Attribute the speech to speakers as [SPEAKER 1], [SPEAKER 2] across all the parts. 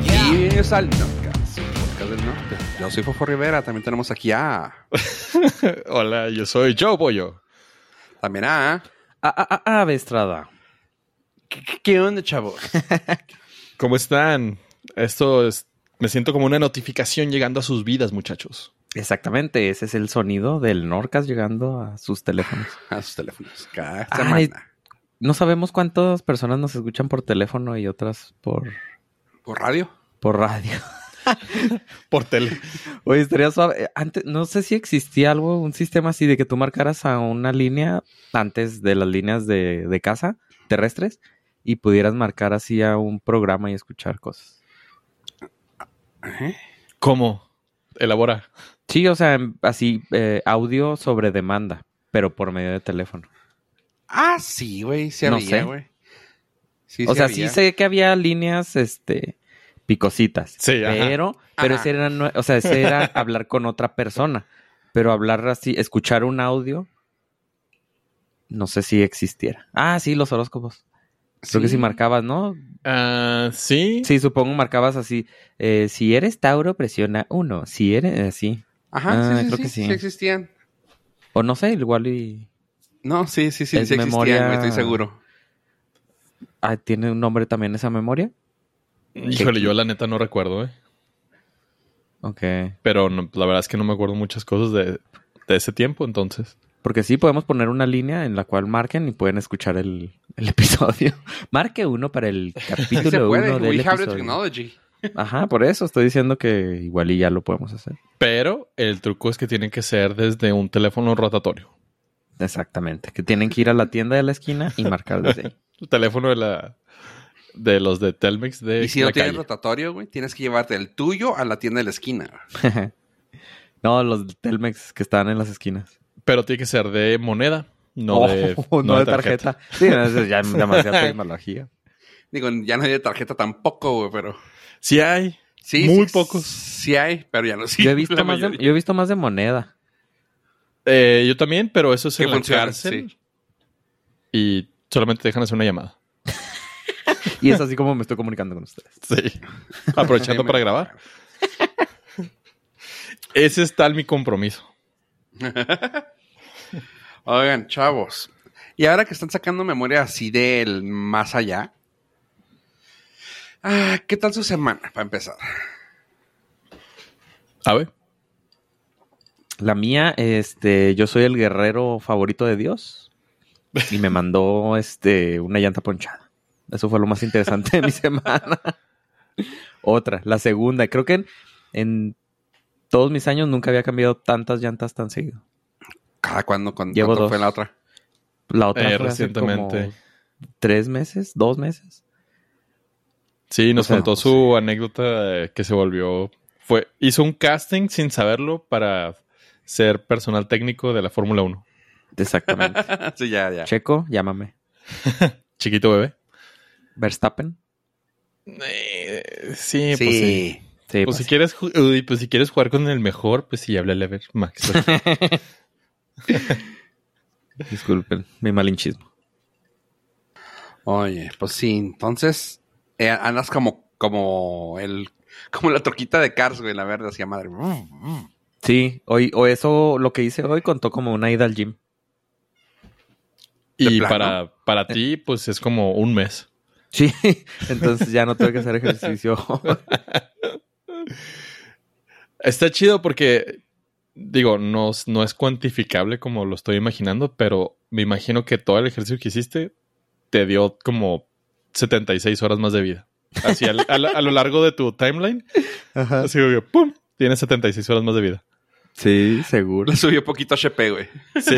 [SPEAKER 1] bienvenidos al Nordcast, el podcast del norte. Yo soy Fofo Rivera, también tenemos aquí a...
[SPEAKER 2] Hola, yo soy Joe Pollo.
[SPEAKER 1] También a...
[SPEAKER 3] A, a, a, ah, Estrada.
[SPEAKER 1] ¿Qué, qué onda, chavos?
[SPEAKER 2] ¿Cómo están? Esto es... Me siento como una notificación llegando a sus vidas, muchachos.
[SPEAKER 3] Exactamente, ese es el sonido del Norcas llegando a sus teléfonos.
[SPEAKER 1] A sus teléfonos. Cada
[SPEAKER 3] Ay,
[SPEAKER 1] semana.
[SPEAKER 3] no sabemos cuántas personas nos escuchan por teléfono y otras por,
[SPEAKER 1] ¿Por radio?
[SPEAKER 3] por radio.
[SPEAKER 2] Por tele.
[SPEAKER 3] Oye, estaría suave. Eh, Antes, no sé si existía algo, un sistema así de que tú marcaras a una línea antes de las líneas de, de casa terrestres y pudieras marcar así a un programa y escuchar cosas.
[SPEAKER 1] ¿Eh?
[SPEAKER 2] ¿Cómo? Elabora.
[SPEAKER 3] Sí, o sea, en- así eh, audio sobre demanda, pero por medio de teléfono.
[SPEAKER 1] Ah, sí, güey, sí
[SPEAKER 3] No
[SPEAKER 1] había,
[SPEAKER 3] sé.
[SPEAKER 1] güey. Sí,
[SPEAKER 3] o sea,
[SPEAKER 1] había.
[SPEAKER 3] sí sé que había líneas, este, picositas.
[SPEAKER 2] Sí, ajá.
[SPEAKER 3] Pero, pero
[SPEAKER 1] Ajá.
[SPEAKER 3] ese era, nue- o sea, ese era hablar con otra persona. Pero hablar así, escuchar un audio, no sé si existiera. Ah, sí, los horóscopos. Creo que sí marcabas, ¿no?
[SPEAKER 2] Ah, sí.
[SPEAKER 3] Sí, supongo marcabas así. eh, si eres Tauro, presiona uno. Si eres así.
[SPEAKER 1] Ajá, sí,
[SPEAKER 3] Ah,
[SPEAKER 1] sí,
[SPEAKER 3] creo
[SPEAKER 1] sí,
[SPEAKER 3] que sí.
[SPEAKER 1] sí existían.
[SPEAKER 3] O no sé, igual y.
[SPEAKER 1] No, sí, sí, sí,
[SPEAKER 3] Es
[SPEAKER 1] sí existían,
[SPEAKER 3] memoria-
[SPEAKER 1] güey, estoy seguro.
[SPEAKER 3] Ah, ¿Tiene un nombre también esa memoria?
[SPEAKER 2] Híjole, yo la neta no recuerdo, ¿eh?
[SPEAKER 3] Ok.
[SPEAKER 2] Pero no- la verdad es que no me acuerdo muchas cosas de, de ese tiempo, entonces.
[SPEAKER 3] Porque sí, podemos poner una línea en la cual marquen y pueden escuchar el, el episodio. Marque uno para el
[SPEAKER 1] Sí se
[SPEAKER 3] capítulo
[SPEAKER 1] puede,
[SPEAKER 3] uno del
[SPEAKER 1] we have the
[SPEAKER 3] episodio.
[SPEAKER 1] technology.
[SPEAKER 3] Ajá, por eso estoy diciendo que igual y ya lo podemos hacer.
[SPEAKER 2] Pero el truco es que tiene que ser desde un teléfono rotatorio.
[SPEAKER 3] Exactamente. Que tienen que ir a la tienda de la esquina y marcar desde ahí.
[SPEAKER 2] El teléfono de la de los de Telmex de
[SPEAKER 1] Y si
[SPEAKER 2] la
[SPEAKER 1] no tienes
[SPEAKER 2] calle.
[SPEAKER 1] rotatorio, güey, tienes que llevarte el tuyo a la tienda de la esquina.
[SPEAKER 3] No, los del Telmex que estaban en las esquinas.
[SPEAKER 2] Pero tiene que ser de moneda, no
[SPEAKER 3] Oh,
[SPEAKER 2] de
[SPEAKER 3] no de tarjeta. Sí, no, eso es ya demasiada tecnología.
[SPEAKER 1] Digo, ya no hay de tarjeta tampoco, güey, pero...
[SPEAKER 2] Sí hay.
[SPEAKER 1] Sí,
[SPEAKER 2] Muy
[SPEAKER 1] sí,
[SPEAKER 2] pocos.
[SPEAKER 1] Sí hay, pero ya no sí.
[SPEAKER 3] Yo he visto
[SPEAKER 1] la
[SPEAKER 3] más de,
[SPEAKER 1] mayoría.
[SPEAKER 3] yo he visto más de moneda.
[SPEAKER 2] Eh, yo también, pero eso es
[SPEAKER 1] Que
[SPEAKER 2] en la
[SPEAKER 1] funciona,
[SPEAKER 2] cárcel.
[SPEAKER 1] sí.
[SPEAKER 2] Y solamente te dejan hacer una llamada.
[SPEAKER 3] Y es así como me estoy comunicando con ustedes.
[SPEAKER 2] Sí. Aprovechando para grabar. Ese es tal mi compromiso.
[SPEAKER 1] Oigan, chavos. Y ahora que están sacando memoria así del más allá. Ah, ¿qué tal su semana? Para empezar.
[SPEAKER 2] A ver.
[SPEAKER 3] La mía, este, yo soy el guerrero favorito de Dios. Y me mandó este una llanta ponchada. Eso fue lo más interesante de mi semana. Otra, la segunda. Creo que en, en todos mis años nunca había cambiado tantas llantas tan seguido.
[SPEAKER 1] ¿Cada cuándo? cuándo
[SPEAKER 3] Llevo
[SPEAKER 1] cuánto
[SPEAKER 3] dos.
[SPEAKER 1] fue la otra?
[SPEAKER 3] La otra
[SPEAKER 2] Eh,
[SPEAKER 3] fue hace
[SPEAKER 2] recientemente.
[SPEAKER 3] como tres meses, dos meses.
[SPEAKER 2] Sí, nos
[SPEAKER 3] O sea,
[SPEAKER 2] contó
[SPEAKER 3] pues,
[SPEAKER 2] su anécdota de que se volvió. Fue, hizo un casting sin saberlo para ser personal técnico de la Fórmula 1.
[SPEAKER 3] Exactamente.
[SPEAKER 1] sí, ya, ya.
[SPEAKER 3] Checo, llámame.
[SPEAKER 2] Chiquito bebé.
[SPEAKER 3] Verstappen.
[SPEAKER 2] Eh, sí,
[SPEAKER 1] sí.
[SPEAKER 2] pues sí.
[SPEAKER 3] Sí,
[SPEAKER 2] Pues si
[SPEAKER 3] pues,
[SPEAKER 2] quieres, ju- uy, pues si quieres jugar con el mejor, pues sí, háblale a ver, Max.
[SPEAKER 3] disculpen mi malinchismo.
[SPEAKER 1] Oye, pues sí. Entonces, eh, andas como, como el, como la troquita de Cars, güey, la verdad, hacia madre.
[SPEAKER 3] Sí, hoy, o eso, lo que hice hoy contó como una ida al gym.
[SPEAKER 2] Y
[SPEAKER 1] plano?
[SPEAKER 2] para, para ti, pues es como un mes.
[SPEAKER 3] Sí, entonces ya no tengo que hacer ejercicio.
[SPEAKER 2] Está chido porque, digo, no, es- no es cuantificable como lo estoy imaginando, pero me imagino que todo el ejercicio que hiciste te dio como 76 horas más de vida. Así al- a, la- a lo largo de tu timeline,
[SPEAKER 3] Ajá.
[SPEAKER 2] así que, ¡pum! Tienes 76 horas más de vida.
[SPEAKER 3] Sí, seguro.
[SPEAKER 1] Le subió poquito HP, güey.
[SPEAKER 2] Sí.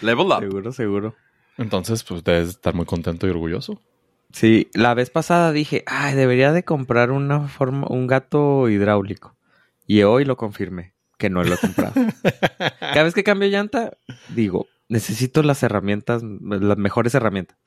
[SPEAKER 1] Level up.
[SPEAKER 3] Seguro, seguro.
[SPEAKER 2] Entonces, pues debes estar muy contento y orgulloso.
[SPEAKER 3] Sí, la vez pasada dije, ay, debería de comprar una forma, un gato hidráulico. Y hoy lo confirmé, que no lo he comprado. Cada vez que cambio llanta, digo, necesito las herramientas, las mejores herramientas.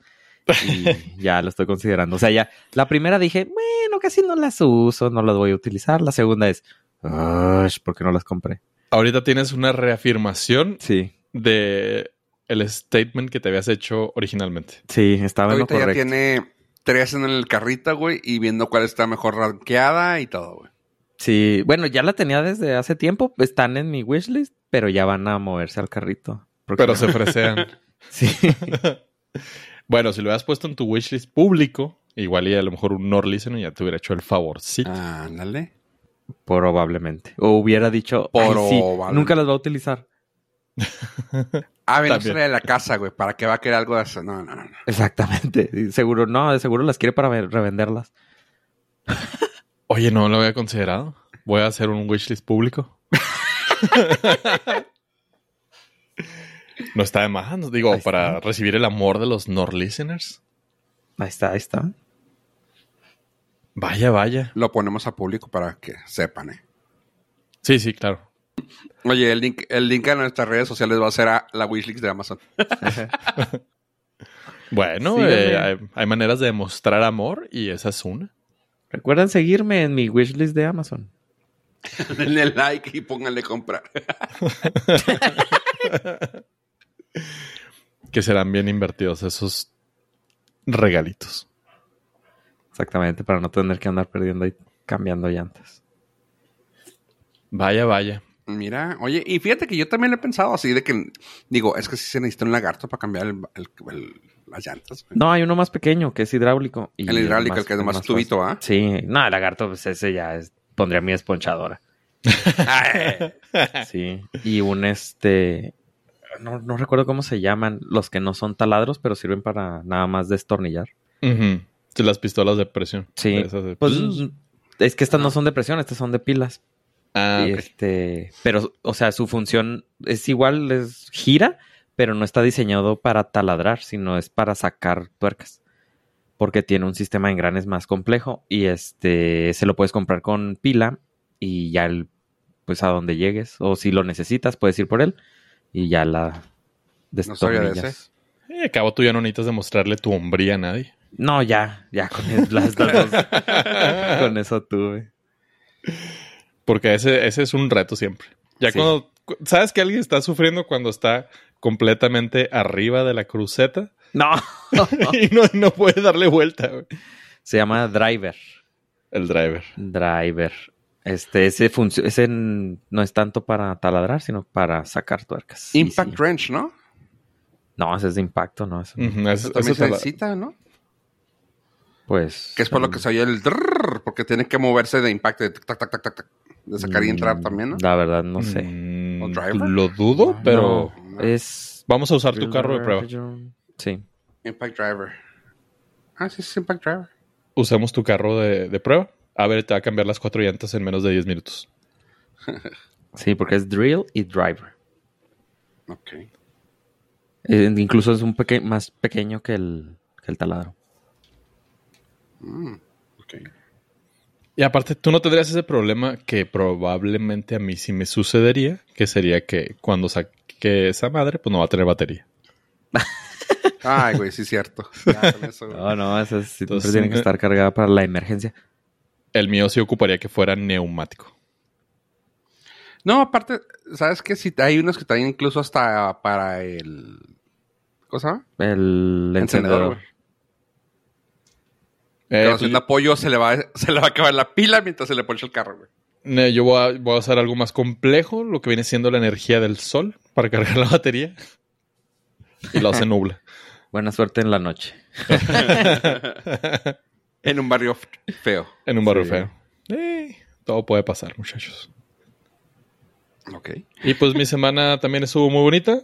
[SPEAKER 3] Y ya lo estoy considerando. O sea, ya, la primera dije, bueno, casi no las uso, no las voy a utilizar. La segunda es, "Ush, ¿por qué no las compré?
[SPEAKER 2] Ahorita tienes una reafirmación
[SPEAKER 3] Sí,
[SPEAKER 2] de el statement que te habías hecho originalmente.
[SPEAKER 3] sí, estaba en lo
[SPEAKER 1] Ahorita ya
[SPEAKER 3] correcto.
[SPEAKER 1] tiene tres en el carrito, güey, y viendo cuál está mejor ranqueada y todo, güey.
[SPEAKER 3] Sí, bueno, ya la tenía desde hace tiempo. Están en mi wishlist, pero ya van a moverse al carrito. Porque-
[SPEAKER 2] Pero se fresean.
[SPEAKER 3] Sí.
[SPEAKER 2] bueno, si lo hubieras puesto en tu wishlist público, igual y a lo mejor un not listener ya te hubiera hecho el favor. Sí.
[SPEAKER 1] Ah, ándale.
[SPEAKER 3] Probablemente. O hubiera dicho, "Ay, sí,
[SPEAKER 1] Probablemente.
[SPEAKER 3] nunca las va a utilizar.
[SPEAKER 1] Ah, ven, no
[SPEAKER 2] También.
[SPEAKER 1] sale de la casa, güey. ¿Para qué va a querer algo de eso? No, no, no.
[SPEAKER 3] Exactamente. Y Seguro, no, de seguro las quiere para ve- revenderlas.
[SPEAKER 2] Oye, no lo había considerado. Voy a hacer un wishlist público. no está de más, no- digo,
[SPEAKER 3] Ahí está.
[SPEAKER 2] para recibir el amor de los not listeners.
[SPEAKER 3] Ahí está, ahí está.
[SPEAKER 2] Vaya, vaya.
[SPEAKER 1] Lo ponemos a público para que sepan, eh.
[SPEAKER 2] Sí, sí, claro.
[SPEAKER 1] Oye, el link, el link a nuestras redes sociales va a ser a la wishlist de Amazon.
[SPEAKER 2] Bueno,
[SPEAKER 3] Síganme.
[SPEAKER 2] eh, hay, hay maneras de demostrar amor y esa es una.
[SPEAKER 3] Recuerden seguirme en mi wishlist de Amazon.
[SPEAKER 1] Denle like y pónganle comprar.
[SPEAKER 2] Que serán bien invertidos esos regalitos.
[SPEAKER 3] Exactamente, para no tener que andar perdiendo y cambiando llantas.
[SPEAKER 2] Vaya, vaya.
[SPEAKER 1] Mira, oye, y fíjate que yo también lo he pensado así de que, digo, es que sí se necesita un lagarto para cambiar el- el- el- las llantas. güey.
[SPEAKER 3] No, hay uno más pequeño que es hidráulico. y
[SPEAKER 1] el
[SPEAKER 3] es
[SPEAKER 1] hidráulico, el que es nomás
[SPEAKER 3] más fácil.
[SPEAKER 1] tubito, ¿ah?
[SPEAKER 3] Sí, no, el lagarto, pues ese ya es, pondría mi esponchadora.
[SPEAKER 1] Ay,
[SPEAKER 3] Sí. Y un este. No, no recuerdo cómo se llaman los que no son taladros, pero sirven para nada más destornillar.
[SPEAKER 2] Ujú. Sí, Las pistolas de presión.
[SPEAKER 3] Sí.
[SPEAKER 2] Esas de-
[SPEAKER 3] Pues es que estas no son de presión, estas son de pilas.
[SPEAKER 2] Ah,
[SPEAKER 3] Y,
[SPEAKER 2] ok.
[SPEAKER 3] este, pero, o sea, su función es igual, es gira, pero no está diseñado para taladrar, sino es para sacar tuercas. Porque tiene un sistema de engranes más complejo. Y este se lo puedes comprar con pila. Y ya el, pues a donde llegues. O si lo necesitas, puedes ir por él. Y ya la
[SPEAKER 1] sabía de
[SPEAKER 3] destornillas.
[SPEAKER 1] ese.
[SPEAKER 2] Eh, cabo, tú ya no necesitas demostrarle tu hombría a nadie.
[SPEAKER 3] No, ya, ya con el- las dos, con eso tuve.
[SPEAKER 2] Porque ese, ese es un reto siempre. Ya
[SPEAKER 3] Sí.
[SPEAKER 2] cuando. cu- ¿Sabes que alguien está sufriendo cuando está completamente arriba de la cruceta?
[SPEAKER 3] No, Ah.
[SPEAKER 2] y no, no puede darle vuelta, güey.
[SPEAKER 3] se llama driver.
[SPEAKER 2] El driver.
[SPEAKER 3] Driver. Este, ese, func- ese n- no es tanto para taladrar, sino para sacar tuercas. Sí,
[SPEAKER 1] Impact
[SPEAKER 3] sí.
[SPEAKER 1] Wrench, ¿no?
[SPEAKER 3] No, ese es de impacto, no. Eso,
[SPEAKER 2] Ujú, es-
[SPEAKER 1] Eso también se
[SPEAKER 2] eso te la-
[SPEAKER 1] necesita, ¿no?
[SPEAKER 3] Pues.
[SPEAKER 1] Que es por lo que
[SPEAKER 3] mm,
[SPEAKER 1] se oye el drrrr, porque tiene que moverse de impacto, de tac, tac, tac, tac, tac, de sacar y entrar también, ¿no?
[SPEAKER 3] mm, La verdad, no sé.
[SPEAKER 2] Mm,
[SPEAKER 1] ¿O driver?
[SPEAKER 2] Lo dudo, pero
[SPEAKER 3] Ah, No, es.
[SPEAKER 2] vamos a usar tu carro de prueba.
[SPEAKER 3] Sí.
[SPEAKER 1] Impact Driver. Ah, sí, es Impact Driver.
[SPEAKER 2] Usamos tu carro de, de prueba. A ver, te va a cambiar las cuatro llantas en menos de 10 minutos.
[SPEAKER 3] Sí, porque es drill y driver.
[SPEAKER 1] Ok.
[SPEAKER 3] Eh, incluso es un peque- más pequeño que el, que el taladro.
[SPEAKER 1] Mm, ok.
[SPEAKER 2] Y aparte, tú no tendrías ese problema que probablemente a mí sí me sucedería, que sería que cuando saque esa madre, pues no va a tener batería.
[SPEAKER 1] Ay, güey, sí es cierto. Ya, con eso, güey.
[SPEAKER 2] Ah.
[SPEAKER 3] No, no, esa siempre
[SPEAKER 2] Oh. Entonces,
[SPEAKER 3] tiene que
[SPEAKER 2] eh,
[SPEAKER 3] estar cargada para la emergencia.
[SPEAKER 2] El mío sí ocuparía que fuera neumático.
[SPEAKER 1] No, aparte, ¿sabes qué? Si hay unos que traen incluso hasta para el... ¿Cómo se llama?
[SPEAKER 3] El encendedor.
[SPEAKER 1] güey.
[SPEAKER 2] Eh,
[SPEAKER 1] Pero si un apoyo se le, va, se le va a acabar la pila mientras se le ponche el carro, güey.
[SPEAKER 2] Ne- yo voy a, voy a usar algo más complejo, lo que viene siendo la energía del sol para cargar la batería. Y lo hace nubla.
[SPEAKER 3] Buena suerte en la noche.
[SPEAKER 1] En un barrio f- feo.
[SPEAKER 2] En un barrio
[SPEAKER 3] Sí.
[SPEAKER 2] feo. Eh, todo puede pasar, muchachos.
[SPEAKER 1] Ok.
[SPEAKER 2] Y pues mi semana también estuvo muy bonita.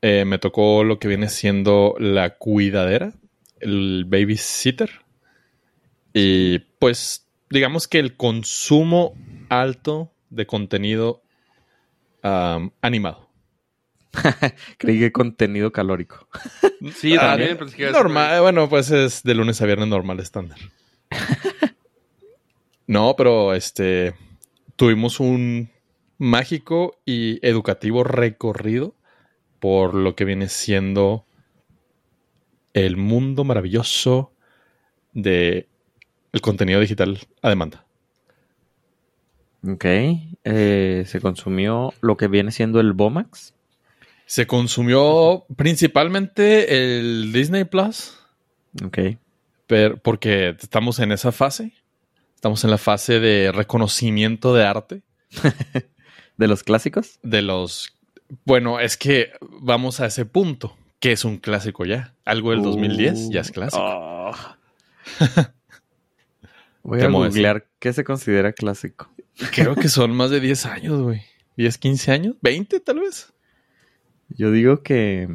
[SPEAKER 2] Eh, me tocó lo que viene siendo la cuidadera, el babysitter. Y pues digamos que el consumo alto de contenido am, animado.
[SPEAKER 3] Creí que contenido calórico.
[SPEAKER 1] Sí, yo también
[SPEAKER 2] Ah,
[SPEAKER 1] pensé que iba a decir,
[SPEAKER 2] normal, bueno, pues es de lunes a viernes normal estándar. no, pero este tuvimos un mágico y educativo recorrido por lo que viene siendo el mundo maravilloso de el contenido digital a demanda.
[SPEAKER 3] Ok. eh, se consumió lo que viene siendo el Bomax.
[SPEAKER 2] Se consumió principalmente el Disney Plus,
[SPEAKER 3] Ok.
[SPEAKER 2] Pero porque estamos en esa fase. Estamos en la fase de reconocimiento de arte
[SPEAKER 3] ¿De los clásicos?
[SPEAKER 2] de los. Bueno, es que vamos a ese punto, que es un clásico ya. Algo
[SPEAKER 1] Uh.
[SPEAKER 2] del 2010 ya es clásico.
[SPEAKER 3] Oh. Voy
[SPEAKER 2] Te
[SPEAKER 3] a
[SPEAKER 2] mueves.
[SPEAKER 3] googlear qué se considera clásico.
[SPEAKER 2] Creo que son más de 10 años, güey. 10, 15 años, 20 tal vez.
[SPEAKER 3] Yo digo que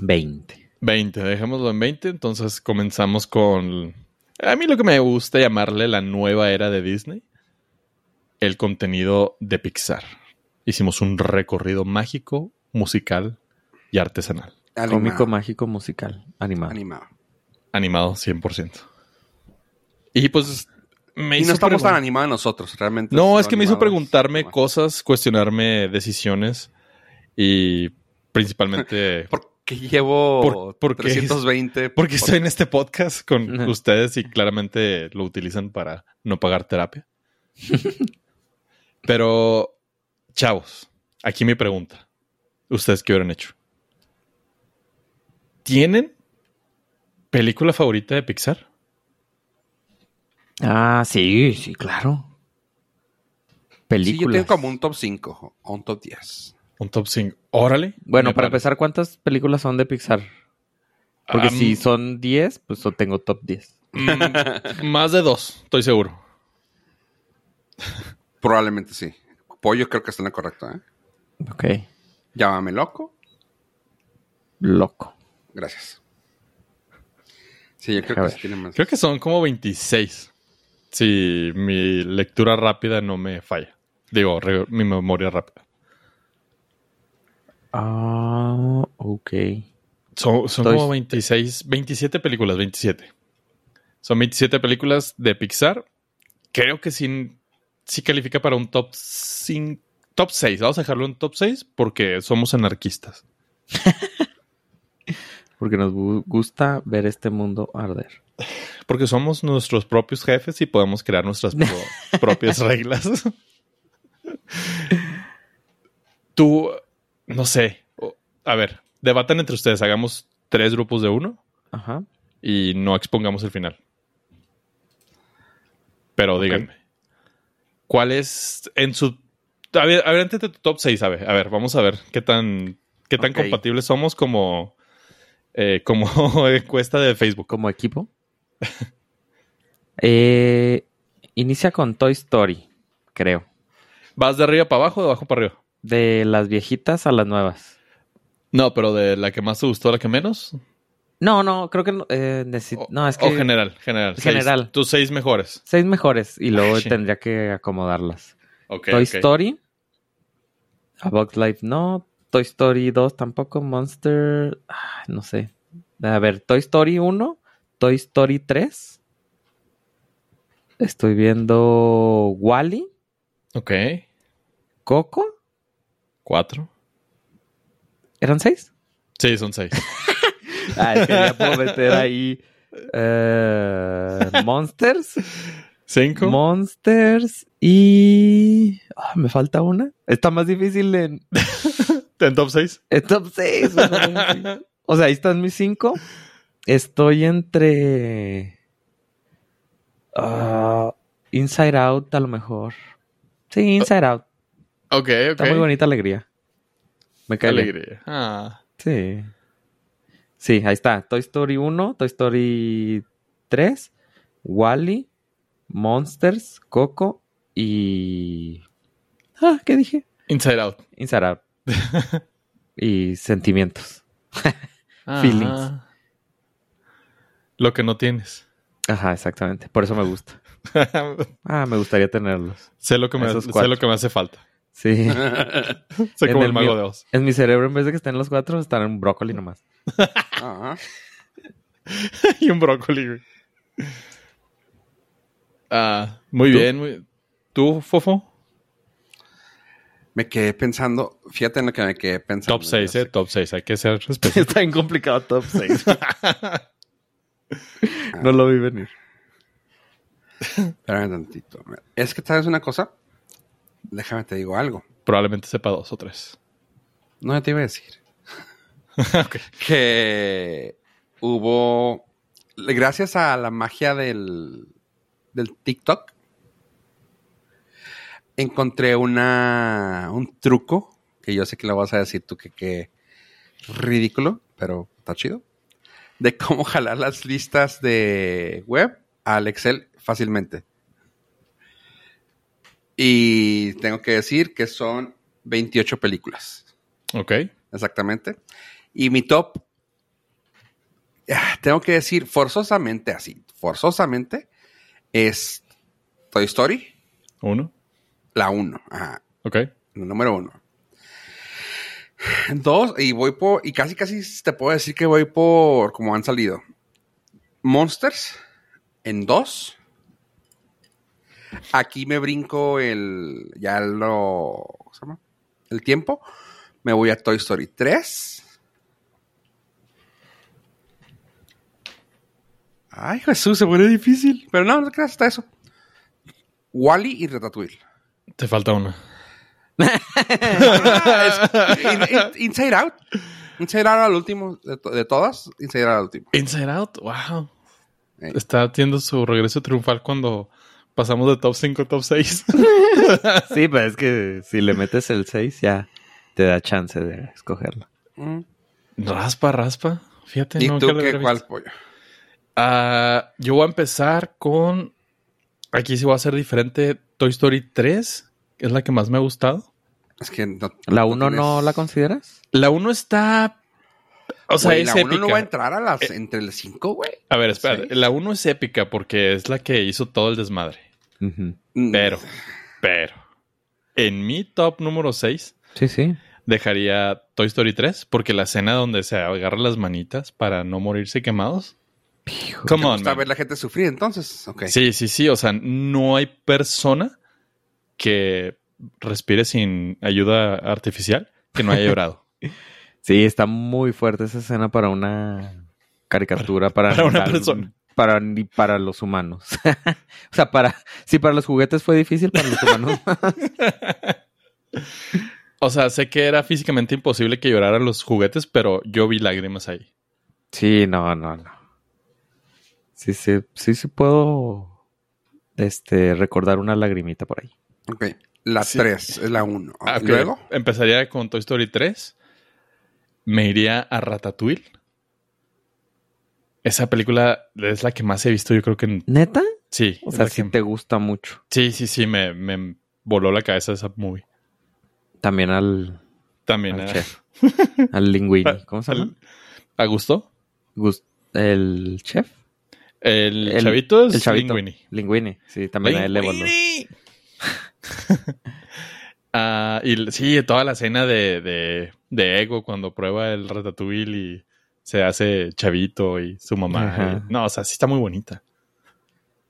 [SPEAKER 3] 20.
[SPEAKER 2] 20, dejémoslo en 20. Entonces comenzamos con. A mí lo que me gusta llamarle la nueva era de Disney, el contenido de Pixar. Hicimos un recorrido mágico, musical y artesanal.
[SPEAKER 3] Cómico,
[SPEAKER 1] Animado.
[SPEAKER 3] mágico, musical, animado.
[SPEAKER 1] Animado.
[SPEAKER 2] Animado 100%. Y pues me
[SPEAKER 1] Y
[SPEAKER 2] hizo
[SPEAKER 1] no estamos
[SPEAKER 2] pregun-
[SPEAKER 1] tan animados nosotros, realmente.
[SPEAKER 2] No,
[SPEAKER 1] Lo
[SPEAKER 2] es que me hizo
[SPEAKER 1] animado es-
[SPEAKER 2] preguntarme
[SPEAKER 1] bueno.
[SPEAKER 2] cosas, cuestionarme decisiones y principalmente
[SPEAKER 1] ¿Por qué llevo
[SPEAKER 2] ¿Por- por qué?
[SPEAKER 1] 320?
[SPEAKER 2] Porque estoy en este podcast con
[SPEAKER 3] Ajá.
[SPEAKER 2] ustedes y claramente lo utilizan para no pagar terapia. Pero, chavos, aquí mi pregunta. ¿Ustedes qué hubieran hecho? ¿Tienen película favorita de Pixar?
[SPEAKER 3] Ah, sí, sí, claro.
[SPEAKER 1] Sí, yo
[SPEAKER 3] Películas.
[SPEAKER 1] tengo como un top 5 o un top 10.
[SPEAKER 2] Un top 5. Órale.
[SPEAKER 3] Bueno,
[SPEAKER 2] Me pare-
[SPEAKER 3] para
[SPEAKER 2] Ah,
[SPEAKER 3] empezar, ¿cuántas películas son de Pixar? Porque
[SPEAKER 2] Am-
[SPEAKER 3] si son 10, pues yo tengo top 10.
[SPEAKER 2] mm, más de dos, estoy seguro.
[SPEAKER 1] Probablemente sí. Pollo creo que está en lo correcto, ¿eh?
[SPEAKER 3] Ok.
[SPEAKER 1] Llámame loco.
[SPEAKER 3] Loco.
[SPEAKER 1] Gracias. Sí, yo
[SPEAKER 3] A
[SPEAKER 1] creo que
[SPEAKER 3] ver.
[SPEAKER 1] sí tiene más.
[SPEAKER 2] Creo que son como 26. Si mi lectura rápida no me falla. Digo, re- mi memoria rápida.
[SPEAKER 3] Ah, ok.
[SPEAKER 2] Son, son
[SPEAKER 3] Toy-
[SPEAKER 2] como 26, 27 películas, 27. Son 27 películas de Pixar. Creo que sí, sí califica para un top 5, top 6. Vamos a dejarlo en top 6 porque somos anarquistas.
[SPEAKER 3] Porque nos gu- gusta ver este mundo arder.
[SPEAKER 2] Porque somos nuestros propios jefes y podemos crear nuestras pro- propias reglas. Tú, no sé. o- A ver, debatan entre ustedes. Hagamos tres grupos de uno
[SPEAKER 3] Ajá.
[SPEAKER 2] y no expongamos el final. Pero díganme. ¿Cuál es en su. A ver, a ver, antes de tu top 6, a ver, a ver, vamos a ver qué tan, qué tan
[SPEAKER 1] Ok.
[SPEAKER 2] compatibles somos como, eh, como encuesta de Facebook.
[SPEAKER 3] Como equipo. Eh, inicia con Toy Story, creo.
[SPEAKER 2] ¿Vas de arriba para abajo o de abajo para arriba?
[SPEAKER 3] De las viejitas a las nuevas.
[SPEAKER 2] No, pero de la que más te gustó a la que menos.
[SPEAKER 3] No, no, creo que no, eh, necesi-
[SPEAKER 2] O,
[SPEAKER 3] no es
[SPEAKER 2] o
[SPEAKER 3] que
[SPEAKER 2] general, general. seis.
[SPEAKER 3] General.
[SPEAKER 2] tus seis mejores.
[SPEAKER 3] seis mejores y luego
[SPEAKER 2] Ah, sí.
[SPEAKER 3] tendría que acomodarlas.
[SPEAKER 2] Ok,
[SPEAKER 3] Toy
[SPEAKER 2] ok.
[SPEAKER 3] Story, A Bug's Life no, Toy Story 2 tampoco, Monster, ah, no sé. A ver, Toy Story 1, Toy Story 3. Estoy viendo Wally,
[SPEAKER 2] Ok,
[SPEAKER 3] Coco,
[SPEAKER 2] cuatro.
[SPEAKER 3] ¿eran seis?
[SPEAKER 2] Sí, son seis.
[SPEAKER 3] Ah, es que ya puedo meter ahí eh, Monsters.
[SPEAKER 2] Cinco.
[SPEAKER 3] Monsters y... ah, me falta una. Está más difícil en,
[SPEAKER 2] en top seis.
[SPEAKER 3] en top 6. O sea, ahí están mis cinco. Estoy entre... ah, Inside Out a lo mejor. Sí, Inside Out.
[SPEAKER 2] Ok, ok.
[SPEAKER 3] Está muy bonita alegría. Me cae bien.
[SPEAKER 2] Alegría. Ah,
[SPEAKER 3] Sí. Sí, ahí está. Toy Story 1, Toy Story 3, Wally, Monsters, Coco y... Ah, ¿qué dije?
[SPEAKER 2] Inside Out.
[SPEAKER 3] Inside Out. y sentimientos.
[SPEAKER 2] Ah.
[SPEAKER 3] Feelings.
[SPEAKER 2] Lo que no tienes.
[SPEAKER 3] Ajá, exactamente. Por eso me gusta. Ah, me gustaría tenerlos.
[SPEAKER 2] sé, lo que me,
[SPEAKER 3] Esos
[SPEAKER 2] sé
[SPEAKER 3] cuatro.
[SPEAKER 2] lo que me hace falta.
[SPEAKER 3] Sí.
[SPEAKER 2] Soy
[SPEAKER 3] En
[SPEAKER 2] como el,
[SPEAKER 3] el
[SPEAKER 2] mago
[SPEAKER 3] mío.
[SPEAKER 2] de Oz.
[SPEAKER 3] En mi cerebro, en vez de que estén los cuatro, están en brócoli nomás.
[SPEAKER 1] Ajá.
[SPEAKER 2] y un brócoli, güey. Ah, muy
[SPEAKER 3] ¿Tú?
[SPEAKER 2] bien. muy- ¿Tú, Fofo?
[SPEAKER 1] Me quedé pensando, fíjate en lo que me quedé pensando.
[SPEAKER 2] Top 6, eh. Top 6. Hay que ser específicos.
[SPEAKER 3] Está bien complicado top 6. no lo vi venir.
[SPEAKER 1] Espérame tantito. Es que sabes una cosa. Déjame te digo algo.
[SPEAKER 2] Probablemente sepa dos o tres.
[SPEAKER 1] No te iba a decir.
[SPEAKER 2] Ok.
[SPEAKER 1] Que hubo gracias a la magia del, del TikTok, encontré una, un truco que yo sé que lo vas a decir tú que, que ridículo, pero está chido, de cómo jalar las listas de web al Excel fácilmente. Y tengo que decir que son 28 películas,
[SPEAKER 2] Ok.
[SPEAKER 1] exactamente. Y mi top, ah, tengo que decir forzosamente así, forzosamente, es Toy Story,
[SPEAKER 2] Uno.
[SPEAKER 1] la 1, ajá,
[SPEAKER 2] Ok.
[SPEAKER 1] el número 1. Dos, y voy por, y casi casi te puedo decir que voy por como han salido. Monsters en dos. Aquí me brinco el, ya lo, ¿cómo se llama? El tiempo. Me voy a Toy Story 3. Ay, Jesús, se pone difícil. Pero no, no te creas hasta eso. Wally y Ratatouille.
[SPEAKER 2] Te falta una.
[SPEAKER 1] In- in- Inside Out. Inside Out al último de, to- de todas. Inside Out al último.
[SPEAKER 2] Inside Out. Wow.
[SPEAKER 1] Eh.
[SPEAKER 2] Está haciendo su regreso triunfal cuando pasamos de top 5 a top 6.
[SPEAKER 3] Sí, pero es que si le metes el 6 ya te da chance de escogerlo.
[SPEAKER 1] Mm.
[SPEAKER 2] raspa, raspa. Fíjate.
[SPEAKER 1] ¿Y
[SPEAKER 2] nunca
[SPEAKER 1] tú
[SPEAKER 2] lo
[SPEAKER 1] qué,
[SPEAKER 2] había visto.
[SPEAKER 1] cuál pollo?
[SPEAKER 2] Ah, yo voy a empezar con. Aquí sí voy a ser diferente. Toy Story 3 es la que más me ha gustado.
[SPEAKER 1] Es que no-
[SPEAKER 3] ¿La 1 no
[SPEAKER 1] tienes-
[SPEAKER 3] la consideras?
[SPEAKER 2] La 1 está. O sea,
[SPEAKER 1] Güey,
[SPEAKER 2] es
[SPEAKER 1] la 1 no
[SPEAKER 2] épica. Eh.
[SPEAKER 1] va a entrar a las, entre las 5, güey.
[SPEAKER 2] A ver, espera.
[SPEAKER 1] ¿Seis?
[SPEAKER 2] La 1 es épica porque es la que hizo todo el desmadre.
[SPEAKER 1] Mm,
[SPEAKER 2] Pero, pero. En mi top número 6
[SPEAKER 3] Sí, sí.
[SPEAKER 2] dejaría Toy Story 3 porque la escena donde se agarran las manitas para no morirse quemados.
[SPEAKER 1] ¿Te
[SPEAKER 2] Come on,
[SPEAKER 1] gusta
[SPEAKER 2] man.
[SPEAKER 1] ver la gente sufrir entonces? Ok.
[SPEAKER 2] Sí, sí, sí. O sea, no hay persona que respire sin ayuda artificial que no haya llorado.
[SPEAKER 3] Sí, está muy fuerte esa escena para una caricatura, para,
[SPEAKER 2] para una persona.
[SPEAKER 3] Para, ni para los humanos. o sea, para si para los juguetes fue difícil, para los humanos.
[SPEAKER 2] O sea, sé que era físicamente imposible que lloraran los juguetes, pero yo vi lágrimas ahí.
[SPEAKER 3] sí, no, no, no. Sí, sí, sí, sí puedo este, recordar una lagrimita por ahí.
[SPEAKER 1] Ok. La
[SPEAKER 2] Sí.
[SPEAKER 1] 3 es la 1.
[SPEAKER 2] Ah, ok.
[SPEAKER 1] Luego,
[SPEAKER 2] Empezaría con Toy Story 3. Me iría a Ratatouille. Esa película es la que más he visto, yo creo que... en-
[SPEAKER 3] ¿Neta?
[SPEAKER 2] Sí,
[SPEAKER 3] O
[SPEAKER 2] es
[SPEAKER 3] sea,
[SPEAKER 2] la
[SPEAKER 3] sí
[SPEAKER 2] que-
[SPEAKER 3] te gusta mucho.
[SPEAKER 2] sí, sí, sí, me, me voló la cabeza esa movie.
[SPEAKER 3] También al,
[SPEAKER 2] También.
[SPEAKER 3] al
[SPEAKER 2] eh.
[SPEAKER 3] chef. Al linguini. ¿Cómo se llama?
[SPEAKER 2] ¿A gusto?
[SPEAKER 3] Gus- El chef.
[SPEAKER 2] El,
[SPEAKER 3] El-
[SPEAKER 2] chavito es
[SPEAKER 3] el chavito.
[SPEAKER 2] Linguini.
[SPEAKER 3] Linguini. Sí, también a él le voló.
[SPEAKER 2] Linguini. Ah, y l- sí, toda la escena de, de, de Ego cuando prueba el ratatouille y se hace chavito y su mamá.
[SPEAKER 3] Ajá.
[SPEAKER 2] y- no, o sea, sí está muy bonita.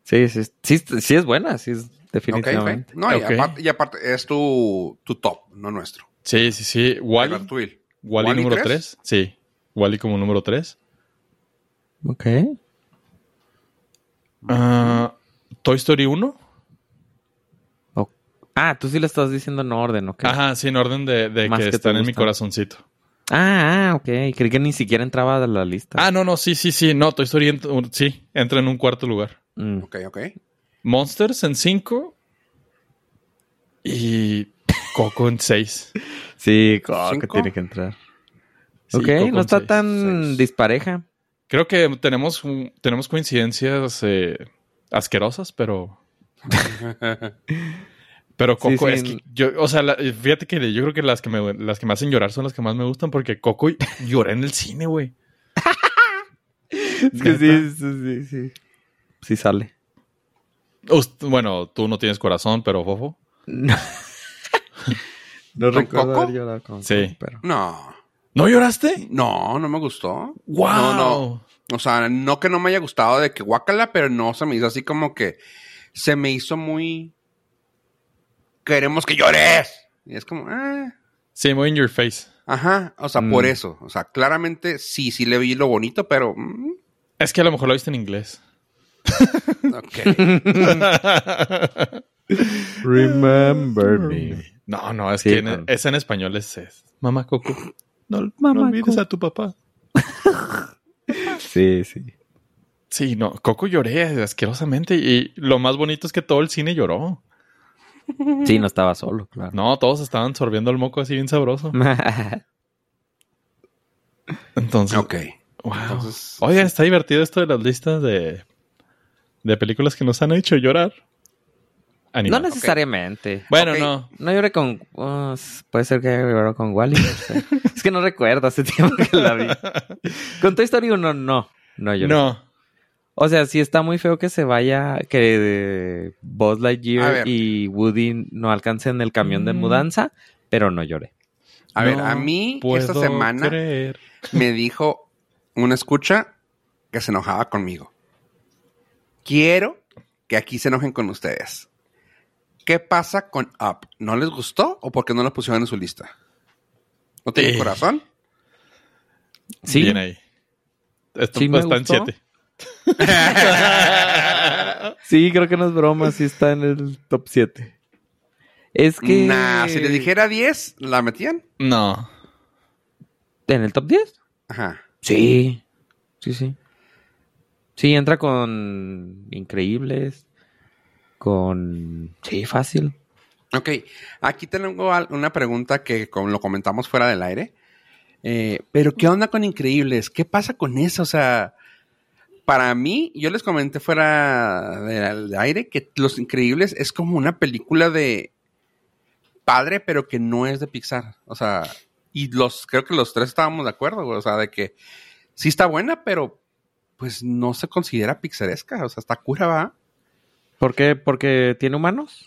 [SPEAKER 3] Sí, sí, sí, sí es buena, sí es
[SPEAKER 1] ok,
[SPEAKER 3] definitivamente.
[SPEAKER 1] ok. No, y,
[SPEAKER 2] Ok.
[SPEAKER 1] Aparte, y aparte es tu, tu top, no nuestro.
[SPEAKER 2] Sí, sí, sí. Wally, Wally,
[SPEAKER 1] Ratatouille. ¿Wall-E
[SPEAKER 2] número 3.
[SPEAKER 1] tres?
[SPEAKER 2] Sí, Wally como número 3.
[SPEAKER 3] Ok.
[SPEAKER 2] Ah, Toy Story 1.
[SPEAKER 3] O- Ah, tú sí le estás diciendo en orden, ok.
[SPEAKER 2] Ajá, sí, en orden de, de
[SPEAKER 3] Más
[SPEAKER 2] que,
[SPEAKER 3] que te
[SPEAKER 2] están en mi
[SPEAKER 3] gustan.
[SPEAKER 2] corazoncito.
[SPEAKER 3] Ah, ah, ok. Creí que ni siquiera entraba a la lista.
[SPEAKER 2] Ah, no, no, sí, sí, sí. No, Toy Story ent- un- sí, entra en un cuarto lugar.
[SPEAKER 3] Mm.
[SPEAKER 1] Ok, ok.
[SPEAKER 2] Monsters en 5 y Coco en 6.
[SPEAKER 3] Sí, claro que
[SPEAKER 1] ¿Cinco?
[SPEAKER 3] tiene que entrar. ok, no está tan
[SPEAKER 1] seis.
[SPEAKER 3] dispareja.
[SPEAKER 2] Creo que tenemos, un- tenemos coincidencias eh, asquerosas, pero... Pero
[SPEAKER 3] Sí,
[SPEAKER 2] Coco
[SPEAKER 3] sí,
[SPEAKER 2] es que yo, o sea, la- fíjate que yo creo que las que me las que me hacen llorar son las que más me gustan porque Coco y- lloré en el cine, güey.
[SPEAKER 3] Es que sí, sí, sí, sí. Sí sale.
[SPEAKER 2] Us- Bueno, tú no tienes corazón, pero fofo.
[SPEAKER 3] No, recuerdo
[SPEAKER 1] Coco?
[SPEAKER 3] haber llorado con
[SPEAKER 2] Sí.
[SPEAKER 3] Coco, pero-
[SPEAKER 1] No.
[SPEAKER 2] ¿No lloraste?
[SPEAKER 1] No, no me gustó.
[SPEAKER 2] Wow.
[SPEAKER 1] No, no. O sea, no que no me haya gustado de que guácala, pero no se me hizo así como que se me hizo muy. Queremos que llores. Y es como, eh,
[SPEAKER 2] Sí, muy in your face.
[SPEAKER 1] ajá. O sea, por
[SPEAKER 3] Mm.
[SPEAKER 1] eso. O sea, claramente sí, sí le vi lo bonito, pero. mm,
[SPEAKER 2] Es que a lo mejor lo viste en inglés.
[SPEAKER 1] ok. Mm.
[SPEAKER 3] Remember me.
[SPEAKER 2] No, no, es
[SPEAKER 3] Sí,
[SPEAKER 2] que en-
[SPEAKER 3] con-
[SPEAKER 2] es en español es, es mamá Coco. No, no
[SPEAKER 3] Mamá
[SPEAKER 2] olvides
[SPEAKER 3] Coco.
[SPEAKER 2] a tu papá.
[SPEAKER 3] Sí, sí.
[SPEAKER 2] Sí, no, Coco lloré asquerosamente y lo más bonito es que todo el cine lloró.
[SPEAKER 3] Sí, no estaba solo, claro.
[SPEAKER 2] No, todos estaban sorbiendo el moco así bien sabroso. Entonces,
[SPEAKER 1] Ok.
[SPEAKER 2] wow.
[SPEAKER 1] Entonces,
[SPEAKER 2] Oigan, está divertido esto de las listas de, de películas que nos han hecho llorar.
[SPEAKER 3] no
[SPEAKER 2] Animal.
[SPEAKER 3] necesariamente.
[SPEAKER 2] Bueno,
[SPEAKER 1] Ok.
[SPEAKER 2] no.
[SPEAKER 3] No lloré con. oh, puede ser que haya llorado con Wally. es que no recuerdo hace tiempo que la vi. Con Toy Story 1, no. No lloré.
[SPEAKER 2] No.
[SPEAKER 3] O sea, sí está muy feo que se vaya. Que eh, Buzz
[SPEAKER 1] A
[SPEAKER 3] Lightyear
[SPEAKER 1] ver.
[SPEAKER 3] y Woody no alcancen el camión de
[SPEAKER 2] Mm.
[SPEAKER 3] mudanza, pero no lloré.
[SPEAKER 1] a ver, a
[SPEAKER 2] No
[SPEAKER 1] mí esta
[SPEAKER 2] puedo
[SPEAKER 1] semana
[SPEAKER 2] creer.
[SPEAKER 1] me dijo una escucha que se enojaba conmigo. Quiero que aquí se enojen con ustedes. ¿Qué pasa con Up? ¿No les gustó o por qué no la pusieron en su lista? ¿No tiene
[SPEAKER 2] Eh.
[SPEAKER 1] corazón?
[SPEAKER 3] Sí.
[SPEAKER 2] Bien ahí. Esto
[SPEAKER 3] Sí me
[SPEAKER 2] está en
[SPEAKER 3] gustó.
[SPEAKER 2] siete.
[SPEAKER 3] Sí, creo que no es broma, sí está en el top 7. Es que.
[SPEAKER 1] Nah, si les dijera 10, ¿la metían?
[SPEAKER 2] No.
[SPEAKER 3] ¿En el top 10?
[SPEAKER 1] Ajá.
[SPEAKER 3] Sí. Sí, sí. Sí, entra con Increíbles. Con. Sí, fácil.
[SPEAKER 1] Ok, aquí tengo al- una pregunta que como lo comentamos fuera del aire. Eh, Pero, ¿qué onda con Increíbles? ¿Qué pasa con eso? O sea, para mí, yo les comenté fuera del aire que Los Increíbles es como una película de padre, pero que no es de Pixar. O sea, y los creo que los tres estábamos de acuerdo, güey. O sea, de que sí está buena, pero pues no se considera pixaresca. O sea, está cura, va.
[SPEAKER 3] ¿Por qué? ¿Porque tiene humanos?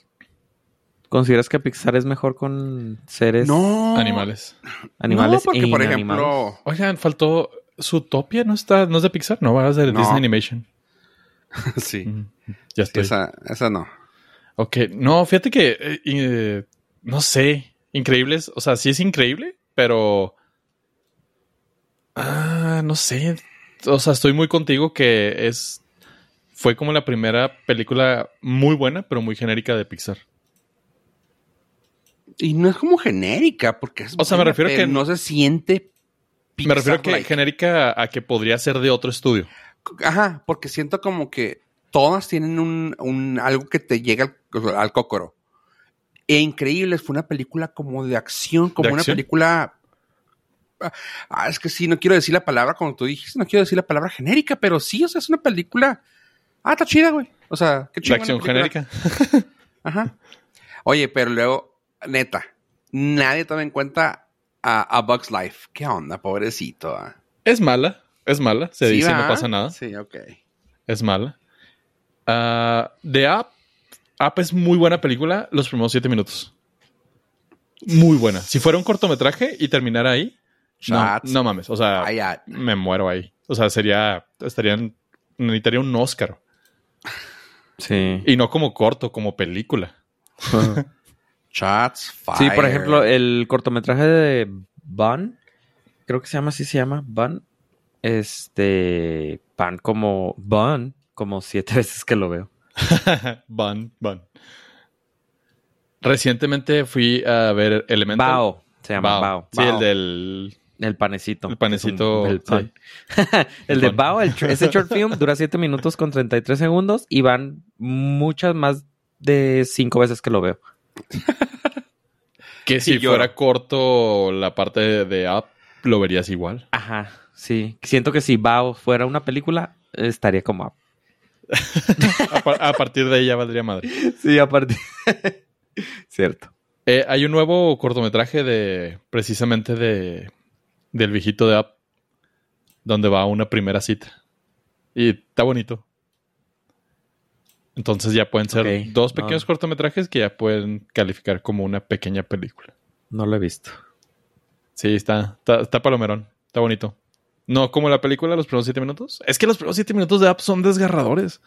[SPEAKER 3] ¿Consideras que Pixar es mejor con seres
[SPEAKER 1] No.
[SPEAKER 2] Animales.
[SPEAKER 3] animales?
[SPEAKER 1] No,
[SPEAKER 3] e
[SPEAKER 1] porque, por
[SPEAKER 3] inanimados?
[SPEAKER 1] ejemplo.
[SPEAKER 2] Oigan, faltó. Zootopia no está, no es de Pixar, no, va, es de
[SPEAKER 1] No.
[SPEAKER 2] Disney Animation.
[SPEAKER 1] sí.
[SPEAKER 2] Mm, Ya
[SPEAKER 1] Sí,
[SPEAKER 2] estoy.
[SPEAKER 1] Esa, esa no.
[SPEAKER 2] Ok, no, fíjate que, eh, eh, no sé, increíbles, o sea, sí es increíble, pero... Ah, no sé, o sea, estoy muy contigo que es... Fue como la primera película muy buena, pero muy genérica de Pixar.
[SPEAKER 1] Y no es como genérica, porque es
[SPEAKER 2] O sea, me
[SPEAKER 1] buena,
[SPEAKER 2] refiero
[SPEAKER 1] pero
[SPEAKER 2] que-
[SPEAKER 1] no se siente
[SPEAKER 2] Me refiero a que
[SPEAKER 1] Pixar-like.
[SPEAKER 2] genérica a que podría ser de otro estudio.
[SPEAKER 1] Ajá, porque siento como que todas tienen un, un- algo que te llega al, al cócoro. E Increíbles fue una película como de acción, como una
[SPEAKER 2] acción?
[SPEAKER 1] película... Ah, es que sí, no quiero decir la palabra como tú dijiste, no quiero decir la palabra genérica, pero sí, o sea, es una película... Ah, está chida, güey. O sea, qué
[SPEAKER 2] De
[SPEAKER 1] chida.
[SPEAKER 2] acción genérica.
[SPEAKER 1] Ajá. Oye, pero luego, neta, nadie toma en cuenta a, a Bugs Life. ¿Qué onda, pobrecito? ah?
[SPEAKER 2] Es mala, es mala, se
[SPEAKER 1] Sí,
[SPEAKER 2] dice, no
[SPEAKER 1] ¿verdad?
[SPEAKER 2] pasa nada.
[SPEAKER 1] Sí, ok.
[SPEAKER 2] Es mala. Ah, de App. App es muy buena película. Los primeros siete minutos. Muy buena. Si fuera un cortometraje y terminara ahí, no,
[SPEAKER 1] Chats.
[SPEAKER 2] no mames. O sea,
[SPEAKER 1] Ay, ah,
[SPEAKER 2] me muero ahí. O sea, sería. Estarían. Necesitaría un Oscar.
[SPEAKER 3] Sí.
[SPEAKER 2] Y no como corto, como película.
[SPEAKER 1] Chats, fire.
[SPEAKER 3] Sí, por ejemplo, el cortometraje de Van, creo que se llama así, se llama Van. Este, Pan como Van, como siete veces que lo veo.
[SPEAKER 2] van, van. Recientemente fui a ver Elemental.
[SPEAKER 3] Bao, se llama
[SPEAKER 2] Bao.
[SPEAKER 3] Bao.
[SPEAKER 2] Sí,
[SPEAKER 1] Bao.
[SPEAKER 2] el del.
[SPEAKER 3] El panecito.
[SPEAKER 2] El panecito,
[SPEAKER 3] Es un- el, pan. El
[SPEAKER 2] El
[SPEAKER 3] de
[SPEAKER 2] pan.
[SPEAKER 3] Bao, el tr- ese short film dura 7 minutos con 33 segundos y van muchas más de 5 veces que lo veo.
[SPEAKER 2] Que si
[SPEAKER 1] Sí, lloro.
[SPEAKER 2] fuera corto la parte de, de App, lo verías igual.
[SPEAKER 3] Ajá, sí. Siento que si Bao fuera una película, estaría como...
[SPEAKER 2] A, par- a partir de ahí ya valdría madre.
[SPEAKER 3] Sí, aparte. Cierto.
[SPEAKER 2] Eh, hay un nuevo cortometraje de precisamente de del viejito de App donde va a una primera cita. Y está bonito. Entonces ya pueden ser
[SPEAKER 3] Ok,
[SPEAKER 2] dos
[SPEAKER 3] no.
[SPEAKER 2] pequeños cortometrajes que ya pueden calificar como una pequeña película.
[SPEAKER 3] No lo he visto.
[SPEAKER 2] Sí, está, está, está palomerón. Está bonito. No como la película, los primeros siete minutos. Es que los primeros siete minutos de App son desgarradores.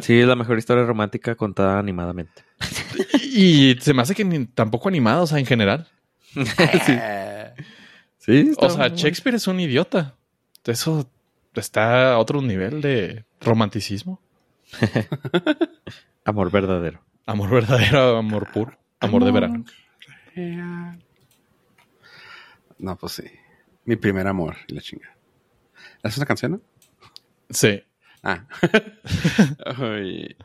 [SPEAKER 3] Sí, es la mejor historia romántica contada animadamente.
[SPEAKER 2] Y se me hace que ni- tampoco animada, o sea, en general.
[SPEAKER 1] Eh,
[SPEAKER 3] Sí,
[SPEAKER 2] O sea, Shakespeare es un idiota. Eso está a otro nivel de romanticismo.
[SPEAKER 3] Amor verdadero.
[SPEAKER 2] Amor verdadero, amor puro, amor de verano.
[SPEAKER 1] No, pues sí. Mi primer amor y la chinga. ¿Es una canción, no?
[SPEAKER 2] Sí.
[SPEAKER 1] Ah. Ay.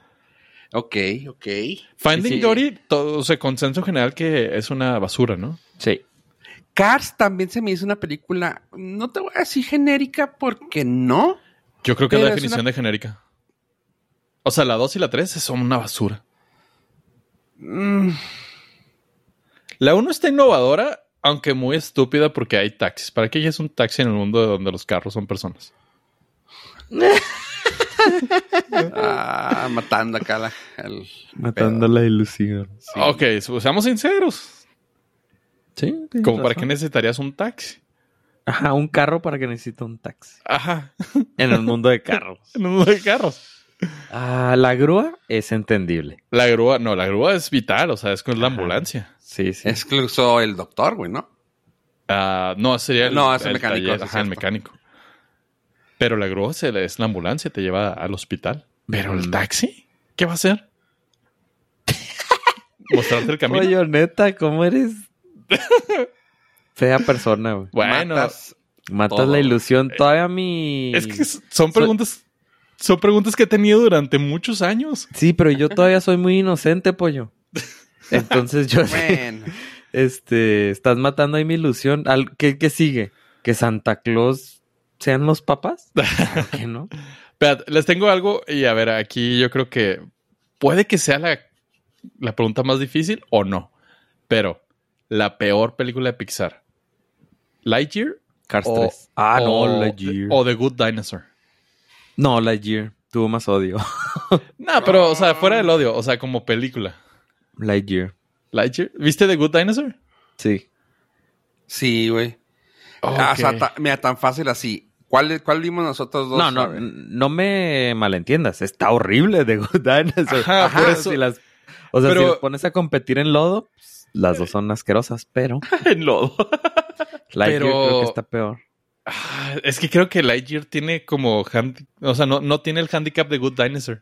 [SPEAKER 1] ok, ok.
[SPEAKER 2] Finding
[SPEAKER 3] Sí.
[SPEAKER 2] Dory, todo, o sea, consenso general que es una basura, ¿no?
[SPEAKER 3] Sí.
[SPEAKER 1] Cars también se me hizo una película, no te voy a decir genérica porque no.
[SPEAKER 2] Yo creo que es
[SPEAKER 1] Pero
[SPEAKER 2] la
[SPEAKER 1] es
[SPEAKER 2] definición de genérica. O sea, la 2 y la 3 son una basura.
[SPEAKER 1] Mm,
[SPEAKER 2] La 1 está innovadora, aunque muy estúpida porque hay taxis. ¿Para qué ya es un taxi en el mundo donde los carros son personas?
[SPEAKER 1] ah, matando acá la- el-
[SPEAKER 3] Matando la ilusión.
[SPEAKER 2] Ok, so- seamos sinceros.
[SPEAKER 3] Sí.
[SPEAKER 2] Como para qué necesitarías un taxi.
[SPEAKER 3] Ajá, un carro para que necesita un taxi.
[SPEAKER 2] Ajá,
[SPEAKER 3] En el mundo de carros.
[SPEAKER 2] en el mundo de carros.
[SPEAKER 3] Ah, la grúa es entendible.
[SPEAKER 2] La grúa, no, la grúa es vital, o sea, es con la ambulancia.
[SPEAKER 3] Sí, sí.
[SPEAKER 1] Es que lo usó el doctor, güey, ¿no?
[SPEAKER 2] Ah, no, sería el,
[SPEAKER 1] No, es el
[SPEAKER 2] el
[SPEAKER 1] mecánico,
[SPEAKER 2] taller,
[SPEAKER 1] sí,
[SPEAKER 2] ajá, el
[SPEAKER 1] cierto.
[SPEAKER 2] mecánico. Pero la grúa se- es la ambulancia, te lleva al hospital. Pero el
[SPEAKER 3] Mm.
[SPEAKER 2] taxi, ¿qué va a hacer? Mostrarte el camino.
[SPEAKER 3] Oye, neta, ¿cómo eres? Fea persona, güey.
[SPEAKER 2] bueno,
[SPEAKER 1] Matas-
[SPEAKER 3] Matas
[SPEAKER 1] Todo.
[SPEAKER 3] la ilusión. Todavía mi.
[SPEAKER 2] es que s- son preguntas, son preguntas que he tenido durante muchos años.
[SPEAKER 3] Sí, pero yo todavía soy muy inocente, pollo. Entonces yo.
[SPEAKER 1] Bueno,
[SPEAKER 3] Este. Estás matando ahí mi ilusión. Al- ¿Qué, qué sigue? ¿Que Santa Claus sean los papás? Claro que no?
[SPEAKER 2] Espérate, les tengo algo y a ver, aquí yo creo que puede que sea la, la pregunta más difícil o no, pero la peor película de Pixar, Lightyear
[SPEAKER 3] Cars
[SPEAKER 2] O-
[SPEAKER 3] 3. Ah,
[SPEAKER 2] o,
[SPEAKER 3] no, Lightyear.
[SPEAKER 2] o The Good Dinosaur.
[SPEAKER 3] No, Lightyear. Tuvo más odio.
[SPEAKER 2] No, pero, o sea, fuera del odio, o sea, como película.
[SPEAKER 3] Lightyear.
[SPEAKER 2] Lightyear, ¿viste The Good Dinosaur?
[SPEAKER 3] Sí.
[SPEAKER 1] sí, güey. Ah, o sea, ta- mira, tan fácil así. ¿Cuál, cuál vimos nosotros dos?
[SPEAKER 3] No, no,
[SPEAKER 1] A ver.
[SPEAKER 3] no me malentiendas. Está horrible de Good Dinosaur.
[SPEAKER 2] Ajá, por eso-
[SPEAKER 3] si las, o sea, si
[SPEAKER 2] Pero-
[SPEAKER 3] las pones a competir en lodo, pues, las dos son asquerosas, pero
[SPEAKER 2] en lodo.
[SPEAKER 3] Lightyear
[SPEAKER 2] Pero-
[SPEAKER 3] creo que está peor.
[SPEAKER 2] Ah, Es que creo que Lightyear tiene como. handi- O sea, no, no tiene el handicap de Good Dinosaur.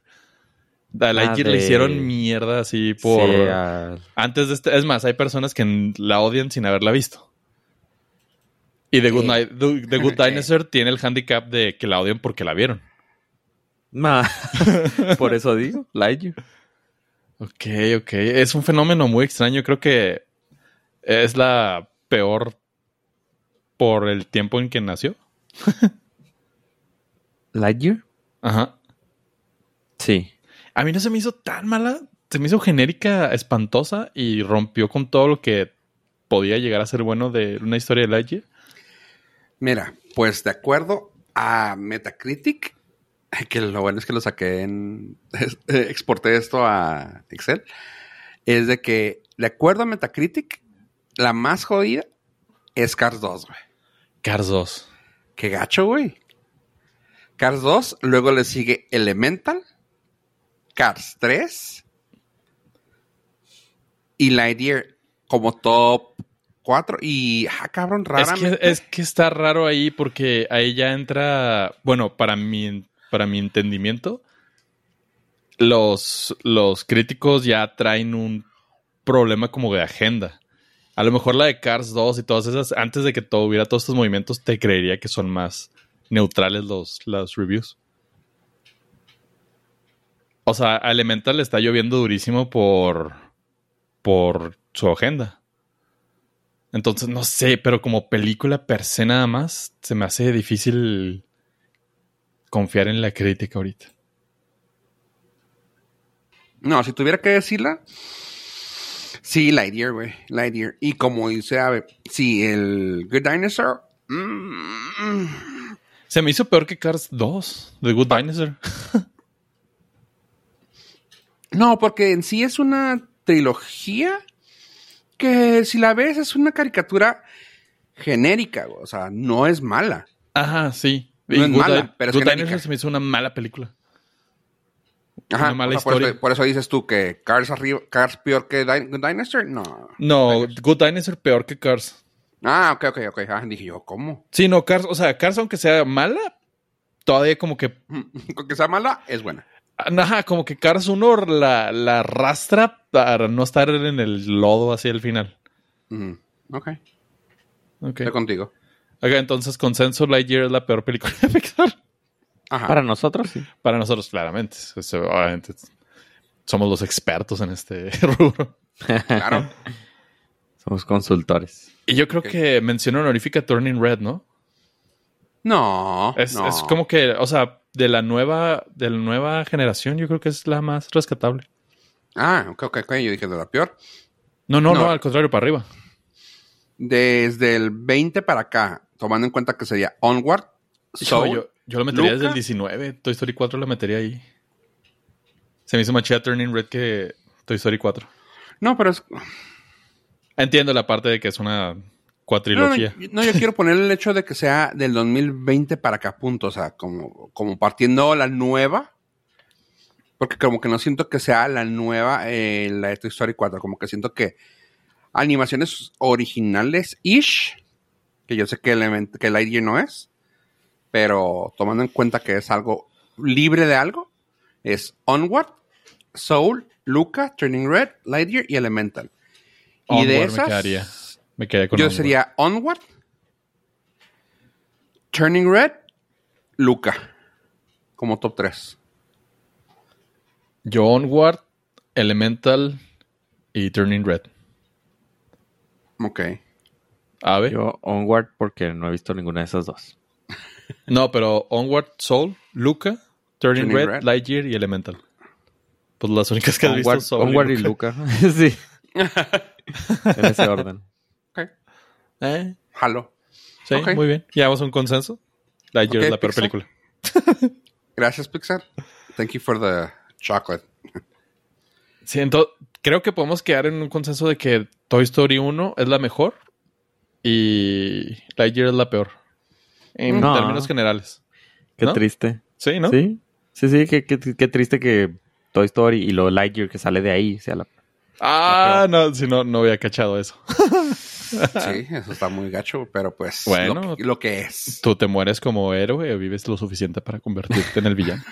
[SPEAKER 2] A Lightyear
[SPEAKER 3] de-
[SPEAKER 2] le hicieron mierda así por.
[SPEAKER 3] Sí, ah,
[SPEAKER 2] Antes de este. Es más, hay personas que n- la odian sin haberla visto. Y The Good,
[SPEAKER 1] Eh.
[SPEAKER 2] Ni- The Good
[SPEAKER 1] Eh.
[SPEAKER 2] Dinosaur tiene el handicap de que la odian porque la vieron.
[SPEAKER 3] ma- por eso digo, Lightyear.
[SPEAKER 2] Ok, ok. Es un fenómeno muy extraño. Creo que es la peor por el tiempo en que nació.
[SPEAKER 3] ¿Lightyear?
[SPEAKER 2] Ajá.
[SPEAKER 3] Sí.
[SPEAKER 2] A mí no se me hizo tan mala. Se me hizo genérica, espantosa y rompió con todo lo que podía llegar a ser bueno de una historia de Lightyear.
[SPEAKER 1] Mira, pues de acuerdo a Metacritic, que lo bueno es que lo saqué en. eh, exporté esto a Excel, es de que, de acuerdo a Metacritic, la más jodida es Cars 2, güey.
[SPEAKER 2] Cars 2.
[SPEAKER 1] Qué gacho, güey. Cars 2, luego le sigue Elemental, Cars 3 y Lightyear como top 4. Y, ah, cabrón,
[SPEAKER 2] Es
[SPEAKER 1] raramente.
[SPEAKER 2] que, es que está raro ahí porque ahí ya entra, bueno, para mi, para mi entendimiento, los, los críticos ya traen un problema como de agenda. A lo mejor la de Cars 2 y todas esas, antes de que todo hubiera todos estos movimientos, te creería que son más neutrales los, los reviews. O sea, a Elemental le está lloviendo durísimo por, por su agenda. Entonces, no sé, pero como película per se nada más, se me hace difícil confiar en la crítica ahorita.
[SPEAKER 1] No, si tuviera que decirla, sí, Lightyear, güey. Lightyear. Y como dice Abe, sí, el Good Dinosaur. mm,
[SPEAKER 2] Se me hizo peor que Cars 2, The Good Dinosaur.
[SPEAKER 1] no, porque en sí es una trilogía que si la ves es una caricatura genérica, güey. o sea, no es mala.
[SPEAKER 2] Ajá, sí.
[SPEAKER 1] No
[SPEAKER 2] Y
[SPEAKER 1] es mala,
[SPEAKER 2] Di-
[SPEAKER 1] pero es
[SPEAKER 2] Good
[SPEAKER 1] genérica.
[SPEAKER 2] Dinosaur se me hizo una mala película.
[SPEAKER 1] Ajá,
[SPEAKER 2] Una mala
[SPEAKER 1] o sea, por eso-
[SPEAKER 2] historia.
[SPEAKER 1] Por eso, dices tú que Cars, arriba, Cars peor que Din- Good Dinosaur, no.
[SPEAKER 2] No, Good Dinosaur peor que Cars.
[SPEAKER 1] Ah, ok, ok, ok. Ah, dije yo, ¿cómo?
[SPEAKER 2] Sí, no, Cars, o sea, Cars aunque sea mala, todavía como que...
[SPEAKER 1] Con que sea mala, es buena.
[SPEAKER 2] Ajá, como que Cars 1 la, la arrastra para no estar en el lodo hacia el final.
[SPEAKER 1] Ujú, Mm, Ok,
[SPEAKER 2] Ok.
[SPEAKER 1] estoy contigo.
[SPEAKER 2] Ok, entonces consenso Lightyear es la peor película de Pixar.
[SPEAKER 1] Ajá.
[SPEAKER 3] Para nosotros, sí.
[SPEAKER 2] Para nosotros, claramente. Eso, obviamente, somos los expertos en este rubro.
[SPEAKER 1] Claro.
[SPEAKER 3] Somos consultores.
[SPEAKER 2] Y yo creo
[SPEAKER 1] Ok.
[SPEAKER 2] que mención honorífica Turning Red, ¿no?
[SPEAKER 1] No.
[SPEAKER 2] Es,
[SPEAKER 1] no.
[SPEAKER 2] es como que, o sea, de la nueva, de la nueva generación, yo creo que es la más rescatable.
[SPEAKER 1] Ah, ok, ok, ok. Yo dije de la peor.
[SPEAKER 2] No, no, no,
[SPEAKER 1] No.
[SPEAKER 2] al contrario, para arriba.
[SPEAKER 1] Desde el 20 para acá, tomando en cuenta que sería Onward,
[SPEAKER 2] Hijo,
[SPEAKER 1] Soul,
[SPEAKER 2] yo, yo lo metería desde el
[SPEAKER 1] Luca.
[SPEAKER 2] 19. Toy Story 4 lo metería ahí. Se me hizo más chida Turning Red que Toy Story 4.
[SPEAKER 1] No, pero es.
[SPEAKER 2] Entiendo la parte de que es una
[SPEAKER 1] No, no,
[SPEAKER 2] cuatrilogía.
[SPEAKER 1] yo- no, yo quiero poner el hecho de que sea del 2020 para acá, punto. O sea, como, como partiendo la nueva. Porque como que no siento que sea la nueva, eh, la de Toy Story 4. Como que siento que animaciones originales-ish. Que yo sé que, Element, que Lightyear no es. Pero tomando en cuenta que es algo libre de algo. Es Onward, Soul, Luca, Turning Red, Lightyear y Elemental. Y de
[SPEAKER 2] Onward
[SPEAKER 1] esas...
[SPEAKER 2] me quedaría. Me quedaría con
[SPEAKER 1] Yo
[SPEAKER 2] Onward.
[SPEAKER 1] sería Onward, Turning Red, Luca, como top 3.
[SPEAKER 2] Yo Onward, Elemental y Turning Red.
[SPEAKER 1] Ok.
[SPEAKER 2] Ave.
[SPEAKER 3] Yo Onward porque no he visto ninguna de esas dos.
[SPEAKER 2] No, pero Onward, Soul, Luca, Turning,
[SPEAKER 1] Turning
[SPEAKER 2] Red,
[SPEAKER 1] Red.
[SPEAKER 2] Lightyear y Elemental. Pues las únicas que has visto
[SPEAKER 3] Onward,
[SPEAKER 2] Soul
[SPEAKER 3] Onward y Luca. sí. en ese orden.
[SPEAKER 1] Ok.
[SPEAKER 2] Eh,
[SPEAKER 1] Jalo.
[SPEAKER 2] sí,
[SPEAKER 1] Ok.
[SPEAKER 2] muy bien. Llegamos a un consenso. Lightyear
[SPEAKER 1] Ok,
[SPEAKER 2] es la peor
[SPEAKER 1] Pixar.
[SPEAKER 2] película.
[SPEAKER 1] Gracias, Pixar. Thank you for the chocolate.
[SPEAKER 2] Sí, ento- creo que podemos quedar en un consenso de que Toy Story 1 es la mejor y Lightyear es la peor. En
[SPEAKER 3] No.
[SPEAKER 2] términos generales.
[SPEAKER 3] Qué
[SPEAKER 2] ¿No?
[SPEAKER 3] triste.
[SPEAKER 2] Sí, ¿no?
[SPEAKER 3] Sí, sí, sí. Qué, qué- qué triste que Toy Story y lo Lightyear que sale de ahí sea la...
[SPEAKER 2] Ah, no, si no, no había cachado eso.
[SPEAKER 1] Sí, eso está muy gacho, pero pues
[SPEAKER 2] Bueno.
[SPEAKER 1] lo, que, lo que es.
[SPEAKER 2] Tú te mueres como héroe o vives lo suficiente para convertirte en el villano.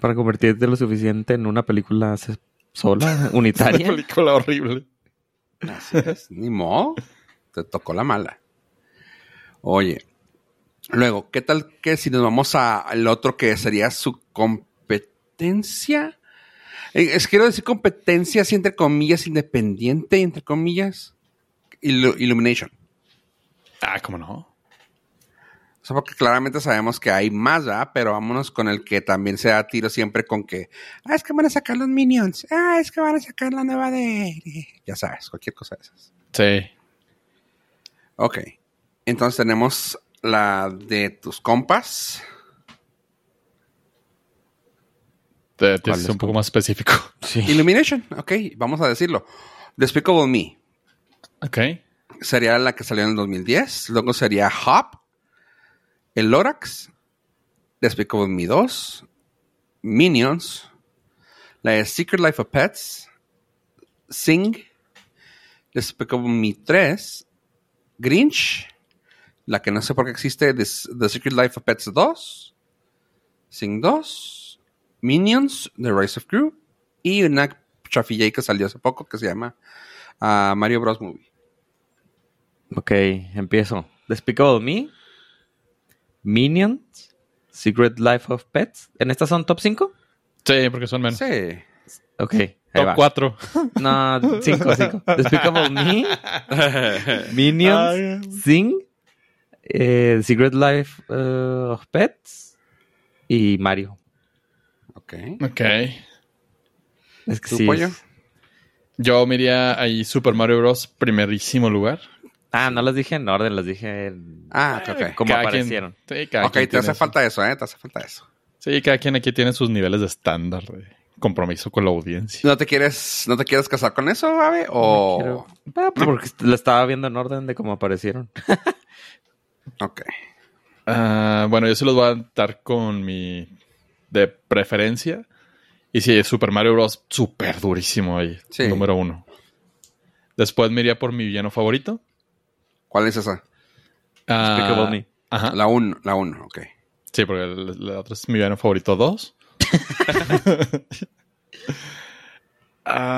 [SPEAKER 3] Para convertirte lo suficiente en una película se- sola,
[SPEAKER 2] Una
[SPEAKER 3] unitaria.
[SPEAKER 2] película horrible.
[SPEAKER 1] Así es. Ni modo. Te tocó la mala. Oye. Luego, ¿qué tal que si nos vamos a- al otro que sería su competencia? Eh, Es quiero decir competencia así entre comillas, independiente, entre comillas. Illu- Illumination.
[SPEAKER 2] Ah, ¿cómo no?
[SPEAKER 1] O sea, porque claramente sabemos que hay más, ¿verdad? Pero vámonos con el que también se da tiro siempre con que, ah, es que van a sacar los Minions, ah, es que van a sacar la nueva de... de-". Ya sabes, cualquier cosa de esas.
[SPEAKER 2] Sí.
[SPEAKER 1] Ok. Entonces tenemos la de tus compas.
[SPEAKER 2] Te, te
[SPEAKER 3] ¿Cuál
[SPEAKER 2] es
[SPEAKER 3] es
[SPEAKER 2] un poco más específico.
[SPEAKER 3] Sí.
[SPEAKER 1] Illumination, ok, vamos a decirlo. Despicable Me
[SPEAKER 2] Ok.
[SPEAKER 1] sería la que salió en el 2010. Luego sería Hop, El Lorax, Despicable Me 2, Minions, la de Secret Life of Pets, Sing, Despicable Me 3, Grinch, la que no sé por qué existe, The, The Secret Life of Pets 2, Sing 2, Minions, The Rise of Crew, y una chafilla que salió hace poco que se llama ah, Mario Bros. Movie.
[SPEAKER 3] Ok, empiezo. Despicable Me, Minions, Secret Life of Pets. ¿En estas son top 5?
[SPEAKER 2] Sí, porque son menos.
[SPEAKER 1] Sí.
[SPEAKER 3] Ok, ahí
[SPEAKER 2] Top
[SPEAKER 3] va.
[SPEAKER 2] 4.
[SPEAKER 3] No, 5, 5. Despicable Me, Minions,
[SPEAKER 2] Ay.
[SPEAKER 3] Sing, eh, Secret Life eh, of Pets y Mario.
[SPEAKER 1] Ok.
[SPEAKER 2] Ok.
[SPEAKER 3] Es que
[SPEAKER 1] ¿Tu
[SPEAKER 3] sí.
[SPEAKER 1] pollo?
[SPEAKER 3] es-
[SPEAKER 2] Yo miraría ahí Super Mario Bros. primerísimo lugar.
[SPEAKER 3] Ah, no las dije en orden, las dije en...
[SPEAKER 1] Ah, ok, ok.
[SPEAKER 3] Como
[SPEAKER 2] quien-
[SPEAKER 3] aparecieron.
[SPEAKER 2] sí, cada
[SPEAKER 1] Ok,
[SPEAKER 2] quien
[SPEAKER 1] te
[SPEAKER 2] tiene
[SPEAKER 1] hace
[SPEAKER 2] su-
[SPEAKER 1] falta eso, ¿eh? Te hace falta eso.
[SPEAKER 2] Sí, cada quien aquí tiene sus niveles de estándar de compromiso con la audiencia.
[SPEAKER 1] ¿No te quieres, no te quieres casar con eso, Ave? O.
[SPEAKER 3] Quiero- Ah, pues porque est- lo estaba viendo en orden de cómo aparecieron.
[SPEAKER 1] Ok.
[SPEAKER 2] Ah, bueno, yo se los voy a dar con mi de preferencia. Y sí, Super Mario Bros. súper durísimo ahí.
[SPEAKER 1] Sí.
[SPEAKER 2] Número uno. Después me iría por mi villano favorito.
[SPEAKER 1] ¿Cuál es esa?
[SPEAKER 2] Ah,
[SPEAKER 3] Despicable Me.
[SPEAKER 2] Ajá.
[SPEAKER 1] La 1, la 1, ok.
[SPEAKER 2] Sí, porque la, la otra es mi villano favorito 2.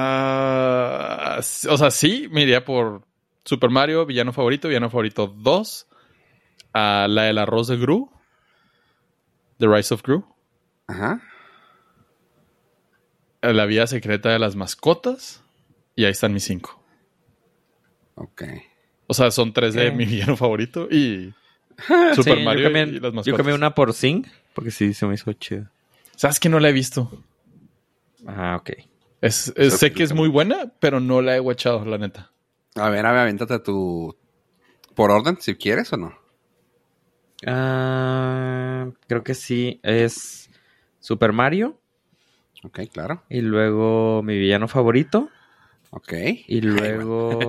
[SPEAKER 2] Ah, s- o sea, sí, me iría por Super Mario, villano Ah, favorito, villano favorito 2. a la del arroz de Gru. The Rise of Gru,
[SPEAKER 1] Ajá.
[SPEAKER 2] Eh, La vida secreta de las mascotas y ahí están mis cinco.
[SPEAKER 1] Ok.
[SPEAKER 2] O sea, son tres de
[SPEAKER 3] Ok.
[SPEAKER 2] mi villano favorito y Super
[SPEAKER 3] Sí,
[SPEAKER 2] Mario
[SPEAKER 3] yo cambié,
[SPEAKER 2] y las mascotas.
[SPEAKER 3] yo cambié una por Sing, porque sí, se me hizo chido.
[SPEAKER 2] ¿Sabes que no la he visto?
[SPEAKER 3] Ah, ok.
[SPEAKER 2] Es, es-
[SPEAKER 1] Eso
[SPEAKER 2] sé que es
[SPEAKER 1] explica
[SPEAKER 2] muy buena, pero no la he guachado, la neta.
[SPEAKER 1] A ver, a ver, aviéntate tu. Por orden, si quieres o no.
[SPEAKER 3] Ah, creo que sí, es Super Mario
[SPEAKER 1] Ok, claro.
[SPEAKER 3] y luego mi villano favorito
[SPEAKER 1] Ok.
[SPEAKER 3] y luego...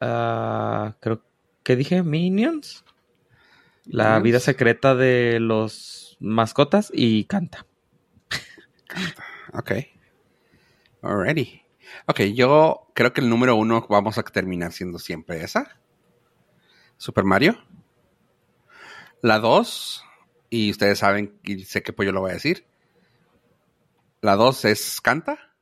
[SPEAKER 3] ah, creo que dije Minions. La
[SPEAKER 1] Minions.
[SPEAKER 3] vida secreta de los mascotas y canta.
[SPEAKER 1] Ok. Alrighty. Ok, yo creo que el número uno vamos a terminar siendo siempre esa. Super Mario. La dos, y ustedes saben, y sé que pues yo lo voy a decir. La dos es Canta.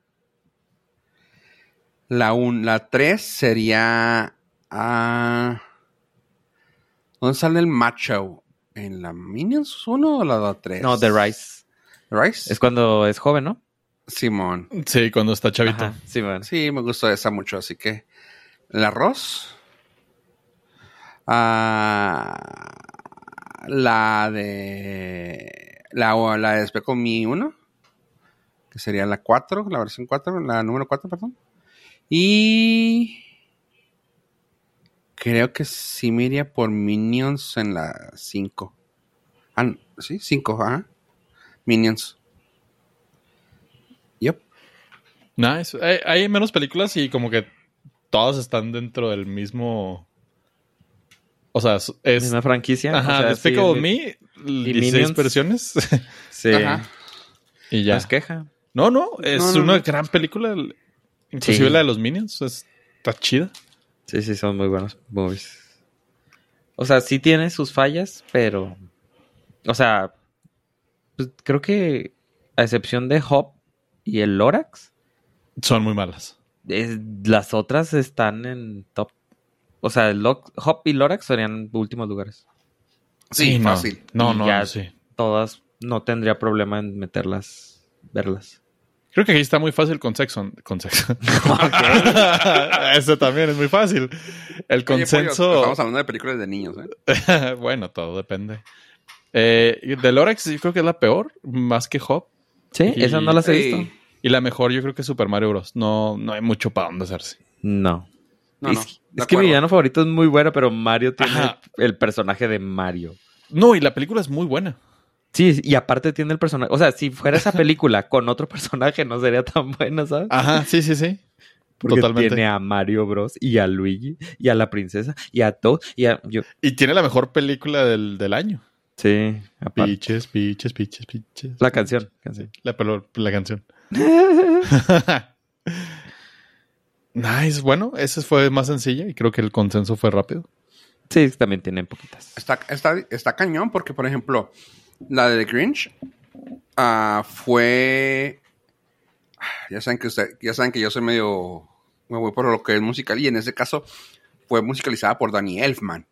[SPEAKER 1] La un, la tres sería... ah, ¿Dónde sale el macho? ¿En la Minions 1 o la 3?
[SPEAKER 3] No, The Rise.
[SPEAKER 1] Rice.
[SPEAKER 3] Es cuando es joven, ¿no?
[SPEAKER 1] Simón.
[SPEAKER 2] Sí, cuando está chavito.
[SPEAKER 3] Ajá, sí, bueno.
[SPEAKER 1] Sí, me gustó esa mucho, así que el arroz. Ah, la de la, la de Especo Mi 1, que sería la 4, la versión 4, la número 4, perdón. Y creo que sí me iría por Minions en la 5. Ah, no, sí, 5, ajá. Minions. Yep.
[SPEAKER 2] Nice. Hay, hay menos películas y como que todas están dentro del mismo. O sea, es.
[SPEAKER 3] Es una franquicia.
[SPEAKER 2] Ajá,
[SPEAKER 3] o sea, sí,
[SPEAKER 2] Despicable
[SPEAKER 3] es-
[SPEAKER 2] Me,
[SPEAKER 3] y
[SPEAKER 2] 16
[SPEAKER 3] Minions.
[SPEAKER 2] versiones.
[SPEAKER 3] Sí.
[SPEAKER 1] Ajá.
[SPEAKER 2] y ya.
[SPEAKER 3] No es queja.
[SPEAKER 2] No, no, es
[SPEAKER 1] No, no,
[SPEAKER 2] una
[SPEAKER 1] no.
[SPEAKER 2] gran película. el- Inclusive
[SPEAKER 3] Sí.
[SPEAKER 2] la de los Minions. es- está chida.
[SPEAKER 3] Sí, sí, son muy buenos movies. O sea, sí tiene sus fallas, pero. O sea, pues, creo que a excepción de Hop y el Lorax,
[SPEAKER 2] Son muy malas.
[SPEAKER 3] es- las otras están en top. O sea, el Lo- Hop y Lorax serían últimos lugares.
[SPEAKER 1] Sí,
[SPEAKER 2] no.
[SPEAKER 1] fácil.
[SPEAKER 2] No,
[SPEAKER 3] Y
[SPEAKER 2] no,
[SPEAKER 3] ya-
[SPEAKER 2] sí.
[SPEAKER 3] Todas no tendría problema en meterlas, verlas.
[SPEAKER 2] Creo que aquí está muy fácil con sexo. Con sexo. Eso también es muy fácil. El
[SPEAKER 1] Oye,
[SPEAKER 2] consenso.
[SPEAKER 1] pollo, estamos hablando de películas de niños, ¿eh?
[SPEAKER 2] bueno, todo depende. Eh, y de Lorax yo creo que es la peor, más que Hop.
[SPEAKER 3] Sí,
[SPEAKER 2] Y-
[SPEAKER 3] esas no las he
[SPEAKER 1] Ey,
[SPEAKER 3] visto.
[SPEAKER 2] Y la mejor yo creo que es Super Mario Bros. No, no hay mucho para dónde hacerse.
[SPEAKER 3] No.
[SPEAKER 1] No,
[SPEAKER 3] es
[SPEAKER 1] no,
[SPEAKER 3] es
[SPEAKER 1] de
[SPEAKER 3] que mi
[SPEAKER 1] acuerdo.
[SPEAKER 3] villano favorito es muy bueno, pero Mario tiene
[SPEAKER 2] Ajá.
[SPEAKER 3] el personaje de Mario.
[SPEAKER 2] No, y la película es muy buena.
[SPEAKER 3] Sí, y aparte tiene el personaje. O sea, si fuera esa película con otro personaje, no sería tan buena, ¿sabes?
[SPEAKER 2] Ajá, sí, sí, sí.
[SPEAKER 3] Porque
[SPEAKER 2] Ah, totalmente.
[SPEAKER 3] tiene a Mario Bros. y a Luigi y a la princesa y a todo. Y a. Yo,
[SPEAKER 2] Y tiene la mejor película del, del año.
[SPEAKER 3] sí, aparte.
[SPEAKER 2] Piches, piches, piches, piches.
[SPEAKER 3] La canción.
[SPEAKER 2] Sí, la, pelo- la canción. nice, bueno, ese fue más sencilla y creo que el consenso fue rápido.
[SPEAKER 3] Sí, también tienen poquitas.
[SPEAKER 1] Está, está, está cañón porque, por ejemplo, la de The Grinch ah, fue... Ah, Ya saben, que usted, ya saben que yo soy medio... Me voy por lo que es musical y en ese caso fue musicalizada por Danny Elfman.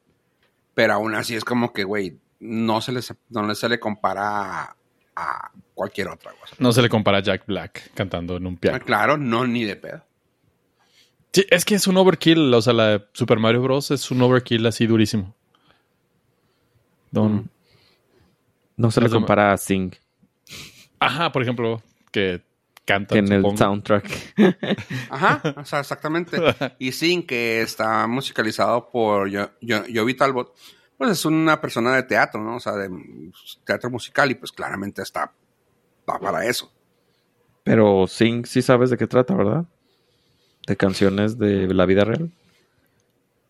[SPEAKER 1] Pero aún así es como que, güey, no se, les, no se le compara a, a cualquier otra cosa.
[SPEAKER 2] No se le compara a Jack Black cantando en un piano.
[SPEAKER 1] Claro, no, ni de pedo.
[SPEAKER 2] Sí, es que es un overkill. O sea, la de Super Mario Bros. es un overkill así durísimo.
[SPEAKER 3] Mm.
[SPEAKER 2] Don-
[SPEAKER 3] No se le
[SPEAKER 2] Eso me-
[SPEAKER 3] compara a Sing,
[SPEAKER 2] Ajá, por ejemplo, que canta.
[SPEAKER 3] que en el
[SPEAKER 2] supongo.
[SPEAKER 3] soundtrack.
[SPEAKER 1] Ajá, o sea, exactamente. Y sin que está musicalizado por yo, yo, Joey Talbot, pues es una persona de teatro, ¿no? O sea, de mm, teatro musical y pues claramente está va para eso.
[SPEAKER 3] Pero Sing sí sabes de qué trata, ¿verdad? De canciones de la vida real.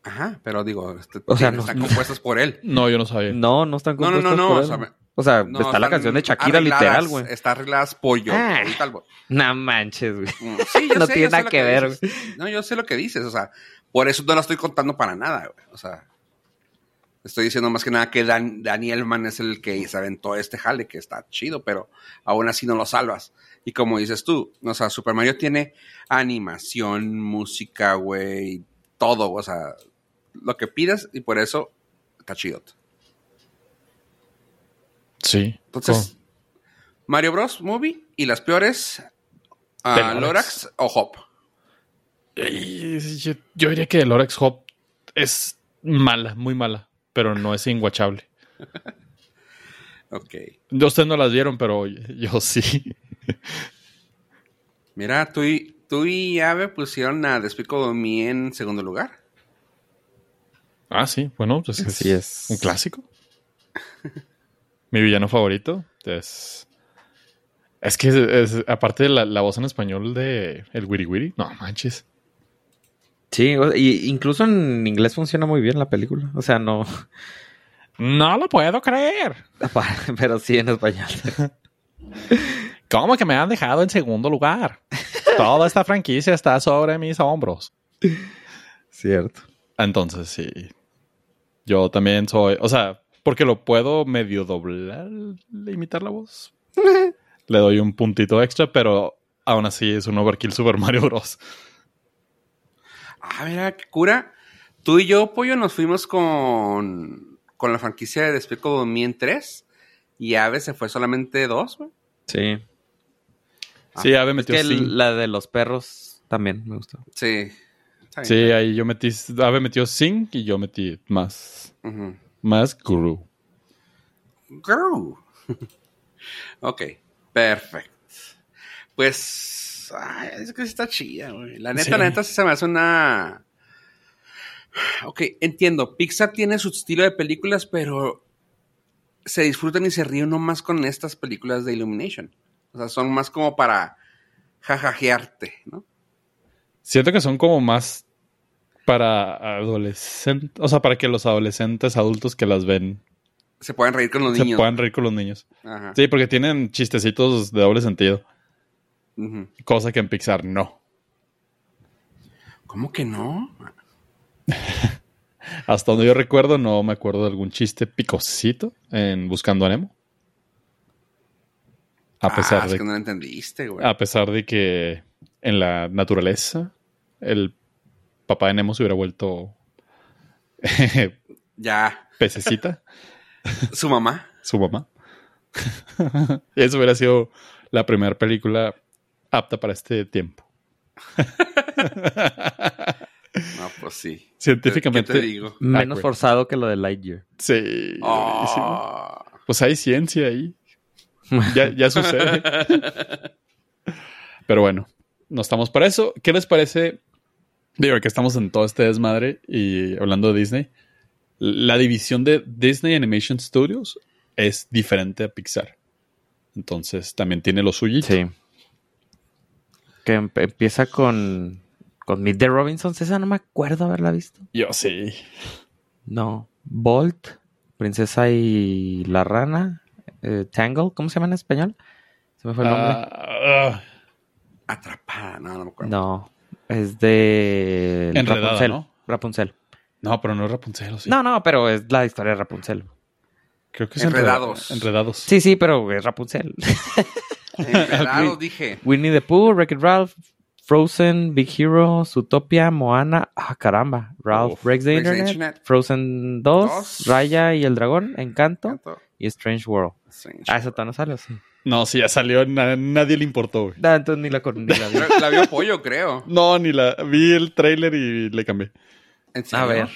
[SPEAKER 1] Ajá, pero digo, este,
[SPEAKER 3] O sea,
[SPEAKER 1] sí,
[SPEAKER 3] no-
[SPEAKER 1] están compuestas por él.
[SPEAKER 2] No, yo no sabía.
[SPEAKER 3] No, no están
[SPEAKER 1] No, no, no,
[SPEAKER 3] compuestas
[SPEAKER 1] no,
[SPEAKER 3] por
[SPEAKER 1] o
[SPEAKER 3] él.
[SPEAKER 1] sea, me-
[SPEAKER 3] O sea,
[SPEAKER 1] No,
[SPEAKER 3] está la
[SPEAKER 1] están
[SPEAKER 3] canción de Shakira
[SPEAKER 1] arregladas, eh.
[SPEAKER 3] literal, güey.
[SPEAKER 1] Está arregladas por yo,
[SPEAKER 3] Ah.
[SPEAKER 1] Joey Talbot.
[SPEAKER 3] No manches, güey.
[SPEAKER 1] Mm, Sí, yo
[SPEAKER 3] No
[SPEAKER 1] sé,
[SPEAKER 3] tiene
[SPEAKER 1] yo sé
[SPEAKER 3] nada
[SPEAKER 1] lo
[SPEAKER 3] que ver,
[SPEAKER 1] dices. No, yo sé lo que dices, o sea, por eso no la estoy contando para nada, güey. O sea, estoy diciendo más que nada que Dan, Daniel Mann es el que se aventó este jale, que está chido, pero aún así no lo salvas. Y como dices tú, o sea, Super Mario tiene animación, música, güey, todo, o sea, lo que pidas y por eso está chido.
[SPEAKER 2] Sí. Oh.
[SPEAKER 1] Entonces, Mario Bros. Movie y las peores, ah,
[SPEAKER 2] Del Lorax.
[SPEAKER 1] Lorax o Hop.
[SPEAKER 2] Y- Yo, yo diría que el Orax Hop es mala, muy mala, pero no es inguachable.
[SPEAKER 1] Ok.
[SPEAKER 2] Yo- Ustedes no las vieron, pero yo sí.
[SPEAKER 1] Mira, tú y, tú y Ave pusieron a Despico de mí en segundo lugar.
[SPEAKER 2] Ah, sí, bueno, pues es,
[SPEAKER 3] Así es.
[SPEAKER 2] un clásico. Mi villano favorito es. Es que es- es- aparte de la, la voz en español de El Wiri Wiri, no manches.
[SPEAKER 3] Sí, o- y incluso en inglés funciona muy bien la película. O sea, no.
[SPEAKER 2] No lo puedo creer.
[SPEAKER 3] Pero sí en español.
[SPEAKER 2] ¿Cómo que me han dejado en segundo lugar? Toda esta franquicia está sobre mis hombros.
[SPEAKER 3] Cierto.
[SPEAKER 2] Entonces, sí. Yo también soy. O sea, porque lo puedo medio doblar, imitar la voz. Le doy un puntito extra, pero aún así es un overkill Super Mario Bros.
[SPEAKER 1] Ah, mira, qué cura. Tú y yo, Pollo, nos fuimos con, con la franquicia de Despico de mí en tres. Y Ave se fue solamente dos, güey.
[SPEAKER 3] Sí.
[SPEAKER 2] Sí, Ave metió
[SPEAKER 3] Que el-
[SPEAKER 2] cinco.
[SPEAKER 3] la de los perros también me gustó.
[SPEAKER 1] Sí. Está bien.
[SPEAKER 2] Sí, ahí yo metí. Ave metió cinco y yo metí más.
[SPEAKER 1] Ujú.
[SPEAKER 2] Más Guru.
[SPEAKER 1] Girl. ok, perfecto. Pues, ay, es que sí está chida, güey. La neta,
[SPEAKER 2] Sí.
[SPEAKER 1] la neta sí se me hace una... Ok, entiendo. Pixar tiene su estilo de películas, pero se disfrutan y se ríen uno más con estas películas de Illumination. O sea, son más como para jajajearte, ¿no?
[SPEAKER 2] Siento que son como más para adolescentes. O sea, para que los adolescentes adultos que las ven
[SPEAKER 1] Se pueden reír con los
[SPEAKER 2] se
[SPEAKER 1] niños.
[SPEAKER 2] puedan reír con los niños.
[SPEAKER 1] Ajá.
[SPEAKER 2] Sí, porque tienen chistecitos de doble sentido.
[SPEAKER 1] Ujú.
[SPEAKER 2] Cosa que en Pixar no.
[SPEAKER 1] ¿Cómo que no?
[SPEAKER 2] Hasta donde yo recuerdo, no me acuerdo de algún chiste picosito en Buscando a Nemo. A pesar,
[SPEAKER 1] ah, es
[SPEAKER 2] de, Ah.
[SPEAKER 1] que no lo entendiste, güey.
[SPEAKER 2] a pesar de que en la naturaleza el papá de Nemo se hubiera vuelto
[SPEAKER 1] Ya,
[SPEAKER 2] pececita,
[SPEAKER 1] su mamá.
[SPEAKER 2] su mamá. Eso hubiera sido la primera película apta para este tiempo.
[SPEAKER 1] No, pues sí.
[SPEAKER 2] Científicamente.
[SPEAKER 1] ¿Qué te digo?
[SPEAKER 3] Menos
[SPEAKER 2] Awkward.
[SPEAKER 3] forzado que lo de Lightyear.
[SPEAKER 2] Sí. sí.
[SPEAKER 1] Oh.
[SPEAKER 2] Pues hay ciencia ahí. Ya, ya sucede. Pero bueno, no estamos para eso. ¿Qué les parece? Digo, que estamos en todo este desmadre y hablando de Disney. La división de Disney Animation Studios es diferente a Pixar. Entonces también tiene lo suyo.
[SPEAKER 3] Sí. Que em- empieza con. Con Meet the Robinsons. Esa no me acuerdo haberla visto.
[SPEAKER 2] Yo sí.
[SPEAKER 3] No. Bolt, Princesa y la Rana, eh, Tangle, ¿cómo se llama en español? Se me fue el nombre.
[SPEAKER 2] Ah, ah,
[SPEAKER 1] Atrapada, no, no me acuerdo.
[SPEAKER 3] No, es de
[SPEAKER 2] Enredada,
[SPEAKER 3] Rapunzel.
[SPEAKER 2] ¿no?
[SPEAKER 3] Rapunzel.
[SPEAKER 2] no, pero no es Rapunzel. ¿o sí?
[SPEAKER 3] No, no, pero es la historia de Rapunzel.
[SPEAKER 2] Creo que es
[SPEAKER 1] Enredados.
[SPEAKER 2] Enreda- Enredados.
[SPEAKER 3] Sí, sí, pero es Rapunzel.
[SPEAKER 1] Enredados, dije.
[SPEAKER 3] Winnie the Pooh, Wreck-It Ralph, Frozen, Big Hero, Zootopia, Moana. Ah, caramba. Ralph
[SPEAKER 2] Uf,
[SPEAKER 3] Breaks the
[SPEAKER 1] Breaks the
[SPEAKER 3] Internet,
[SPEAKER 1] Internet.
[SPEAKER 3] Frozen 2,
[SPEAKER 1] Dos.
[SPEAKER 3] Raya y el Dragón, Encanto
[SPEAKER 1] Tanto.
[SPEAKER 3] y Strange World. Ah, esa todavía no sale, ¿o sí.
[SPEAKER 2] No, sí, ya salió. na- nadie le importó. güey.
[SPEAKER 3] Ah, entonces ni la, con- ni la vi.
[SPEAKER 1] Creo- La vio Pollo, creo.
[SPEAKER 2] No, ni la. Vi el trailer y le cambié.
[SPEAKER 1] ¿En serio?
[SPEAKER 3] A ver.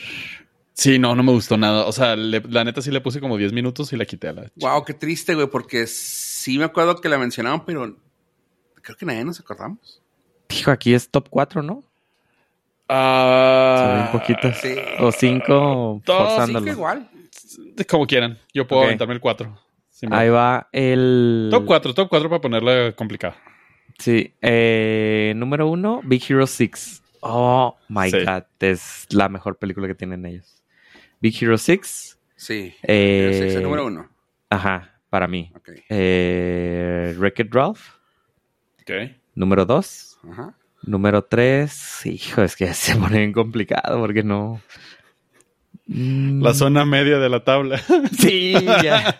[SPEAKER 2] Sí, no, no me gustó nada. O sea, le- la neta sí le puse como 10 minutos y la quité a la. ch-
[SPEAKER 1] Wow, qué triste, güey, porque sí me acuerdo que la mencionaron, pero creo que nadie nos acordamos.
[SPEAKER 3] Dijo, aquí es top 4, ¿no? Se ven
[SPEAKER 2] Ah,
[SPEAKER 3] poquitas.
[SPEAKER 1] sí.
[SPEAKER 3] O 5
[SPEAKER 2] Dos,
[SPEAKER 1] Así que
[SPEAKER 3] forzándolo.
[SPEAKER 1] igual.
[SPEAKER 2] Como quieran. Yo puedo
[SPEAKER 3] Ok.
[SPEAKER 2] aventarme el 4.
[SPEAKER 3] Ahí va el...
[SPEAKER 2] Top 4, top 4 para ponerla complicada.
[SPEAKER 3] Sí. eh, número 1, Big Hero 6. Oh, my
[SPEAKER 2] Sí.
[SPEAKER 3] God. Es la mejor película que tienen ellos. Big Hero 6.
[SPEAKER 1] Sí.
[SPEAKER 3] Eh,
[SPEAKER 1] Ese es el número uno.
[SPEAKER 3] Ajá, para mí.
[SPEAKER 1] Ok.
[SPEAKER 3] Eh, Wreck-It Ralph.
[SPEAKER 2] Ok.
[SPEAKER 3] Número 2.
[SPEAKER 1] Ajá.
[SPEAKER 3] Número 3, hijo, es que se pone bien complicado porque no. Mm,
[SPEAKER 2] La zona media de la tabla.
[SPEAKER 3] Sí, ya.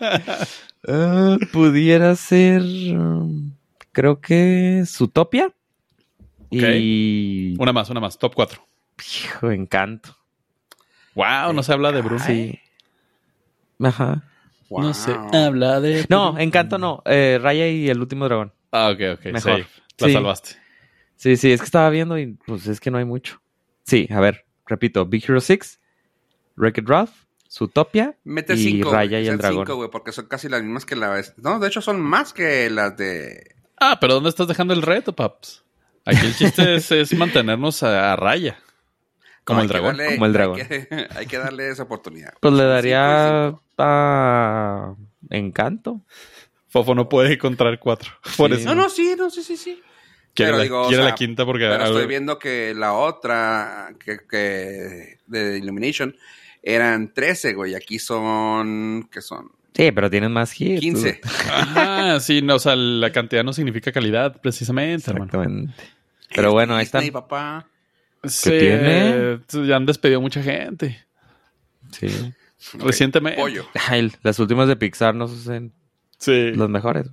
[SPEAKER 3] Ah, pudiera ser. mm, Creo que. Zootopia. Y.
[SPEAKER 2] una más, una más. Top 4.
[SPEAKER 3] Hijo, encanto.
[SPEAKER 2] Wow, no se habla de Bruno.
[SPEAKER 3] Sí. Ajá.
[SPEAKER 1] Wow.
[SPEAKER 2] No sé, habla de...
[SPEAKER 3] No, Encanto no. eh, Raya y el último dragón.
[SPEAKER 4] Ah, ok, ok.
[SPEAKER 3] Mejor.
[SPEAKER 4] safe. La
[SPEAKER 3] Sí.
[SPEAKER 4] salvaste.
[SPEAKER 3] Sí, sí, es que estaba viendo y pues es que no hay mucho. Sí, a ver, repito. Big Hero 6, Wreck-It Ralph, Zootopia.
[SPEAKER 1] Mete
[SPEAKER 3] Y
[SPEAKER 1] cinco. güey,
[SPEAKER 3] Raya
[SPEAKER 1] que
[SPEAKER 3] y el
[SPEAKER 1] sean
[SPEAKER 3] dragón.
[SPEAKER 1] cinco, güey, porque son casi las mismas que la vez. No, de hecho son más que las de.
[SPEAKER 2] Ah, pero ¿dónde estás dejando el reto, paps? Aquí el chiste es, es mantenernos a, a raya. Como
[SPEAKER 1] No,
[SPEAKER 2] el
[SPEAKER 1] hay que
[SPEAKER 2] dragón.
[SPEAKER 1] darle-
[SPEAKER 3] Como el dragón.
[SPEAKER 1] Hay que, hay que darle esa oportunidad.
[SPEAKER 3] Pues le
[SPEAKER 1] Son
[SPEAKER 3] daría
[SPEAKER 1] cinco
[SPEAKER 3] a Encanto.
[SPEAKER 4] Fofo no puede encontrar cuatro. Por
[SPEAKER 1] y cinco.
[SPEAKER 4] eso.
[SPEAKER 1] No, no, sí, no, sí, sí, sí.
[SPEAKER 4] quiere
[SPEAKER 1] pero
[SPEAKER 4] la,
[SPEAKER 1] digo, o
[SPEAKER 4] quiere
[SPEAKER 1] sea,
[SPEAKER 4] la quinta porque.
[SPEAKER 1] Pero
[SPEAKER 4] algo-
[SPEAKER 1] estoy viendo que la otra, que, que de Illumination, eran 13, güey. Aquí son, ¿qué son?
[SPEAKER 3] Sí, pero tienen más hits.
[SPEAKER 1] 15.
[SPEAKER 2] Ajá, sí, no, o sea, la cantidad no significa calidad, precisamente, hermano.
[SPEAKER 3] Exactamente. Pero bueno, ahí están.
[SPEAKER 1] Disney, papá.
[SPEAKER 2] Sí,
[SPEAKER 3] tiene?
[SPEAKER 2] ya han despedido mucha gente.
[SPEAKER 3] Sí.
[SPEAKER 1] Ok,
[SPEAKER 2] Recientemente.
[SPEAKER 1] Pollo.
[SPEAKER 3] Ay, las últimas de Pixar no son
[SPEAKER 4] Sí.
[SPEAKER 3] las mejores.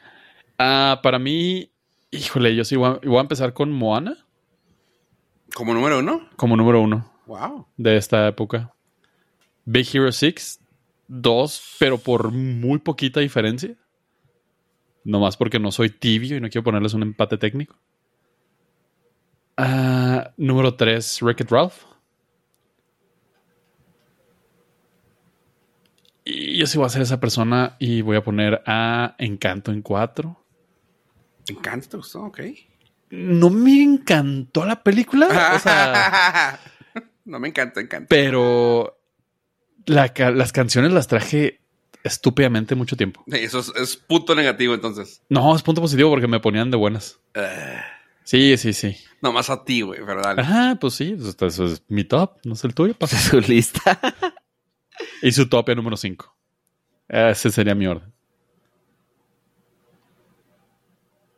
[SPEAKER 2] Ah, para mí, híjole, yo sí voy a, voy a empezar con Moana
[SPEAKER 1] Como número uno.
[SPEAKER 2] como número uno
[SPEAKER 1] Wow.
[SPEAKER 2] de esta época. Big Hero 6, 2, pero por muy poquita diferencia. Nomás porque no soy tibio y no quiero ponerles un empate técnico. Ah, número 3, Wreck-It Ralph. Y yo sí voy a ser esa persona y voy a poner a Encanto en 4.
[SPEAKER 1] Te encanta, te gustó, ok.
[SPEAKER 2] No me encantó la película. O sea.
[SPEAKER 1] no me encanta, encanta.
[SPEAKER 2] pero la ca- las canciones las traje estúpidamente mucho tiempo.
[SPEAKER 1] Eso es, es punto negativo, entonces.
[SPEAKER 2] No, es punto positivo porque me ponían de buenas. Sí, sí, sí.
[SPEAKER 1] Nomás a ti, güey, pero dale.
[SPEAKER 2] Ajá, pues sí, pues, esto- eso es mi top, no es el tuyo. pa.
[SPEAKER 3] Su lista.
[SPEAKER 2] Y su top es número 5. Ese sería mi orden.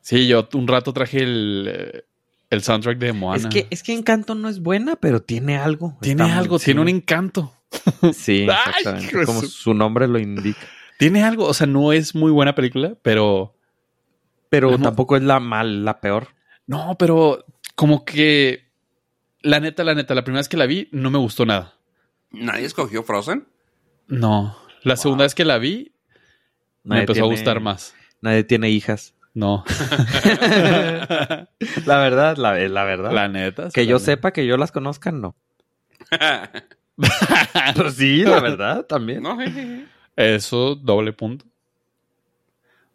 [SPEAKER 2] Sí, yo un rato traje el, eh, el soundtrack de Moana.
[SPEAKER 3] Es que, es que Encanto no es buena, pero tiene algo.
[SPEAKER 2] tiene
[SPEAKER 3] Está muy-
[SPEAKER 2] algo, tiene un
[SPEAKER 3] sí.
[SPEAKER 2] encanto.
[SPEAKER 3] Sí,
[SPEAKER 2] Ay,
[SPEAKER 3] exactamente.
[SPEAKER 2] hijo de
[SPEAKER 3] como
[SPEAKER 2] su-
[SPEAKER 3] su nombre lo indica.
[SPEAKER 2] Tiene algo, o sea, no es muy buena película, pero
[SPEAKER 3] Pero
[SPEAKER 2] Ajá.
[SPEAKER 3] tampoco es la mal, la peor.
[SPEAKER 2] No, pero como que la neta, la neta, la primera vez que la vi no me gustó nada.
[SPEAKER 1] Nadie escogió Frozen.
[SPEAKER 2] No, la segunda vez que la vi me
[SPEAKER 3] Nadie
[SPEAKER 2] empezó a
[SPEAKER 3] tiene-
[SPEAKER 2] gustar más.
[SPEAKER 3] Nadie tiene hijas.
[SPEAKER 2] No,
[SPEAKER 3] La verdad, la, eh, la verdad.
[SPEAKER 2] la neta.
[SPEAKER 3] que
[SPEAKER 2] sí,
[SPEAKER 3] yo
[SPEAKER 2] la neta.
[SPEAKER 3] sepa que yo las conozca, no.
[SPEAKER 2] Ah,
[SPEAKER 3] Pero sí, la verdad, también.
[SPEAKER 1] no, je, je, je.
[SPEAKER 2] Eso, doble punto.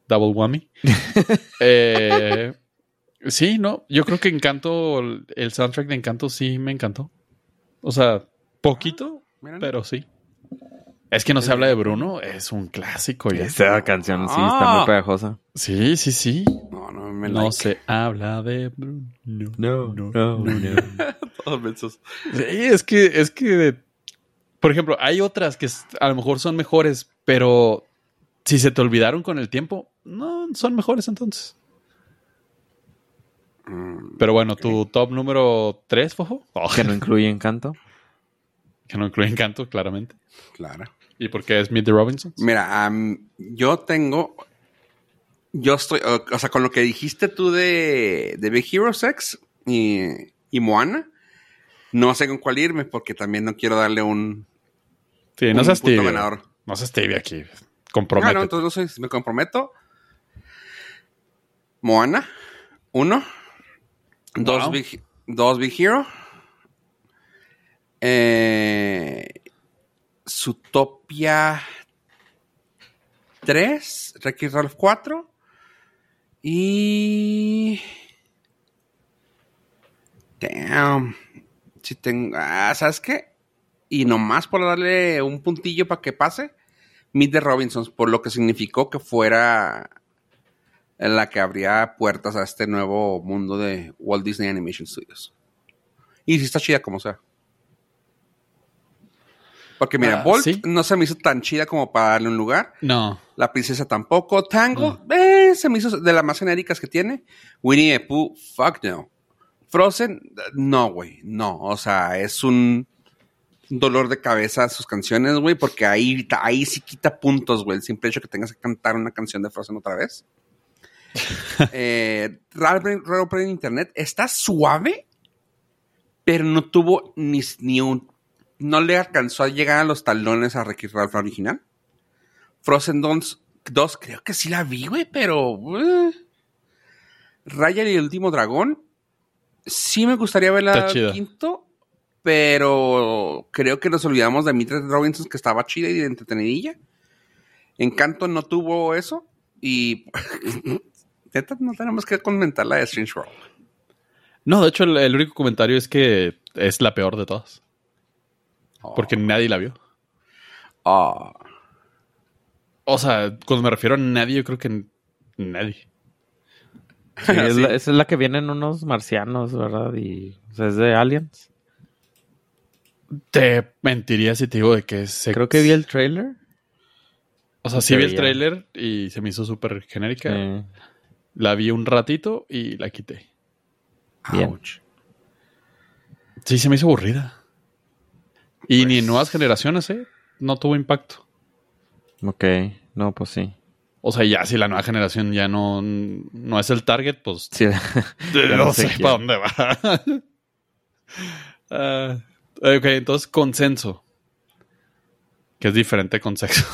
[SPEAKER 2] Double whammy. Eh, sí, no, yo creo que Encanto, el soundtrack de Encanto sí me encantó. O sea, poquito,
[SPEAKER 3] Ah,
[SPEAKER 1] Miren.
[SPEAKER 2] pero sí. Es que no se habla de Bruno, es un clásico. ya.
[SPEAKER 3] Esa canción sí está
[SPEAKER 1] Ah.
[SPEAKER 3] muy pegajosa.
[SPEAKER 2] Sí, sí, sí.
[SPEAKER 1] No, no me
[SPEAKER 2] no
[SPEAKER 1] like.
[SPEAKER 2] se habla de Bruno.
[SPEAKER 3] No, no, no.
[SPEAKER 1] Todos mensos.
[SPEAKER 2] Sí, es que, es que, por ejemplo, hay otras que s- a lo mejor son mejores, pero si se te olvidaron con el tiempo, no son mejores entonces.
[SPEAKER 1] Mm,
[SPEAKER 2] Pero bueno, tu top número 3, Fofo, Oh,
[SPEAKER 3] Que no incluye Encanto.
[SPEAKER 2] que no incluye Encanto, claramente.
[SPEAKER 1] claro.
[SPEAKER 2] ¿Y por qué es Meet the Robinsons?
[SPEAKER 1] Mira, am, yo tengo. Yo estoy. O, o sea, con lo que dijiste tú de, de Big Hero Sex y, y Moana, no sé con cuál irme porque también no quiero darle un,
[SPEAKER 2] Sí, no
[SPEAKER 1] un
[SPEAKER 2] seas
[SPEAKER 1] punto
[SPEAKER 2] tibio.
[SPEAKER 1] ganador.
[SPEAKER 2] No seas tibio aquí.
[SPEAKER 1] Ah,
[SPEAKER 2] Compromete.
[SPEAKER 1] no, entonces no sé, me comprometo. Moana, uno. Dos,
[SPEAKER 2] Wow.
[SPEAKER 1] big, dos Big Hero. Eh, Zootopia 3. Ricky Ralph 4. Y. Damn. Si tengo. Ah, ¿sabes qué? Y nomás por darle un puntillo para que pase. Meet the Robinsons, por lo que significó que fuera en la que abría puertas a este nuevo mundo de Walt Disney Animation Studios. Y si está chida como sea. Porque mira,
[SPEAKER 2] Ah,
[SPEAKER 1] Bolt
[SPEAKER 2] sí.
[SPEAKER 1] no se me hizo tan chida como para darle un lugar.
[SPEAKER 2] No.
[SPEAKER 1] La princesa tampoco. Tango, eh, se me hizo de las más genéricas que tiene. Winnie the Pooh, fuck no. Frozen, no, güey, no. O sea, es un dolor de cabeza sus canciones, güey, porque ahí, ahí sí quita puntos, güey. El simple hecho que tengas que cantar una canción de Frozen otra vez. eh, Raro Pre- Raro Pre en Internet está suave, pero no tuvo ni, ni un. No le alcanzó a llegar a los talones a Ricky Ralph la original. Frozen Dons 2, creo que sí la vi, güey, pero. eh. Raya y el último dragón. Sí me gustaría verla
[SPEAKER 2] Está chida.
[SPEAKER 1] quinto, pero creo que nos olvidamos de Mitra Robinson, que estaba chida y de entretenidilla. Encanto no tuvo eso. Y. neta, no tenemos que comentar la de Strange World.
[SPEAKER 2] No, de hecho, el, el único comentario es que es la peor de todas. Porque nadie la vio.
[SPEAKER 1] Ah.
[SPEAKER 2] O sea, cuando me refiero a nadie, yo creo que n- nadie.
[SPEAKER 3] Sí, es
[SPEAKER 1] Sí.
[SPEAKER 3] la- esa es la que vienen unos marcianos, ¿verdad? Y o sea, es de Aliens.
[SPEAKER 2] Te mentiría si te digo de que se...
[SPEAKER 3] Creo que vi el trailer.
[SPEAKER 2] O sea, sí vi el
[SPEAKER 3] Ya.
[SPEAKER 2] tráiler y se me hizo súper genérica.
[SPEAKER 3] Eh,
[SPEAKER 2] La vi un ratito y la quité.
[SPEAKER 3] Bien.
[SPEAKER 1] Ouch.
[SPEAKER 2] Sí, se me hizo aburrida. Y ni
[SPEAKER 1] Pues-
[SPEAKER 2] en nuevas generaciones, ¿eh? No tuvo impacto.
[SPEAKER 3] ok, no, pues sí.
[SPEAKER 2] O sea, ya si la nueva generación ya no, no es el target, pues
[SPEAKER 3] Sí,
[SPEAKER 2] no,
[SPEAKER 3] no sé
[SPEAKER 2] sé
[SPEAKER 3] quién.
[SPEAKER 2] para dónde va. Ah, ok, entonces consenso. Que es diferente con sexo.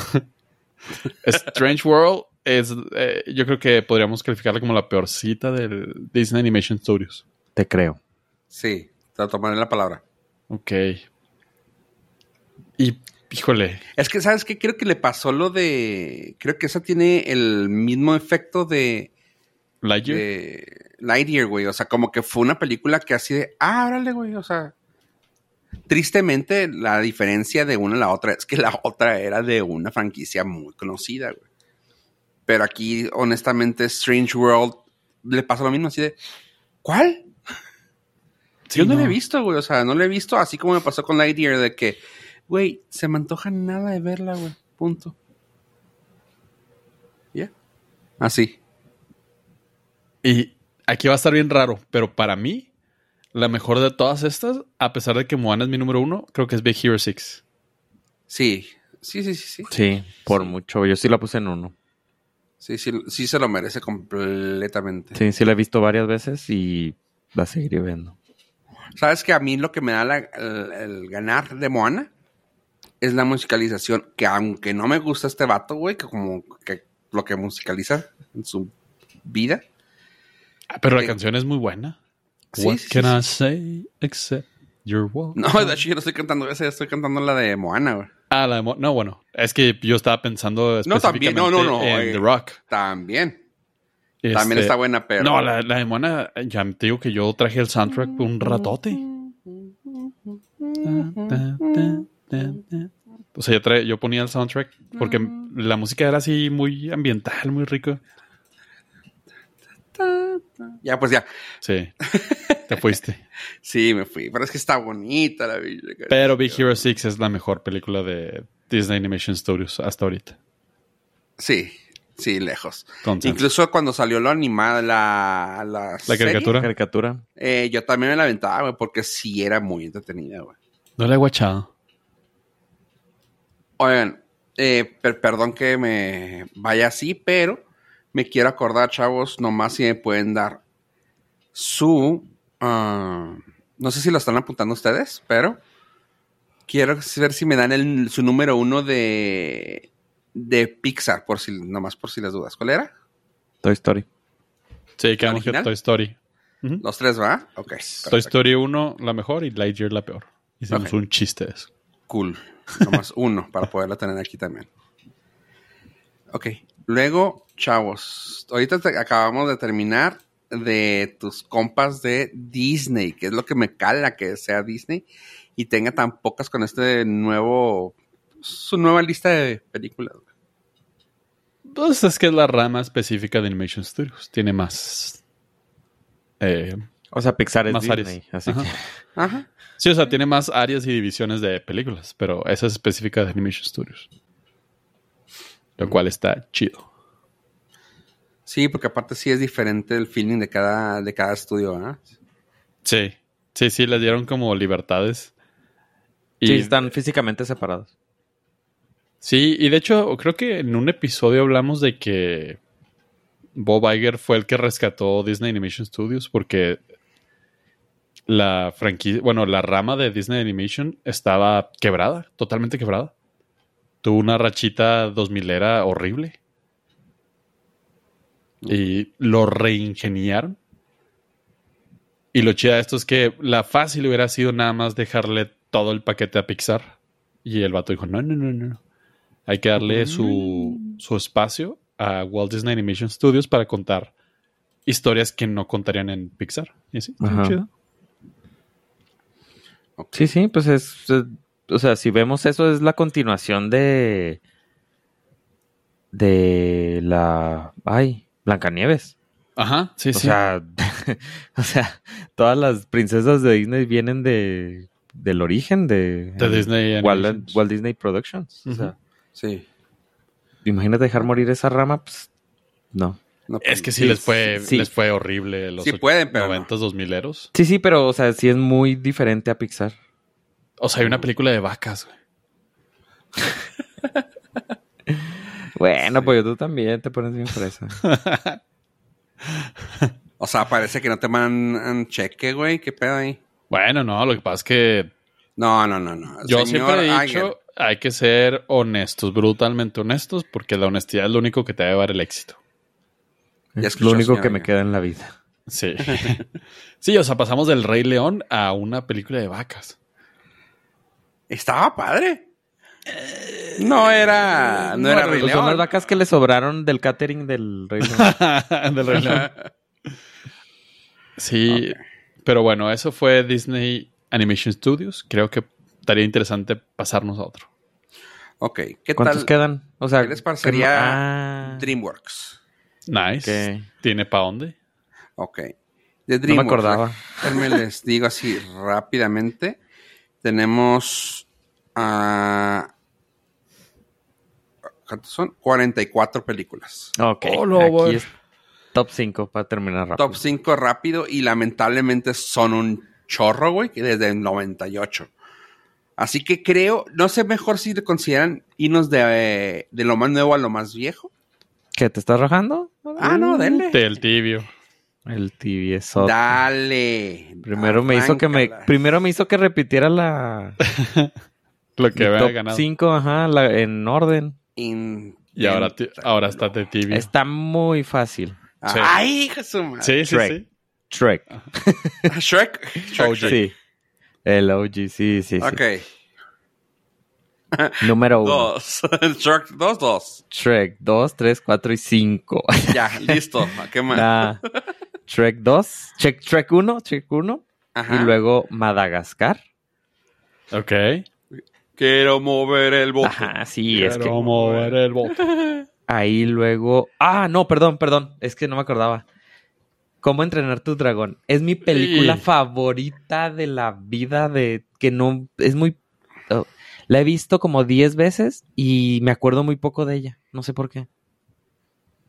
[SPEAKER 2] Strange World es, eh, yo creo que podríamos calificarla como la peor cita del Disney Animation Studios.
[SPEAKER 3] te creo.
[SPEAKER 1] Sí, te tomaré la palabra.
[SPEAKER 2] Ok. Y, híjole,
[SPEAKER 1] Es que, ¿sabes qué? Creo que le pasó lo de. Creo que esa tiene el mismo efecto de,
[SPEAKER 2] Lightyear.
[SPEAKER 1] Eh, de Lightyear, güey. O sea, como que fue una película que así de. Ah, órale, güey. O sea. Tristemente, la diferencia de una a la otra es que la otra era de una franquicia muy conocida, güey. Pero aquí, honestamente, Strange World le pasó lo mismo, así de. ¿Cuál?
[SPEAKER 2] Sí,
[SPEAKER 1] Yo no, la he visto, güey. O sea, no la he visto así como me pasó con Lightyear de que, güey, se me antoja nada de verla, güey. Punto. Ya. Ah, Así.
[SPEAKER 2] Y aquí va a estar bien raro, pero para mí, la mejor de todas estas, a pesar de que Moana es mi número uno, creo que es Big Hero 6.
[SPEAKER 1] Sí. Sí, sí, sí, sí.
[SPEAKER 3] Sí, por mucho. Yo sí la puse en uno.
[SPEAKER 1] Sí, sí, sí se lo merece completamente.
[SPEAKER 3] Sí, sí la he visto varias veces y la seguiré viendo.
[SPEAKER 1] ¿Sabes que a mí lo que me da la- el, el ganar de Moana? Es la musicalización, que aunque no me gusta este vato, güey, que como que lo que musicaliza en su vida.
[SPEAKER 2] Ah, Pero la
[SPEAKER 1] Sí.
[SPEAKER 2] canción es muy buena.
[SPEAKER 1] Sí,
[SPEAKER 2] What
[SPEAKER 1] sí,
[SPEAKER 2] can
[SPEAKER 1] sí,
[SPEAKER 2] I say except you're welcome?
[SPEAKER 1] No, de hecho yo no estoy cantando esa, yo estoy cantando la de Moana, güey.
[SPEAKER 2] Ah, la de Mo- No, bueno, es que yo estaba pensando
[SPEAKER 1] No,
[SPEAKER 2] específicamente
[SPEAKER 1] también, no, no, no,
[SPEAKER 2] en
[SPEAKER 1] eh,
[SPEAKER 2] The Rock.
[SPEAKER 1] También.
[SPEAKER 2] Este,
[SPEAKER 1] También está buena, pero.
[SPEAKER 2] No, la, la de Moana, ya te digo que yo traje el soundtrack por un ratote. O sea, yo, tra- yo ponía el soundtrack porque la música era así muy ambiental, muy rico.
[SPEAKER 1] Ya, pues ya.
[SPEAKER 2] Sí, te fuiste.
[SPEAKER 1] Sí, me fui. Pero es que está bonita la Biblia.
[SPEAKER 2] Pero Big Hero 6 es la mejor película de Disney Animation Studios hasta ahorita.
[SPEAKER 1] Sí, sí, lejos.
[SPEAKER 2] Entonces,
[SPEAKER 1] Incluso cuando salió la animada, la. La, serie,
[SPEAKER 2] caricatura.
[SPEAKER 3] Caricatura.
[SPEAKER 1] eh, yo también me la aventaba, güey, porque sí era muy entretenida, güey.
[SPEAKER 2] no la he guachado.
[SPEAKER 1] Oigan, eh, per- perdón que me vaya así, pero me quiero acordar, chavos, nomás si me pueden dar su... ah, no sé si lo están apuntando ustedes, pero quiero ver si me dan el- su número uno de, de Pixar, por si, nomás por si las dudas. ¿Cuál era?
[SPEAKER 3] Toy Story.
[SPEAKER 2] Sí, quedamos que
[SPEAKER 1] ¿Original?
[SPEAKER 2] Toy Story. Ujú.
[SPEAKER 1] Los tres, ¿va? Ok.
[SPEAKER 2] Toy
[SPEAKER 1] perfecto.
[SPEAKER 2] Story 1 la mejor y Lightyear la peor. Hicimos
[SPEAKER 1] Ok.
[SPEAKER 2] un chiste de eso.
[SPEAKER 1] Cool. Nomás uno para poderla tener aquí también. Ok. Luego, chavos. Ahorita te- acabamos de terminar de tus compas de Disney, que es lo que me cala que sea Disney y tenga tan pocas con este nuevo. su nueva lista de películas.
[SPEAKER 2] Entonces Pues es que es la rama específica de Animation Studios. Tiene más. eh,
[SPEAKER 3] O sea, Pixar es
[SPEAKER 2] Más
[SPEAKER 3] Disney.
[SPEAKER 2] áreas.
[SPEAKER 3] Así
[SPEAKER 2] Ajá.
[SPEAKER 3] que
[SPEAKER 1] Ajá.
[SPEAKER 2] Sí, o sea, tiene más áreas y divisiones de películas, pero esa es específica de Animation Studios.
[SPEAKER 1] Mm.
[SPEAKER 2] Lo cual está chido.
[SPEAKER 1] Sí, porque aparte sí es diferente el feeling de cada, de cada estudio, ¿ah?
[SPEAKER 2] Sí, sí, sí, les dieron como libertades. Y,
[SPEAKER 3] sí, están físicamente separados.
[SPEAKER 2] sí, y de hecho, creo que en un episodio hablamos de que Bob Iger fue el que rescató Disney Animation Studios porque la franquicia, bueno, la rama de Disney Animation estaba quebrada, totalmente quebrada. tuvo una rachita 2000 era horrible. Y lo reingeniaron. Y lo chida de esto es que la fácil hubiera sido nada más dejarle todo el paquete a Pixar. Y el vato dijo, no, no, no, no. Hay que darle su, su espacio a Walt Disney Animation Studios para contar historias que no contarían en Pixar. Y así,
[SPEAKER 3] Ajá.
[SPEAKER 2] Ah, chido.
[SPEAKER 1] Ok.
[SPEAKER 3] Sí, sí, pues es. eh, O sea, si vemos eso, es la continuación de. De la. Ay, Blancanieves.
[SPEAKER 2] Ajá, sí,
[SPEAKER 3] O
[SPEAKER 2] sí.
[SPEAKER 3] sea, o sea, todas las princesas de Disney vienen de. Del origen de.
[SPEAKER 2] de Disney
[SPEAKER 3] Walt,
[SPEAKER 2] Animations.
[SPEAKER 3] Walt Disney Productions. O sea,
[SPEAKER 2] Ujú.
[SPEAKER 1] Sí.
[SPEAKER 3] imagínate dejar morir esa rama, pues. No.
[SPEAKER 1] No, pues,
[SPEAKER 2] Es que sí,
[SPEAKER 3] Sí,
[SPEAKER 2] les fue
[SPEAKER 3] sí.
[SPEAKER 2] les fue horrible los
[SPEAKER 1] Sí pueden, pero no.
[SPEAKER 2] 90s, 2000 eros.
[SPEAKER 3] Sí, sí, pero, o sea, sí es muy diferente a Pixar.
[SPEAKER 2] O sea, hay una película de vacas, güey.
[SPEAKER 3] Bueno, pues tú también te pones bien fresa.
[SPEAKER 1] O sea, parece que no te mandan cheque, güey. ¿Qué pedo ahí?
[SPEAKER 2] Bueno, no, lo que pasa es que
[SPEAKER 1] No, no, no, no.
[SPEAKER 2] yo
[SPEAKER 1] Señor
[SPEAKER 2] siempre he dicho,
[SPEAKER 1] Iger,
[SPEAKER 2] hay que ser honestos, brutalmente honestos, porque la honestidad es lo único que te va a llevar el éxito.
[SPEAKER 1] Ya
[SPEAKER 3] es
[SPEAKER 1] escuchó,
[SPEAKER 3] lo único
[SPEAKER 1] señora,
[SPEAKER 3] que me
[SPEAKER 1] ya.
[SPEAKER 3] queda en la vida.
[SPEAKER 2] Sí. sí, o sea, pasamos del Rey León a una película de vacas.
[SPEAKER 1] Estaba padre. No era. No era
[SPEAKER 3] Bueno,
[SPEAKER 1] Rey
[SPEAKER 3] pues son las
[SPEAKER 1] León.
[SPEAKER 3] vacas que le sobraron del catering del Rey León.
[SPEAKER 2] del Rey León. Sí, pero bueno, eso fue Disney Animation Studios. Creo que estaría interesante pasarnos a otro.
[SPEAKER 1] Ok, ¿qué
[SPEAKER 3] ¿Cuántos
[SPEAKER 1] tal
[SPEAKER 3] quedan? O sea,
[SPEAKER 1] ¿Qué les parecería
[SPEAKER 3] que no- ah,
[SPEAKER 1] DreamWorks?
[SPEAKER 2] Nice.
[SPEAKER 3] ok.
[SPEAKER 2] ¿Tiene para dónde?
[SPEAKER 1] Ok. De
[SPEAKER 3] No me
[SPEAKER 1] DreamWorks.
[SPEAKER 3] acordaba.
[SPEAKER 1] Déjenme les digo así rápidamente. Tenemos a. ¿Cuántos son? 44 películas.
[SPEAKER 3] Ah. Ok,
[SPEAKER 2] Oh, lo voy.
[SPEAKER 3] aquí es top 5 para terminar rápido.
[SPEAKER 1] Top 5 rápido y lamentablemente son un chorro, güey, que desde el 98. Así que creo, no sé mejor si le consideran hinos de, de lo más nuevo a lo más viejo.
[SPEAKER 3] ¿Qué, te estás rajando?
[SPEAKER 1] Ah,
[SPEAKER 3] Mm,
[SPEAKER 1] no, denle.
[SPEAKER 2] Del tibio.
[SPEAKER 3] El tibieso.
[SPEAKER 1] Dale.
[SPEAKER 3] Primero me hizo que me
[SPEAKER 1] Arráncala.
[SPEAKER 3] primero me hizo que repitiera la
[SPEAKER 2] Lo que
[SPEAKER 3] mi
[SPEAKER 2] había
[SPEAKER 3] top
[SPEAKER 2] ganado.
[SPEAKER 3] 5, ajá, la- en orden.
[SPEAKER 1] In-
[SPEAKER 2] Y ahora, ti-
[SPEAKER 1] Inténtalo.
[SPEAKER 2] ahora está de tibio.
[SPEAKER 3] Está muy fácil.
[SPEAKER 2] Sí.
[SPEAKER 1] Ay, hijo de su madre.
[SPEAKER 2] Sí, sí,
[SPEAKER 3] Shrek.
[SPEAKER 2] sí.
[SPEAKER 3] Trek.
[SPEAKER 1] Shrek. Ah. Shrek.
[SPEAKER 2] OG.
[SPEAKER 3] Sí. El OG, sí, sí, sí.
[SPEAKER 1] Ok.
[SPEAKER 3] Número 1.
[SPEAKER 1] Dos. Shrek, dos, dos.
[SPEAKER 3] Shrek 2, 3, 4 y 5.
[SPEAKER 1] Ya, listo. ¿Qué más?
[SPEAKER 3] Nah. Shrek 2, Shrek, Shrek 1, Shrek 1
[SPEAKER 1] Ajá.
[SPEAKER 3] y luego Madagascar.
[SPEAKER 2] Ok.
[SPEAKER 1] Quiero mover el botón.
[SPEAKER 3] Ajá, sí, es que
[SPEAKER 2] Quiero mover el bote.
[SPEAKER 3] ahí luego Ah, no, perdón, perdón, es que no me acordaba. ¿Cómo entrenar tu dragón? Es mi película
[SPEAKER 2] Sí.
[SPEAKER 3] favorita de la vida de que no es muy oh, la he visto como 10 veces y me acuerdo muy poco de ella, no sé por qué.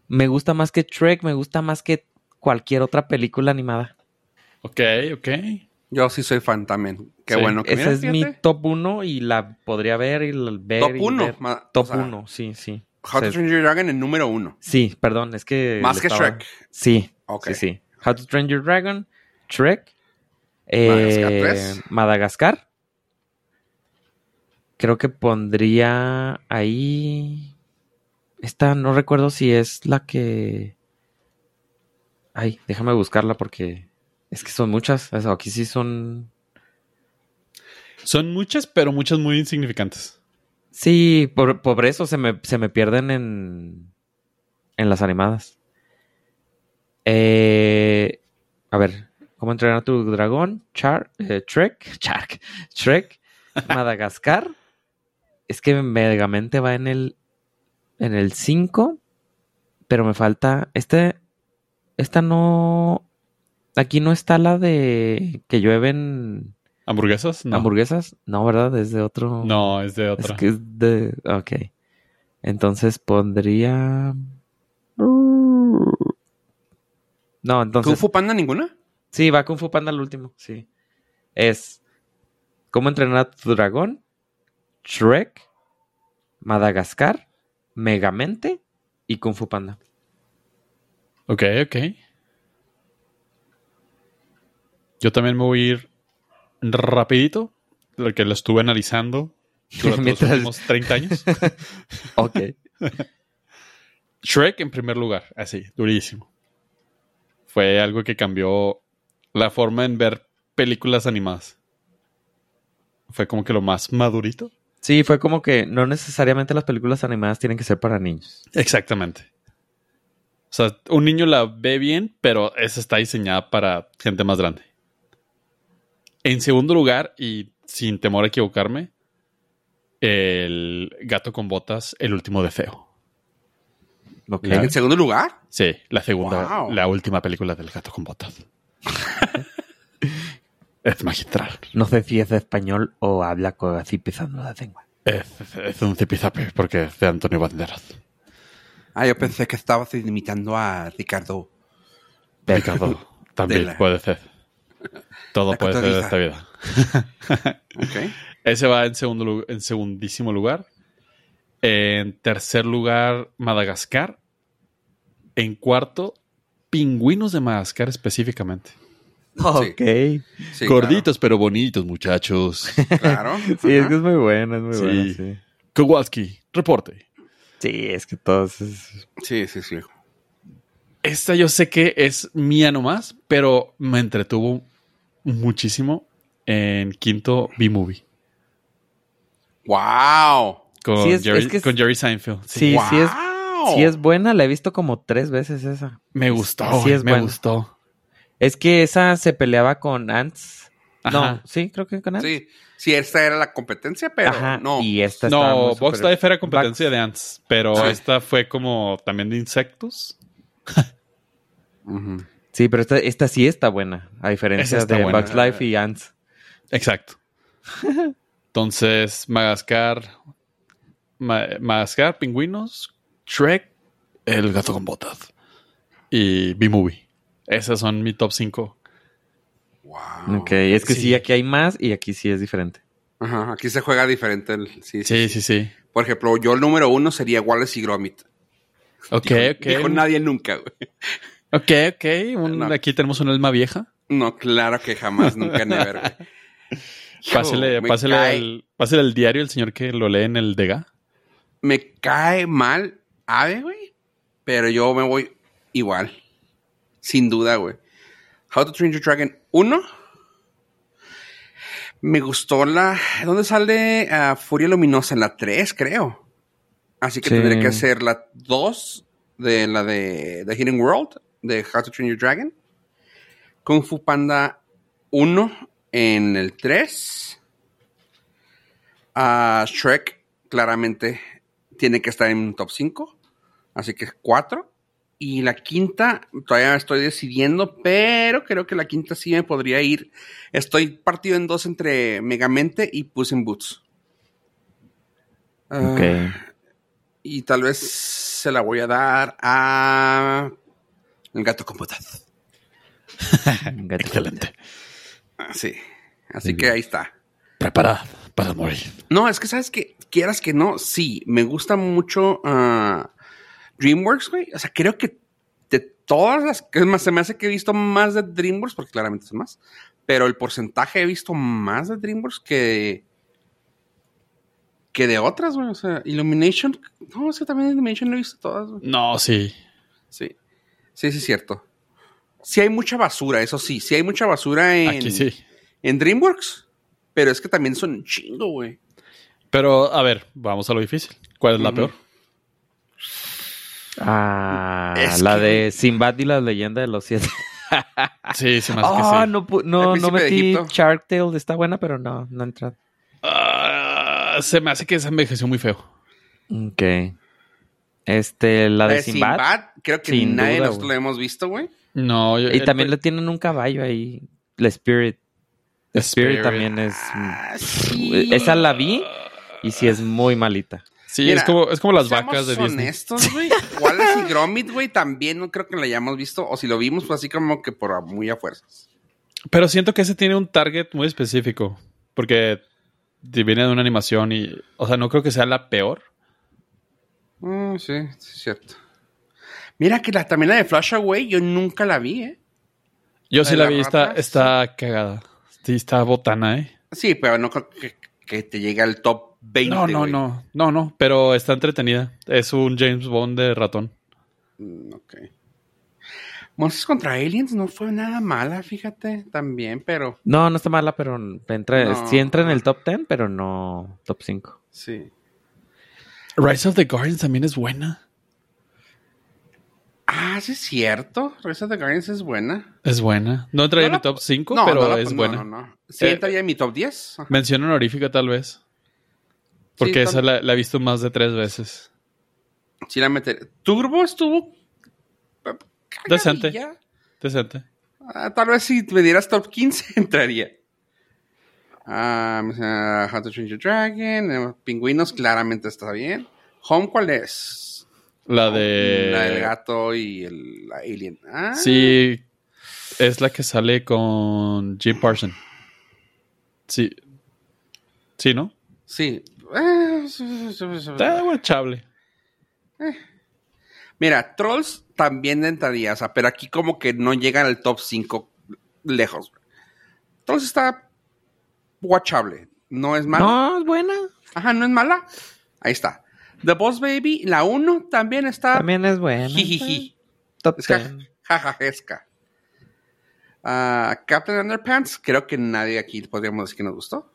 [SPEAKER 3] Me gusta más que Shrek, me gusta más que cualquier otra película animada.
[SPEAKER 2] Ok, ok.
[SPEAKER 1] Yo sí soy fan también. Qué
[SPEAKER 2] Sí.
[SPEAKER 1] bueno que
[SPEAKER 3] Ese
[SPEAKER 1] mira,
[SPEAKER 3] es mi
[SPEAKER 1] fíjate.
[SPEAKER 3] top 1 y la podría ver y la ver.
[SPEAKER 1] top
[SPEAKER 3] y
[SPEAKER 1] 1.
[SPEAKER 3] ver. Top 1, sí, sí.
[SPEAKER 1] How to
[SPEAKER 3] Sí.
[SPEAKER 1] Train Your Dragon en número 1.
[SPEAKER 3] Sí, perdón, es que.
[SPEAKER 1] Más
[SPEAKER 3] le
[SPEAKER 1] que
[SPEAKER 3] estaba-
[SPEAKER 1] Shrek.
[SPEAKER 3] Sí,
[SPEAKER 1] Ok.
[SPEAKER 3] sí, sí. How to Train Your Dragon, Shrek, eh,
[SPEAKER 1] Madagascar
[SPEAKER 3] Madagascar,
[SPEAKER 1] 3.
[SPEAKER 3] Creo que pondría ahí. Esta no recuerdo si es la que. Ay, déjame buscarla porque es que son muchas. O sea, aquí sí son
[SPEAKER 2] Son muchas, pero muchas muy insignificantes.
[SPEAKER 3] Sí, por, por eso se me, se me pierden en, en las animadas. Eh, a ver, ¿cómo entrenar a tu dragón? Char, eh, Trek, Shark, Trek, Madagascar. Es que Megamente va en el en el 5, pero me falta este esta no aquí no está la de que llueven
[SPEAKER 2] ¿Hamburguesas? No.
[SPEAKER 3] hamburguesas, no, ¿verdad? Es de otro
[SPEAKER 2] No, es de
[SPEAKER 3] es
[SPEAKER 2] otra.
[SPEAKER 3] que es de. Ok. Entonces pondría. No,
[SPEAKER 1] ¿Kung
[SPEAKER 3] entonces.
[SPEAKER 1] Fu Panda ninguna?
[SPEAKER 3] Sí, va Kung Fu Panda al último. Sí. Es. ¿Cómo entrenar a tu dragón? Shrek. Madagascar. Megamente. Y Kung Fu Panda.
[SPEAKER 2] Ok, ok. Yo también me voy a ir rapidito, lo que lo estuve analizando
[SPEAKER 5] durante
[SPEAKER 3] Mientras-
[SPEAKER 5] los últimos 30 años.
[SPEAKER 3] Ok.
[SPEAKER 5] Shrek,
[SPEAKER 2] Shrek en primer lugar, así, durísimo. Fue algo que cambió la forma en ver películas animadas. Fue como que lo más madurito.
[SPEAKER 3] Sí, fue como que no necesariamente las películas animadas tienen que ser para niños.
[SPEAKER 2] Exactamente. O sea, un niño la ve bien, pero esa está diseñada para gente más grande. En segundo lugar, y sin temor a equivocarme, el gato con botas, el último de feo.
[SPEAKER 3] Ok.
[SPEAKER 1] En segundo lugar,
[SPEAKER 2] Sí, la segunda,
[SPEAKER 1] Wow.
[SPEAKER 2] la última película del gato con botas. es magistral.
[SPEAKER 3] No sé si es de español o habla co- así pisando la lengua.
[SPEAKER 2] Es, es un zipizape porque es de Antonio Banderas.
[SPEAKER 1] ah, yo pensé que estabas imitando a Ricardo.
[SPEAKER 2] Ricardo, también
[SPEAKER 1] Tela.
[SPEAKER 2] puede ser. Todo
[SPEAKER 1] La
[SPEAKER 2] puede ser de
[SPEAKER 1] cotorriza.
[SPEAKER 2] esta vida.
[SPEAKER 1] Ok.
[SPEAKER 2] Ese va en, segundo, lu- en segundísimo lugar. En tercer lugar, Madagascar. En cuarto, pingüinos de Madagascar específicamente.
[SPEAKER 3] Ok. Sí,
[SPEAKER 1] Sí,
[SPEAKER 2] Gorditos pero bonitos, muchachos.
[SPEAKER 1] Claro. claro.
[SPEAKER 3] es
[SPEAKER 1] Ajá.
[SPEAKER 3] que es muy buena, es muy
[SPEAKER 2] Sí.
[SPEAKER 3] buena. Sí.
[SPEAKER 2] Kowalski, reporte.
[SPEAKER 3] sí, es que todos. es-
[SPEAKER 1] sí, sí, sí.
[SPEAKER 2] Esta yo sé que es mía nomás, pero me entretuvo muchísimo. En quinto, B-Movie.
[SPEAKER 1] ¡Wow!
[SPEAKER 2] Con,
[SPEAKER 3] Sí, es-
[SPEAKER 2] Jerry,
[SPEAKER 3] es que es-
[SPEAKER 2] con Jerry Seinfeld.
[SPEAKER 3] Sí,
[SPEAKER 1] ¡Wow!
[SPEAKER 3] sí es- Sí, es buena, la he visto como tres veces esa.
[SPEAKER 2] Me gustó,
[SPEAKER 3] Sí,
[SPEAKER 2] güey,
[SPEAKER 3] es
[SPEAKER 2] me
[SPEAKER 3] buena.
[SPEAKER 2] gustó.
[SPEAKER 3] Es que esa se peleaba con Ants.
[SPEAKER 2] Ajá.
[SPEAKER 3] No, sí, creo que con Ants.
[SPEAKER 1] Sí, sí, esta era la competencia, pero
[SPEAKER 3] Ajá.
[SPEAKER 1] no.
[SPEAKER 3] Y esta estaba muy
[SPEAKER 2] No,
[SPEAKER 3] super-
[SPEAKER 2] Box Life era competencia de antes, pero
[SPEAKER 1] Sí.
[SPEAKER 2] esta fue como también de insectos.
[SPEAKER 1] Ujú.
[SPEAKER 3] Sí, pero esta, esta sí está buena, a diferencia
[SPEAKER 2] Esa está
[SPEAKER 3] de
[SPEAKER 2] buena.
[SPEAKER 3] Bugs Life y Ants.
[SPEAKER 2] Exacto. Entonces, Madagascar, Ma- Madagascar, Pingüinos, Shrek, El Gato con Botas y B-Movie. Esas son mi top 5.
[SPEAKER 1] Wow.
[SPEAKER 3] ok, es que sí.
[SPEAKER 2] sí.
[SPEAKER 3] aquí hay más y aquí sí es diferente.
[SPEAKER 1] Ajá, aquí se juega diferente. el- sí, sí, sí.
[SPEAKER 2] Sí, sí, sí.
[SPEAKER 1] Por ejemplo, yo el número uno sería Wallace y Gromit.
[SPEAKER 2] Ok,
[SPEAKER 1] Dijo-
[SPEAKER 2] ok.
[SPEAKER 1] Dijo nadie nunca, güey.
[SPEAKER 2] Ok, ok. un-
[SPEAKER 1] No.
[SPEAKER 2] Aquí tenemos un alma vieja.
[SPEAKER 1] No, claro que jamás, nunca, never, güey. Hijo,
[SPEAKER 2] Pásele,
[SPEAKER 1] me
[SPEAKER 2] pásele,
[SPEAKER 1] cae-
[SPEAKER 2] el, pásele el diario el señor que lo lee en el Dega.
[SPEAKER 1] Me cae mal Ave, güey. Pero yo me voy igual. Sin duda, güey. How to Train Your Dragon 1. Me gustó la... ¿Dónde sale ah, Furia Luminosa? En la 3, creo. Así que
[SPEAKER 3] Sí.
[SPEAKER 1] tendré que hacer la 2 de la de The Hidden World, de How to Train Your Dragon. Kung Fu Panda 1 en el 3. Ah, Shrek claramente tiene que estar en un top 5. Así que 4. Y la quinta, todavía estoy decidiendo, pero creo que la quinta sí me podría ir. Estoy partido en dos entre Megamente y Puss in Boots. Ah,
[SPEAKER 3] Ok.
[SPEAKER 1] Y tal vez se la voy a dar a. El gato con botas.
[SPEAKER 2] Excelente.
[SPEAKER 1] Ah, Sí. Así que ahí está.
[SPEAKER 2] Preparada para morir.
[SPEAKER 1] No, es que sabes que quieras que no, sí, me gusta mucho ah, DreamWorks, güey. O sea, creo que de todas las, es más, se me hace que he visto más de DreamWorks, porque claramente es más, pero el porcentaje he visto más de DreamWorks que que de otras, güey. O sea, Illumination, no, es que también Illumination lo he visto todas, güey.
[SPEAKER 2] No, sí.
[SPEAKER 1] Sí, sí, sí, es cierto. Sí hay mucha basura, eso sí, sí hay mucha basura en,
[SPEAKER 2] Aquí sí.
[SPEAKER 1] en DreamWorks, pero es que también son un chingo, güey.
[SPEAKER 2] Pero, a ver, vamos a lo difícil. ¿Cuál es la
[SPEAKER 1] Ujú.
[SPEAKER 2] peor?
[SPEAKER 3] Ah,
[SPEAKER 1] Es
[SPEAKER 3] la
[SPEAKER 1] que-
[SPEAKER 3] de Sinbad y la leyenda de los siete.
[SPEAKER 2] Sí, se me hace
[SPEAKER 3] Ah,
[SPEAKER 2] que sí.
[SPEAKER 3] no, pu- no,
[SPEAKER 1] El príncipe
[SPEAKER 3] no
[SPEAKER 1] de
[SPEAKER 3] metí
[SPEAKER 1] Egipto.
[SPEAKER 3] Shark Tale, está buena, pero no, no entra.
[SPEAKER 2] Ah, se me hace que se envejeció muy feo.
[SPEAKER 3] Ok. Este, la de
[SPEAKER 1] Eh,
[SPEAKER 3] Sinbad.
[SPEAKER 1] creo que
[SPEAKER 3] Sin
[SPEAKER 1] nadie de
[SPEAKER 3] duda,
[SPEAKER 1] nosotros
[SPEAKER 3] güey.
[SPEAKER 1] lo hemos visto, güey.
[SPEAKER 2] No, yo, eh,
[SPEAKER 3] Y
[SPEAKER 2] el-
[SPEAKER 3] también le tienen un caballo ahí. La Spirit. La Spirit,
[SPEAKER 2] Spirit.
[SPEAKER 3] también es.
[SPEAKER 1] Ah, sí.
[SPEAKER 3] Esa la vi y sí es muy malita.
[SPEAKER 2] Sí,
[SPEAKER 1] Mira,
[SPEAKER 2] es, como, es como las
[SPEAKER 1] Seamos
[SPEAKER 2] vacas de Disney.
[SPEAKER 1] honestos, güey. Wallace y Gromit, güey, también no creo que la hayamos visto. O si lo vimos, fue así como que por a- muy a fuerzas.
[SPEAKER 2] Pero siento que ese tiene un target muy específico. Porque viene de una animación y... O sea, no creo que sea la peor.
[SPEAKER 1] Mm, sí, sí, es cierto. Mira que la, también la de Flash Away, yo nunca la vi, ¿eh?
[SPEAKER 2] Yo
[SPEAKER 1] ¿La
[SPEAKER 2] sí
[SPEAKER 1] de
[SPEAKER 2] la
[SPEAKER 1] las
[SPEAKER 2] vi, está,
[SPEAKER 1] ratas?
[SPEAKER 2] está cagada. Sí, está botana, ¿eh?
[SPEAKER 1] Sí, pero no creo que, que te llegue al top 20.
[SPEAKER 2] No, no,
[SPEAKER 1] güey.
[SPEAKER 2] no, no, no, pero está entretenida. Es un James Bond de ratón.
[SPEAKER 1] Mm, Ok. Monsters contra Aliens no fue nada mala, fíjate, también, pero
[SPEAKER 3] No, no está mala, pero entra,
[SPEAKER 1] No.
[SPEAKER 3] sí entra en el top 10, pero no top 5.
[SPEAKER 1] sí.
[SPEAKER 2] Rise of the Guardians también es buena.
[SPEAKER 1] Ah, sí es cierto. Rise of the Guardians es buena.
[SPEAKER 2] Es buena. No entraría
[SPEAKER 1] No la-
[SPEAKER 2] en mi top 5,
[SPEAKER 1] No,
[SPEAKER 2] pero
[SPEAKER 1] no la-
[SPEAKER 2] es
[SPEAKER 1] no,
[SPEAKER 2] buena.
[SPEAKER 1] No, no. Sí,
[SPEAKER 2] Eh,
[SPEAKER 1] entraría en mi top 10. Ajá.
[SPEAKER 2] Mención honorífica tal vez. Porque
[SPEAKER 1] Sí,
[SPEAKER 2] esa
[SPEAKER 1] tam-
[SPEAKER 2] la, la he visto más de tres veces.
[SPEAKER 1] Sí, la meter. Turbo estuvo.
[SPEAKER 2] Decente.
[SPEAKER 1] cagadilla.
[SPEAKER 2] Decente.
[SPEAKER 1] Ah, tal vez si me dieras top 15 entraría. Ah, ah, How to Train Your Dragon. eh, Pingüinos, claramente está bien. Home, ¿cuál es?
[SPEAKER 2] La de...
[SPEAKER 1] La del gato y el la alien. Ah,
[SPEAKER 2] Sí, es la que sale con Jim Parson. Sí. Sí, ¿no?
[SPEAKER 1] Sí.
[SPEAKER 2] Está guachable.
[SPEAKER 1] Mira, Trolls también entraría, o sea, pero aquí como que no llegan al top 5 lejos. Trolls está watchable. No es mala.
[SPEAKER 3] No, es buena.
[SPEAKER 1] Ajá, no es mala. Ahí está. The Boss Baby, la 1 también está
[SPEAKER 3] También es buena.
[SPEAKER 1] Ah. jijiji.
[SPEAKER 3] Top
[SPEAKER 1] Es ja-
[SPEAKER 3] 10.
[SPEAKER 1] jajajesca. Ah, Captain Underpants, creo que nadie aquí podríamos decir que nos gustó.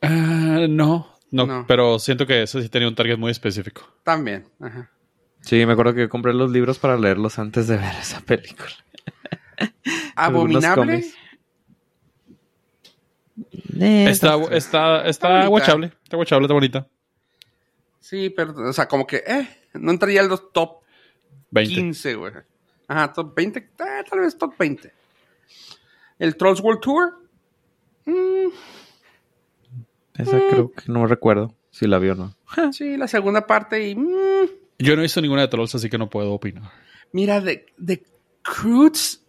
[SPEAKER 2] Ah, no, no,
[SPEAKER 1] No.
[SPEAKER 2] pero siento que eso sí tenía un target muy específico.
[SPEAKER 1] También. Ajá.
[SPEAKER 3] Sí, me acuerdo que compré los libros para leerlos antes de ver esa película. Algunos
[SPEAKER 1] Abominable.
[SPEAKER 3] cómics. Eh,
[SPEAKER 2] Está, está, está
[SPEAKER 1] bonita.
[SPEAKER 2] guachable, está guachable, está bonita.
[SPEAKER 1] Sí, pero, o sea, como que, eh, no entraría en los top
[SPEAKER 2] 20.
[SPEAKER 1] 15, güey. Ajá, top 20. eh, tal vez top 20. El Trolls World Tour. mm,
[SPEAKER 3] Esa creo que no recuerdo si la vio o no.
[SPEAKER 1] sí, la segunda parte. Y mm,
[SPEAKER 2] Yo no he visto ninguna de Trolls, así que no puedo opinar.
[SPEAKER 1] mira, de, de Cruz.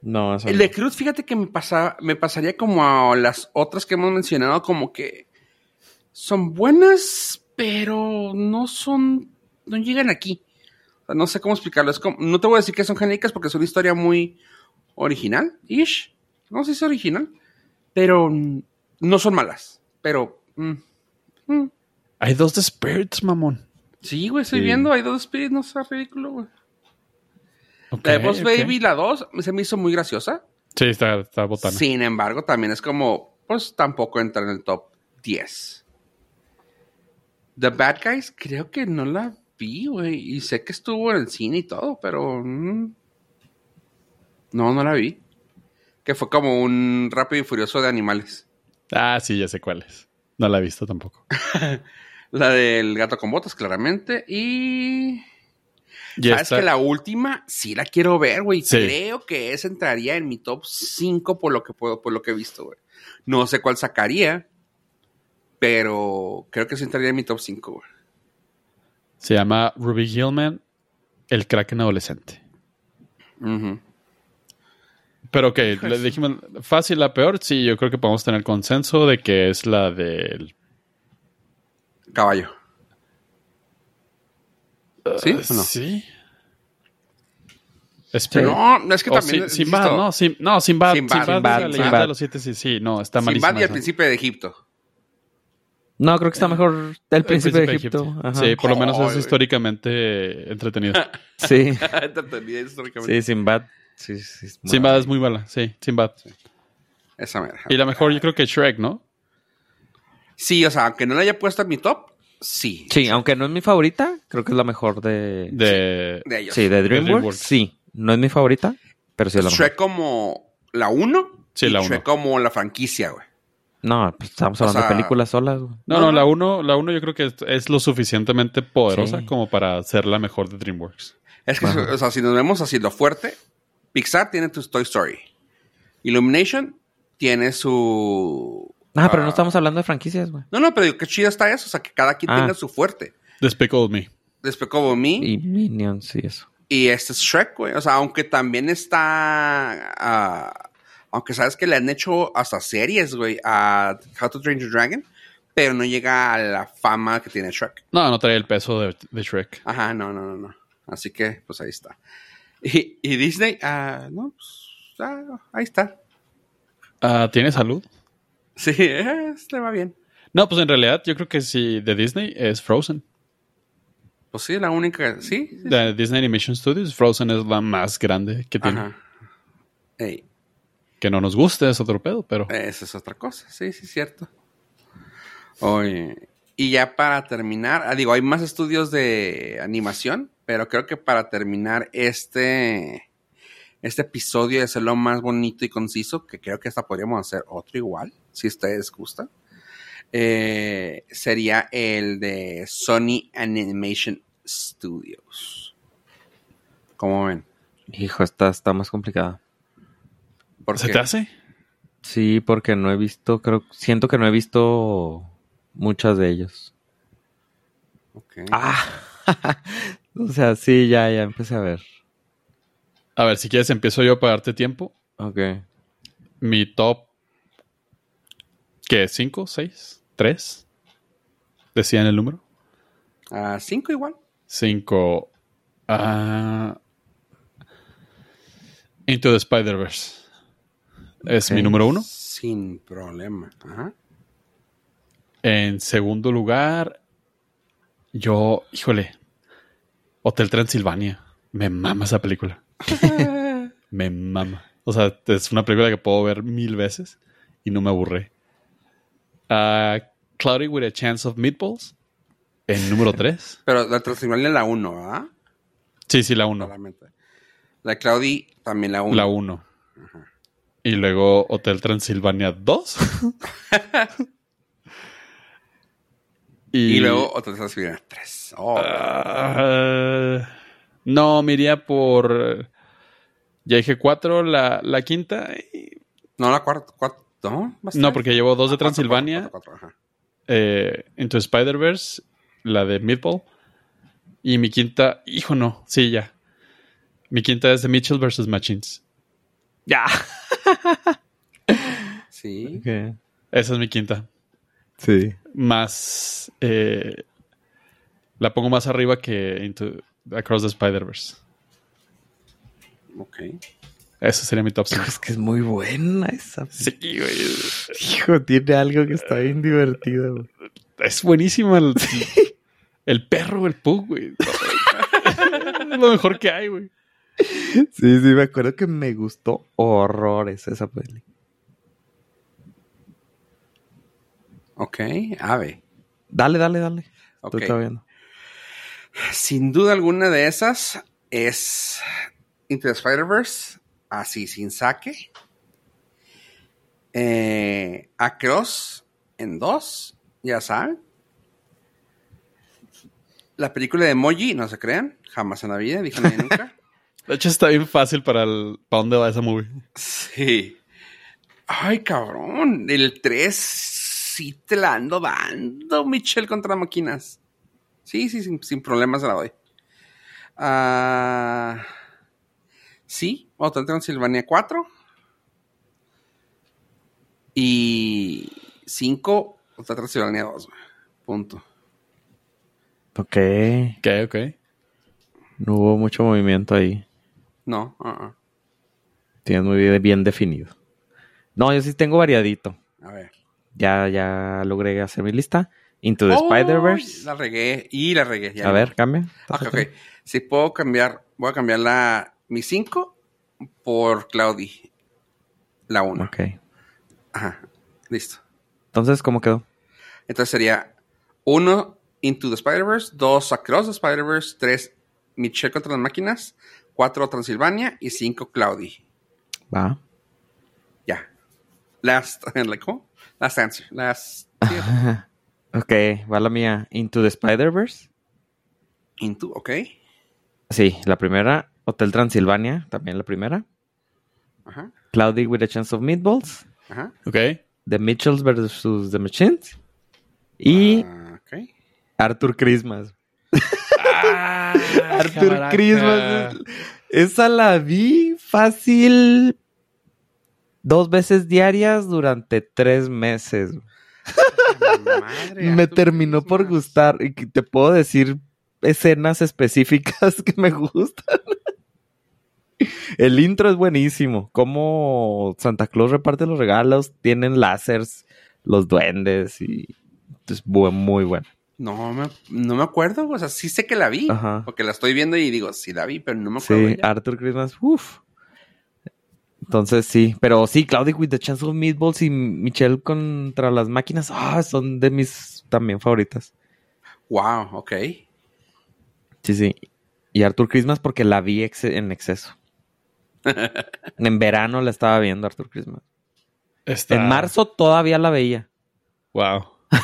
[SPEAKER 3] No, esa
[SPEAKER 1] El de Cruz, fíjate que me, pasa, me pasaría como a las otras que hemos mencionado, como que son buenas, pero no son. No llegan aquí. O sea, no sé cómo explicarlo. Es como, no te voy a decir que son genéricas porque es una historia muy original, ish. No sé si es original, pero mm, no son malas. Pero. mm, mm.
[SPEAKER 2] Hay dos de Spirits, mamón.
[SPEAKER 1] Sí, güey, estoy
[SPEAKER 3] Sí.
[SPEAKER 1] viendo. Hay dos Spirit, no sea ridículo, güey. La de
[SPEAKER 2] Ok,
[SPEAKER 1] Boss
[SPEAKER 2] ok.
[SPEAKER 1] Baby, la 2, se me hizo muy graciosa.
[SPEAKER 2] Sí, está, está botana.
[SPEAKER 1] Sin embargo, también es como, pues tampoco entra en el top 10. The Bad Guys, creo que no la vi, güey. Y sé que estuvo en el cine y todo, pero. mm, no, no la vi. Que fue como un rápido y furioso de animales.
[SPEAKER 2] Ah, sí, ya sé cuál es. No la he visto tampoco.
[SPEAKER 1] La del gato con botas, claramente. Y.
[SPEAKER 2] Y
[SPEAKER 1] Sabes
[SPEAKER 2] esta-
[SPEAKER 1] que la última sí la quiero ver, güey.
[SPEAKER 2] Sí.
[SPEAKER 1] Creo que esa entraría en mi top 5 por lo que puedo, por lo que he visto, güey. No sé cuál sacaría, pero creo que sí entraría en mi top 5, güey.
[SPEAKER 2] Se llama Ruby Hillman, el Kraken adolescente.
[SPEAKER 1] Ujú.
[SPEAKER 2] Pero ok, le dijimos, fácil la peor, sí, yo creo que podemos tener consenso de que es la del...
[SPEAKER 1] Caballo. ¿Sí?
[SPEAKER 2] Eh,
[SPEAKER 1] ¿O no?
[SPEAKER 2] Sí. Espera.
[SPEAKER 1] No, es que
[SPEAKER 2] O
[SPEAKER 1] también.
[SPEAKER 2] Sin- Sinbad, no, Sin- no,
[SPEAKER 1] Sinbad,
[SPEAKER 2] Sinbad, Sinbad, es
[SPEAKER 3] Sinbad,
[SPEAKER 2] la leyenda
[SPEAKER 3] Sinbad.
[SPEAKER 2] de los siete, sí, sí, no, está
[SPEAKER 1] Sin
[SPEAKER 2] malísima.
[SPEAKER 1] y el
[SPEAKER 2] esa.
[SPEAKER 1] príncipe de Egipto.
[SPEAKER 3] No, creo que está mejor El Príncipe, de Egipto. Ajá.
[SPEAKER 2] Sí, por lo menos
[SPEAKER 1] Ay,
[SPEAKER 2] es
[SPEAKER 1] güey.
[SPEAKER 2] entretamente entretenido.
[SPEAKER 3] Sí, sí,
[SPEAKER 1] Entretenido históricamente.
[SPEAKER 3] Sinbad. Sí, sí, es muy-
[SPEAKER 2] Sinbad es muy mala, sí, Sinbad.
[SPEAKER 1] Esa mera.
[SPEAKER 2] Y la mejor yo creo que Shrek, ¿no?
[SPEAKER 1] Sí, o sea, aunque no la haya puesto en mi top, sí.
[SPEAKER 3] Sí, aunque no es mi favorita, creo que es la mejor de...
[SPEAKER 2] De...
[SPEAKER 1] De ellos.
[SPEAKER 3] Sí, de DreamWorks.
[SPEAKER 2] DreamWorks.
[SPEAKER 3] Sí, no es mi favorita, pero sí es la mejor.
[SPEAKER 1] Shrek como la 1.
[SPEAKER 2] Sí, la uno.
[SPEAKER 1] Shrek como la franquicia, güey.
[SPEAKER 3] No, pues estamos
[SPEAKER 1] O
[SPEAKER 3] hablando
[SPEAKER 1] sea-
[SPEAKER 3] de películas solas. güey.
[SPEAKER 1] No,
[SPEAKER 2] No, no,
[SPEAKER 1] no.
[SPEAKER 2] la uno, la uno yo creo que es, es lo suficientemente poderosa
[SPEAKER 3] Sí.
[SPEAKER 2] como para ser la mejor de DreamWorks.
[SPEAKER 1] Es que,
[SPEAKER 3] Ajá.
[SPEAKER 1] o sea, si nos vemos así lo fuerte, Pixar tiene tu Toy Story. Illumination tiene su.
[SPEAKER 3] Ah, pero no
[SPEAKER 1] ah,
[SPEAKER 3] estamos hablando de franquicias, güey.
[SPEAKER 1] No, no, pero digo, qué chido está eso. O sea, que cada quien
[SPEAKER 3] Ah.
[SPEAKER 1] tenga su fuerte.
[SPEAKER 2] Despicable Me.
[SPEAKER 1] Después como mí.
[SPEAKER 3] Y Minions y eso.
[SPEAKER 1] Y este es Shrek, güey. O sea, aunque también está. ah, aunque sabes que le han hecho hasta series, güey, a How to Train Your Dragon. Pero no llega a la fama que tiene Shrek.
[SPEAKER 2] No, no trae el peso de, de Shrek.
[SPEAKER 1] Ajá, no, no, no, no. Así que, pues ahí está. Y, y Disney, ah, no, pues, ah, ahí está.
[SPEAKER 2] Ah, ¿Tiene salud?
[SPEAKER 1] Sí, eh, le va bien.
[SPEAKER 2] No, pues en realidad yo creo que sí, de Disney es Frozen.
[SPEAKER 1] Pues sí, la única, sí. sí,
[SPEAKER 2] De Disney Animation Studios, Frozen es la más grande que tiene.
[SPEAKER 1] Ajá. Ey,
[SPEAKER 2] Que no nos guste, es otro pedo, pero
[SPEAKER 1] esa es otra cosa, sí, sí, cierto. Oye, y ya para terminar, ah, digo, hay más estudios de animación, pero creo que para terminar este, este episodio y hacerlo más bonito y conciso, que creo que hasta podríamos hacer otro igual, si ustedes gustan, eh, sería el de Sony Animation Studios. ¿Cómo ven?
[SPEAKER 3] Hijo, esta está más complicada.
[SPEAKER 1] ¿Por
[SPEAKER 2] ¿se
[SPEAKER 1] qué?
[SPEAKER 2] te hace?
[SPEAKER 3] Sí, porque no he visto, creo, siento que no he visto muchas de ellos.
[SPEAKER 1] Ok.
[SPEAKER 3] Ah, o sea, sí, ya, ya empecé a ver.
[SPEAKER 2] A ver, si quieres empiezo yo para darte tiempo.
[SPEAKER 3] Ok.
[SPEAKER 2] Mi top, ¿qué? ¿Cinco? ¿Seis? ¿Tres? Decían el número.
[SPEAKER 1] Ah, cinco igual.
[SPEAKER 2] 5. ah, Into the Spider-Verse. Es mi
[SPEAKER 3] Ok.
[SPEAKER 2] número uno.
[SPEAKER 1] Sin problema. Ajá.
[SPEAKER 2] En segundo lugar, yo, híjole, Hotel Transilvania. Me mama esa película. me mama. O sea, es una película que puedo ver mil veces y no me aburré. Ah, Cloudy with a Chance of Meatballs. En número 3.
[SPEAKER 1] Pero la Transilvania es la 1, ¿verdad?
[SPEAKER 2] Sí, sí, la uno.
[SPEAKER 1] Solamente. La Claudi también la 1.
[SPEAKER 2] La 1. Y luego Hotel Transilvania 2.
[SPEAKER 1] y... luego otra Transilvania 3. Oh,
[SPEAKER 2] Ah, no, me iría por. eh, Ya dije 4, la, la quinta. y-
[SPEAKER 1] no, la cuarta. cuarta no, ¿Vas
[SPEAKER 2] No,
[SPEAKER 1] tres?
[SPEAKER 2] porque llevo dos de
[SPEAKER 1] Ah, cuatro,
[SPEAKER 2] Transilvania,
[SPEAKER 1] cuatro, cuatro, cuatro,
[SPEAKER 2] eh, Into Spider-Verse, la de Meatball. Y mi quinta, hijo, no, sí, ya. Mi quinta es de Mitchell vs. Machines.
[SPEAKER 3] Ya.
[SPEAKER 1] ajá. Sí.
[SPEAKER 2] Esa es mi quinta.
[SPEAKER 3] Sí.
[SPEAKER 2] más. eh, la pongo más arriba que Into- Across the Spider-Verse.
[SPEAKER 1] Ok.
[SPEAKER 2] Eso sería mi top 5.
[SPEAKER 3] Es que es muy buena esa.
[SPEAKER 2] Sí, güey.
[SPEAKER 3] Hijo, tiene algo que está bien divertido. güey.
[SPEAKER 2] Es buenísima. El, el perro, el pug, güey. Es lo mejor que hay, güey.
[SPEAKER 3] Sí, sí, me acuerdo que me gustó horrores esa peli.
[SPEAKER 1] Ok. Ave.
[SPEAKER 3] Dale, dale, dale.
[SPEAKER 1] Ok.
[SPEAKER 3] Tú estás viendo.
[SPEAKER 1] Sin duda alguna de esas es Into the Spider-Verse, así sin saque. Eh, Across en dos, ya saben. La película de Moji, no se crean, jamás en la vida, dije nadie nunca.
[SPEAKER 2] De hecho, está bien fácil para el. ¿Para dónde va esa movie?
[SPEAKER 1] Sí. Ay, cabrón, el 3 sí te la ando dando, Michelle contra máquinas. Sí, sí, sin, sin problemas se la doy. Ah, sí, Hotel Transilvania 4. Y 5, Hotel Transilvania 2. güey. Punto.
[SPEAKER 3] Ok.
[SPEAKER 2] Ok, ok.
[SPEAKER 3] No hubo mucho movimiento ahí.
[SPEAKER 1] No, ah,
[SPEAKER 3] Tienes muy bien, bien definido. No, yo sí tengo variadito.
[SPEAKER 1] ah, a ver.
[SPEAKER 3] Ya, ya logré hacer mi lista. Into the
[SPEAKER 1] Oh,
[SPEAKER 3] Spider-Verse.
[SPEAKER 1] La regué y la regué. ya
[SPEAKER 3] A
[SPEAKER 1] vi.
[SPEAKER 3] ver, cambia.
[SPEAKER 1] Ok, ok. Si puedo cambiar, voy a cambiar la, mi 5 por Claudi. La 1.
[SPEAKER 3] Ok.
[SPEAKER 1] Ajá. Listo.
[SPEAKER 3] Entonces, ¿cómo quedó?
[SPEAKER 1] Entonces sería 1 Into the Spider-Verse, 2 Across the Spider-Verse, 3 Michelle contra las máquinas, 4 Transilvania y 5 Claudi.
[SPEAKER 3] Va.
[SPEAKER 1] Ya. Last, like, ¿cómo? Last answer. Last
[SPEAKER 3] ok, va la mía. Into the Spider-Verse.
[SPEAKER 1] Into, ok.
[SPEAKER 3] Sí, la primera. Hotel Transilvania, también la primera.
[SPEAKER 1] Ajá.
[SPEAKER 3] Cloudy with a Chance of Meatballs.
[SPEAKER 1] Ajá.
[SPEAKER 2] Ok.
[SPEAKER 3] The Mitchells versus The Machines. Y
[SPEAKER 1] Ah, ok.
[SPEAKER 3] Arthur Christmas.
[SPEAKER 2] Ah,
[SPEAKER 3] Arthur Christmas. Esa la vi fácil dos veces diarias durante tres meses.
[SPEAKER 1] Madre,
[SPEAKER 3] me
[SPEAKER 1] Arthur
[SPEAKER 3] terminó por
[SPEAKER 1] Christmas.
[SPEAKER 3] gustar. Y que te puedo decir escenas específicas que me gustan. El intro es buenísimo. Cómo Santa Claus reparte los regalos, tienen lásers, los duendes y es bu- muy buena.
[SPEAKER 1] No me, no me acuerdo, o sea, sí sé que la vi,
[SPEAKER 3] Ajá.
[SPEAKER 1] porque la estoy viendo y digo, sí la vi, pero no me acuerdo.
[SPEAKER 3] Sí, Ah.
[SPEAKER 1] ya.
[SPEAKER 3] Arthur Christmas, uff. Entonces sí, pero sí, Claudia with the Chance of Meatballs y Michelle contra las máquinas, ah, son de mis también favoritas.
[SPEAKER 1] Wow, ok.
[SPEAKER 3] Sí, sí. Y Arthur Christmas porque la vi ex- en exceso. en verano la estaba viendo Arthur Christmas.
[SPEAKER 2] Está-
[SPEAKER 3] En marzo todavía la veía.
[SPEAKER 2] Wow.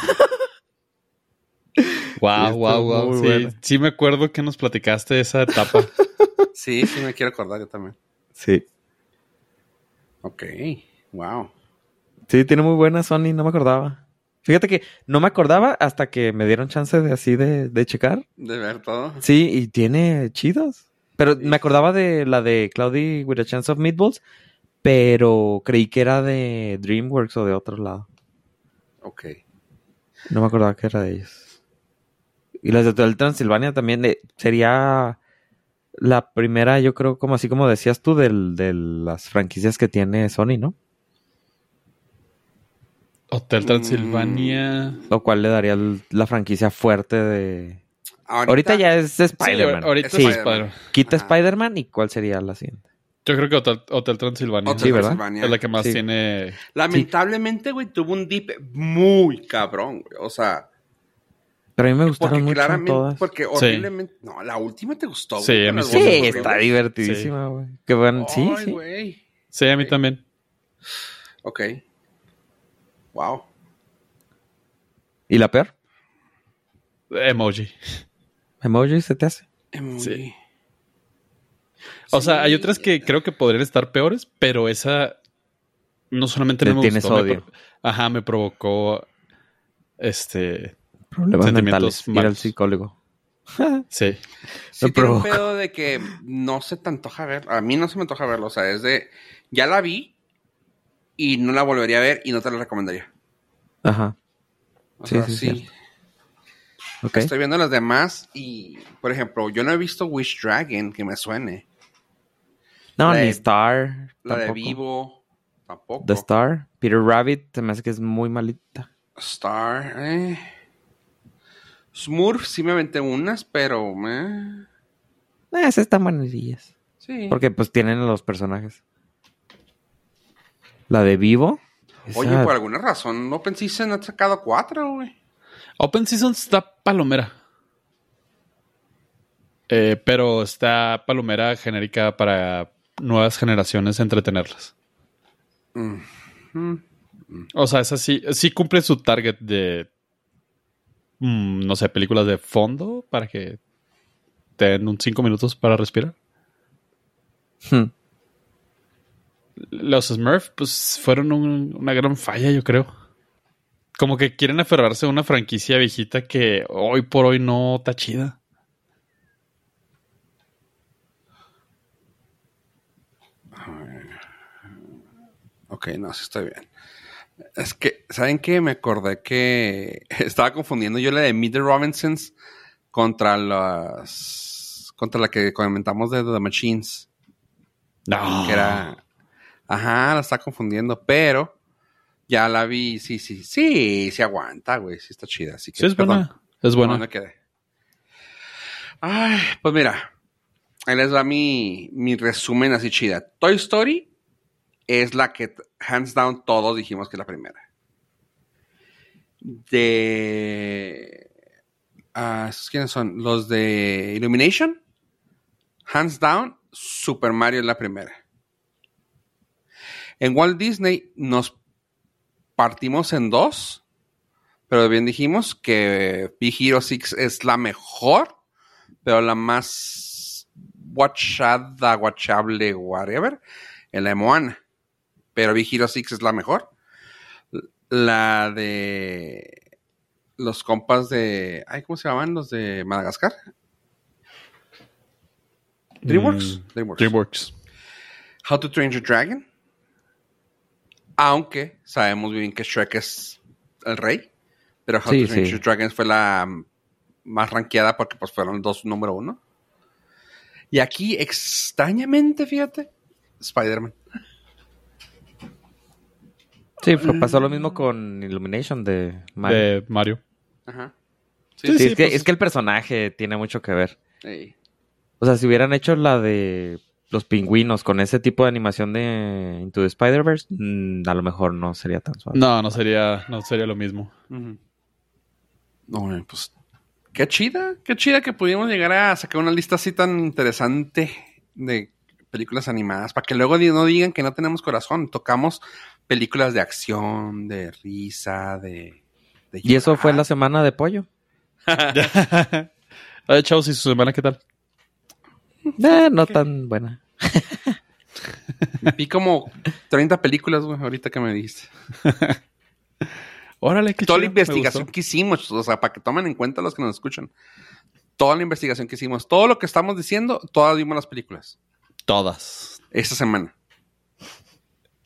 [SPEAKER 2] wow,
[SPEAKER 3] estuvo
[SPEAKER 2] wow, wow.
[SPEAKER 3] muy
[SPEAKER 2] Sí,
[SPEAKER 3] buena.
[SPEAKER 2] sí me acuerdo que nos platicaste de esa etapa.
[SPEAKER 1] Sí, sí, me quiero acordar yo también.
[SPEAKER 3] Sí.
[SPEAKER 1] Ok, wow.
[SPEAKER 3] Sí, tiene muy buena Sony, no me acordaba. Fíjate que no me acordaba hasta que me dieron chance de así de, de checar.
[SPEAKER 1] De ver todo.
[SPEAKER 3] Sí, y tiene chidas. Pero me acordaba de la de Cloudy with a Chance of Meatballs, pero creí que era de DreamWorks o de otro lado.
[SPEAKER 1] Ok.
[SPEAKER 3] No me acordaba que era de ellos. Y las de Hotel Transilvania también eh, sería la primera, yo creo, como así como decías tú, del- de las franquicias que tiene Sony, ¿no?
[SPEAKER 2] Hotel Transilvania.
[SPEAKER 3] Lo cual le daría el- la franquicia fuerte de... Ahorita, ya es Spider-Man.
[SPEAKER 2] Sí, ahorita
[SPEAKER 1] Sí.
[SPEAKER 2] es Spider-Man.
[SPEAKER 3] Quita
[SPEAKER 1] Ajá.
[SPEAKER 3] Spider-Man y cuál sería la siguiente.
[SPEAKER 2] Yo creo que Hotel, Hotel Transilvania
[SPEAKER 1] Hotel
[SPEAKER 3] Sí, ¿verdad?
[SPEAKER 1] Transylvania.
[SPEAKER 2] es la que más
[SPEAKER 3] Sí.
[SPEAKER 2] tiene.
[SPEAKER 1] Lamentablemente, güey, tuvo un dip muy cabrón, güey. O sea,
[SPEAKER 3] Pero a mí me gustaron
[SPEAKER 1] porque
[SPEAKER 3] mucho
[SPEAKER 1] claramente,
[SPEAKER 3] todas.
[SPEAKER 1] porque horriblemente. No, la última te gustó,
[SPEAKER 2] Sí,
[SPEAKER 1] güey.
[SPEAKER 2] a
[SPEAKER 1] con
[SPEAKER 2] mí
[SPEAKER 1] las
[SPEAKER 3] Sí,
[SPEAKER 1] voces
[SPEAKER 3] está
[SPEAKER 1] horribles.
[SPEAKER 3] divertidísima, güey. Que van, sí,
[SPEAKER 1] Ay,
[SPEAKER 3] sí.
[SPEAKER 1] güey.
[SPEAKER 2] Sí, a mí también.
[SPEAKER 1] Ok. Wow.
[SPEAKER 3] ¿Y la peor?
[SPEAKER 2] Emoji.
[SPEAKER 3] Emoji se te hace.
[SPEAKER 1] Sí.
[SPEAKER 2] O sea, hay otras que creo que podrían estar peores, pero esa no solamente no
[SPEAKER 3] Le
[SPEAKER 2] me
[SPEAKER 3] tienes
[SPEAKER 2] gustó. me
[SPEAKER 3] odio.
[SPEAKER 2] pro- Ajá, me provocó este.
[SPEAKER 3] Problemas mentales.
[SPEAKER 2] Sentimientos
[SPEAKER 3] Ir al
[SPEAKER 2] malos.
[SPEAKER 3] psicólogo.
[SPEAKER 2] Sí.
[SPEAKER 1] Sí
[SPEAKER 3] me
[SPEAKER 1] tiene un
[SPEAKER 3] provoca.
[SPEAKER 1] pedo de que no se te antoja ver. A mí no se me antoja verlo. O sea, es de. Ya la vi y no la volvería a ver y no te la recomendaría.
[SPEAKER 3] Ajá.
[SPEAKER 1] O
[SPEAKER 3] Sí,
[SPEAKER 1] sea,
[SPEAKER 3] sí, es
[SPEAKER 1] sí.
[SPEAKER 3] cierto. Ok.
[SPEAKER 1] Estoy viendo las demás y, por ejemplo, yo no he visto Wish Dragon que me suene.
[SPEAKER 3] No,
[SPEAKER 1] la
[SPEAKER 3] ni
[SPEAKER 1] de-
[SPEAKER 3] Star.
[SPEAKER 1] La de
[SPEAKER 3] tampoco.
[SPEAKER 1] Vivo, tampoco.
[SPEAKER 3] The Star. Peter Rabbit se me hace que es muy malita.
[SPEAKER 1] Star, eh. Smurf sí me aventé unas, pero. eh,
[SPEAKER 3] Eh, esas están manerillas.
[SPEAKER 1] sí.
[SPEAKER 3] Porque pues tienen a los personajes. La de Vivo.
[SPEAKER 1] Oye,
[SPEAKER 3] esa-
[SPEAKER 1] por alguna razón, no pensé en han sacado cuatro, güey.
[SPEAKER 2] Open Season está palomera. Eh, pero está palomera genérica para nuevas generaciones entretenerlas.
[SPEAKER 1] Mm. Mm.
[SPEAKER 2] O sea, esa sí, sí cumple su target de. mm, no sé, películas de fondo para que te den un 5 minutos para respirar.
[SPEAKER 3] Hmm.
[SPEAKER 2] Los Smurf, pues fueron un- una gran falla, yo creo. Como que quieren aferrarse a una franquicia viejita que hoy por hoy no está chida.
[SPEAKER 1] Ok, no, sí estoy bien. Es que, ¿saben qué? Me acordé que estaba confundiendo yo la de Meet the Robinsons contra las. contra la que comentamos de The Machines.
[SPEAKER 2] No.
[SPEAKER 1] Que
[SPEAKER 2] Ah.
[SPEAKER 1] era. Ajá, la está confundiendo, pero ya la vi. Sí, sí, sí, se aguanta, güey. Sí está chida. Así que,
[SPEAKER 2] Sí, es
[SPEAKER 1] perdón.
[SPEAKER 2] buena. Es
[SPEAKER 1] Bueno,
[SPEAKER 2] buena.
[SPEAKER 1] quedé? Ay, pues mira, ahí les va mi, mi resumen así chida. Toy Story es la que, hands down, todos dijimos que es la primera. De... ah, ¿esos ¿Quiénes son? Los de Illumination. Hands down, Super Mario es la primera. En Walt Disney nos partimos en dos pero bien dijimos que Big Hero 6 es la mejor, pero la más watchada, watchable, whatever, es la de Moana. Pero Big Hero 6 es la mejor. La de los compas de. Ay, ¿cómo se llaman? Los de Madagascar. DreamWorks.
[SPEAKER 2] Mm,
[SPEAKER 1] DreamWorks.
[SPEAKER 2] DreamWorks.
[SPEAKER 1] How to Train Your Dragon. Aunque sabemos bien que Shrek es el rey, pero How
[SPEAKER 3] Sí,
[SPEAKER 1] to Train
[SPEAKER 3] sí.
[SPEAKER 1] Your Dragon fue la mm, más ranqueada porque pues fueron dos número uno. Y aquí, extrañamente, fíjate, Spider-Man.
[SPEAKER 3] Sí, pero pasó lo mismo con Illumination de Mario.
[SPEAKER 2] De Mario.
[SPEAKER 1] Ajá.
[SPEAKER 3] Sí,
[SPEAKER 6] Sí, sí,
[SPEAKER 3] es, que,
[SPEAKER 6] pues-
[SPEAKER 3] es que el personaje tiene mucho que ver.
[SPEAKER 1] Ey.
[SPEAKER 3] O sea, si hubieran hecho la de los pingüinos con ese tipo de animación de Into the Spider-Verse, mm, a lo mejor no sería tan suave.
[SPEAKER 2] No, no sería, no sería lo mismo.
[SPEAKER 1] Ujú. No, eh, pues. Qué chida, qué chida que pudimos llegar a sacar una lista así tan interesante de películas animadas, para que luego di- no digan que no tenemos corazón. Tocamos películas de acción, de risa, de. de
[SPEAKER 3] Y eso fue la
[SPEAKER 1] llorar.
[SPEAKER 3] semana de pollo.
[SPEAKER 1] Ah,
[SPEAKER 2] Oye, Eh, chavos, ¿y su semana qué tal?
[SPEAKER 3] Eh, no tan buena.
[SPEAKER 1] Vi como 30 películas, güey, ahorita que me dijiste.
[SPEAKER 2] Órale, qué
[SPEAKER 1] Toda la
[SPEAKER 2] chido, me
[SPEAKER 1] investigación
[SPEAKER 2] gustó.
[SPEAKER 1] que hicimos, o sea, para que tomen en cuenta los que nos escuchan. Toda la investigación que hicimos, todo lo que estamos diciendo, todas vimos las películas.
[SPEAKER 2] Todas.
[SPEAKER 1] Esta semana,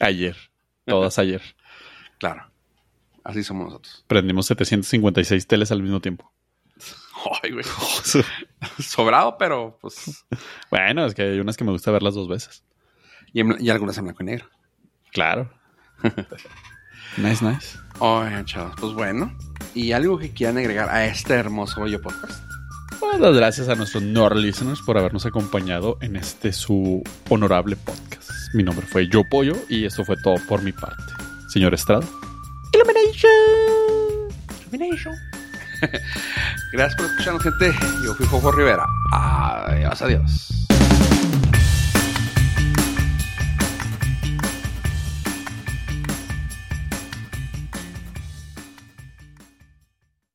[SPEAKER 2] Ayer. Todas ayer.
[SPEAKER 1] claro. Así somos nosotros.
[SPEAKER 2] Prendimos 756 teles al mismo tiempo.
[SPEAKER 1] Ay, güey. Sobrado, pero pues.
[SPEAKER 2] Bueno, es que hay unas que me gusta verlas dos veces.
[SPEAKER 1] Y, en- y algunas en blanco y negro.
[SPEAKER 2] Claro. nice, nice.
[SPEAKER 1] Oigan, chavos, pues bueno. ¿Y algo que quieran agregar a este hermoso hoyo podcast?
[SPEAKER 2] Muchas gracias a nuestros Nor listeners por habernos acompañado en este su honorable podcast. Mi nombre fue Yo Pollo y esto fue todo por mi parte. Señor Estrada.
[SPEAKER 1] Gracias por escucharnos, gente. Yo fui Jojo Rivera. Adiós, adiós.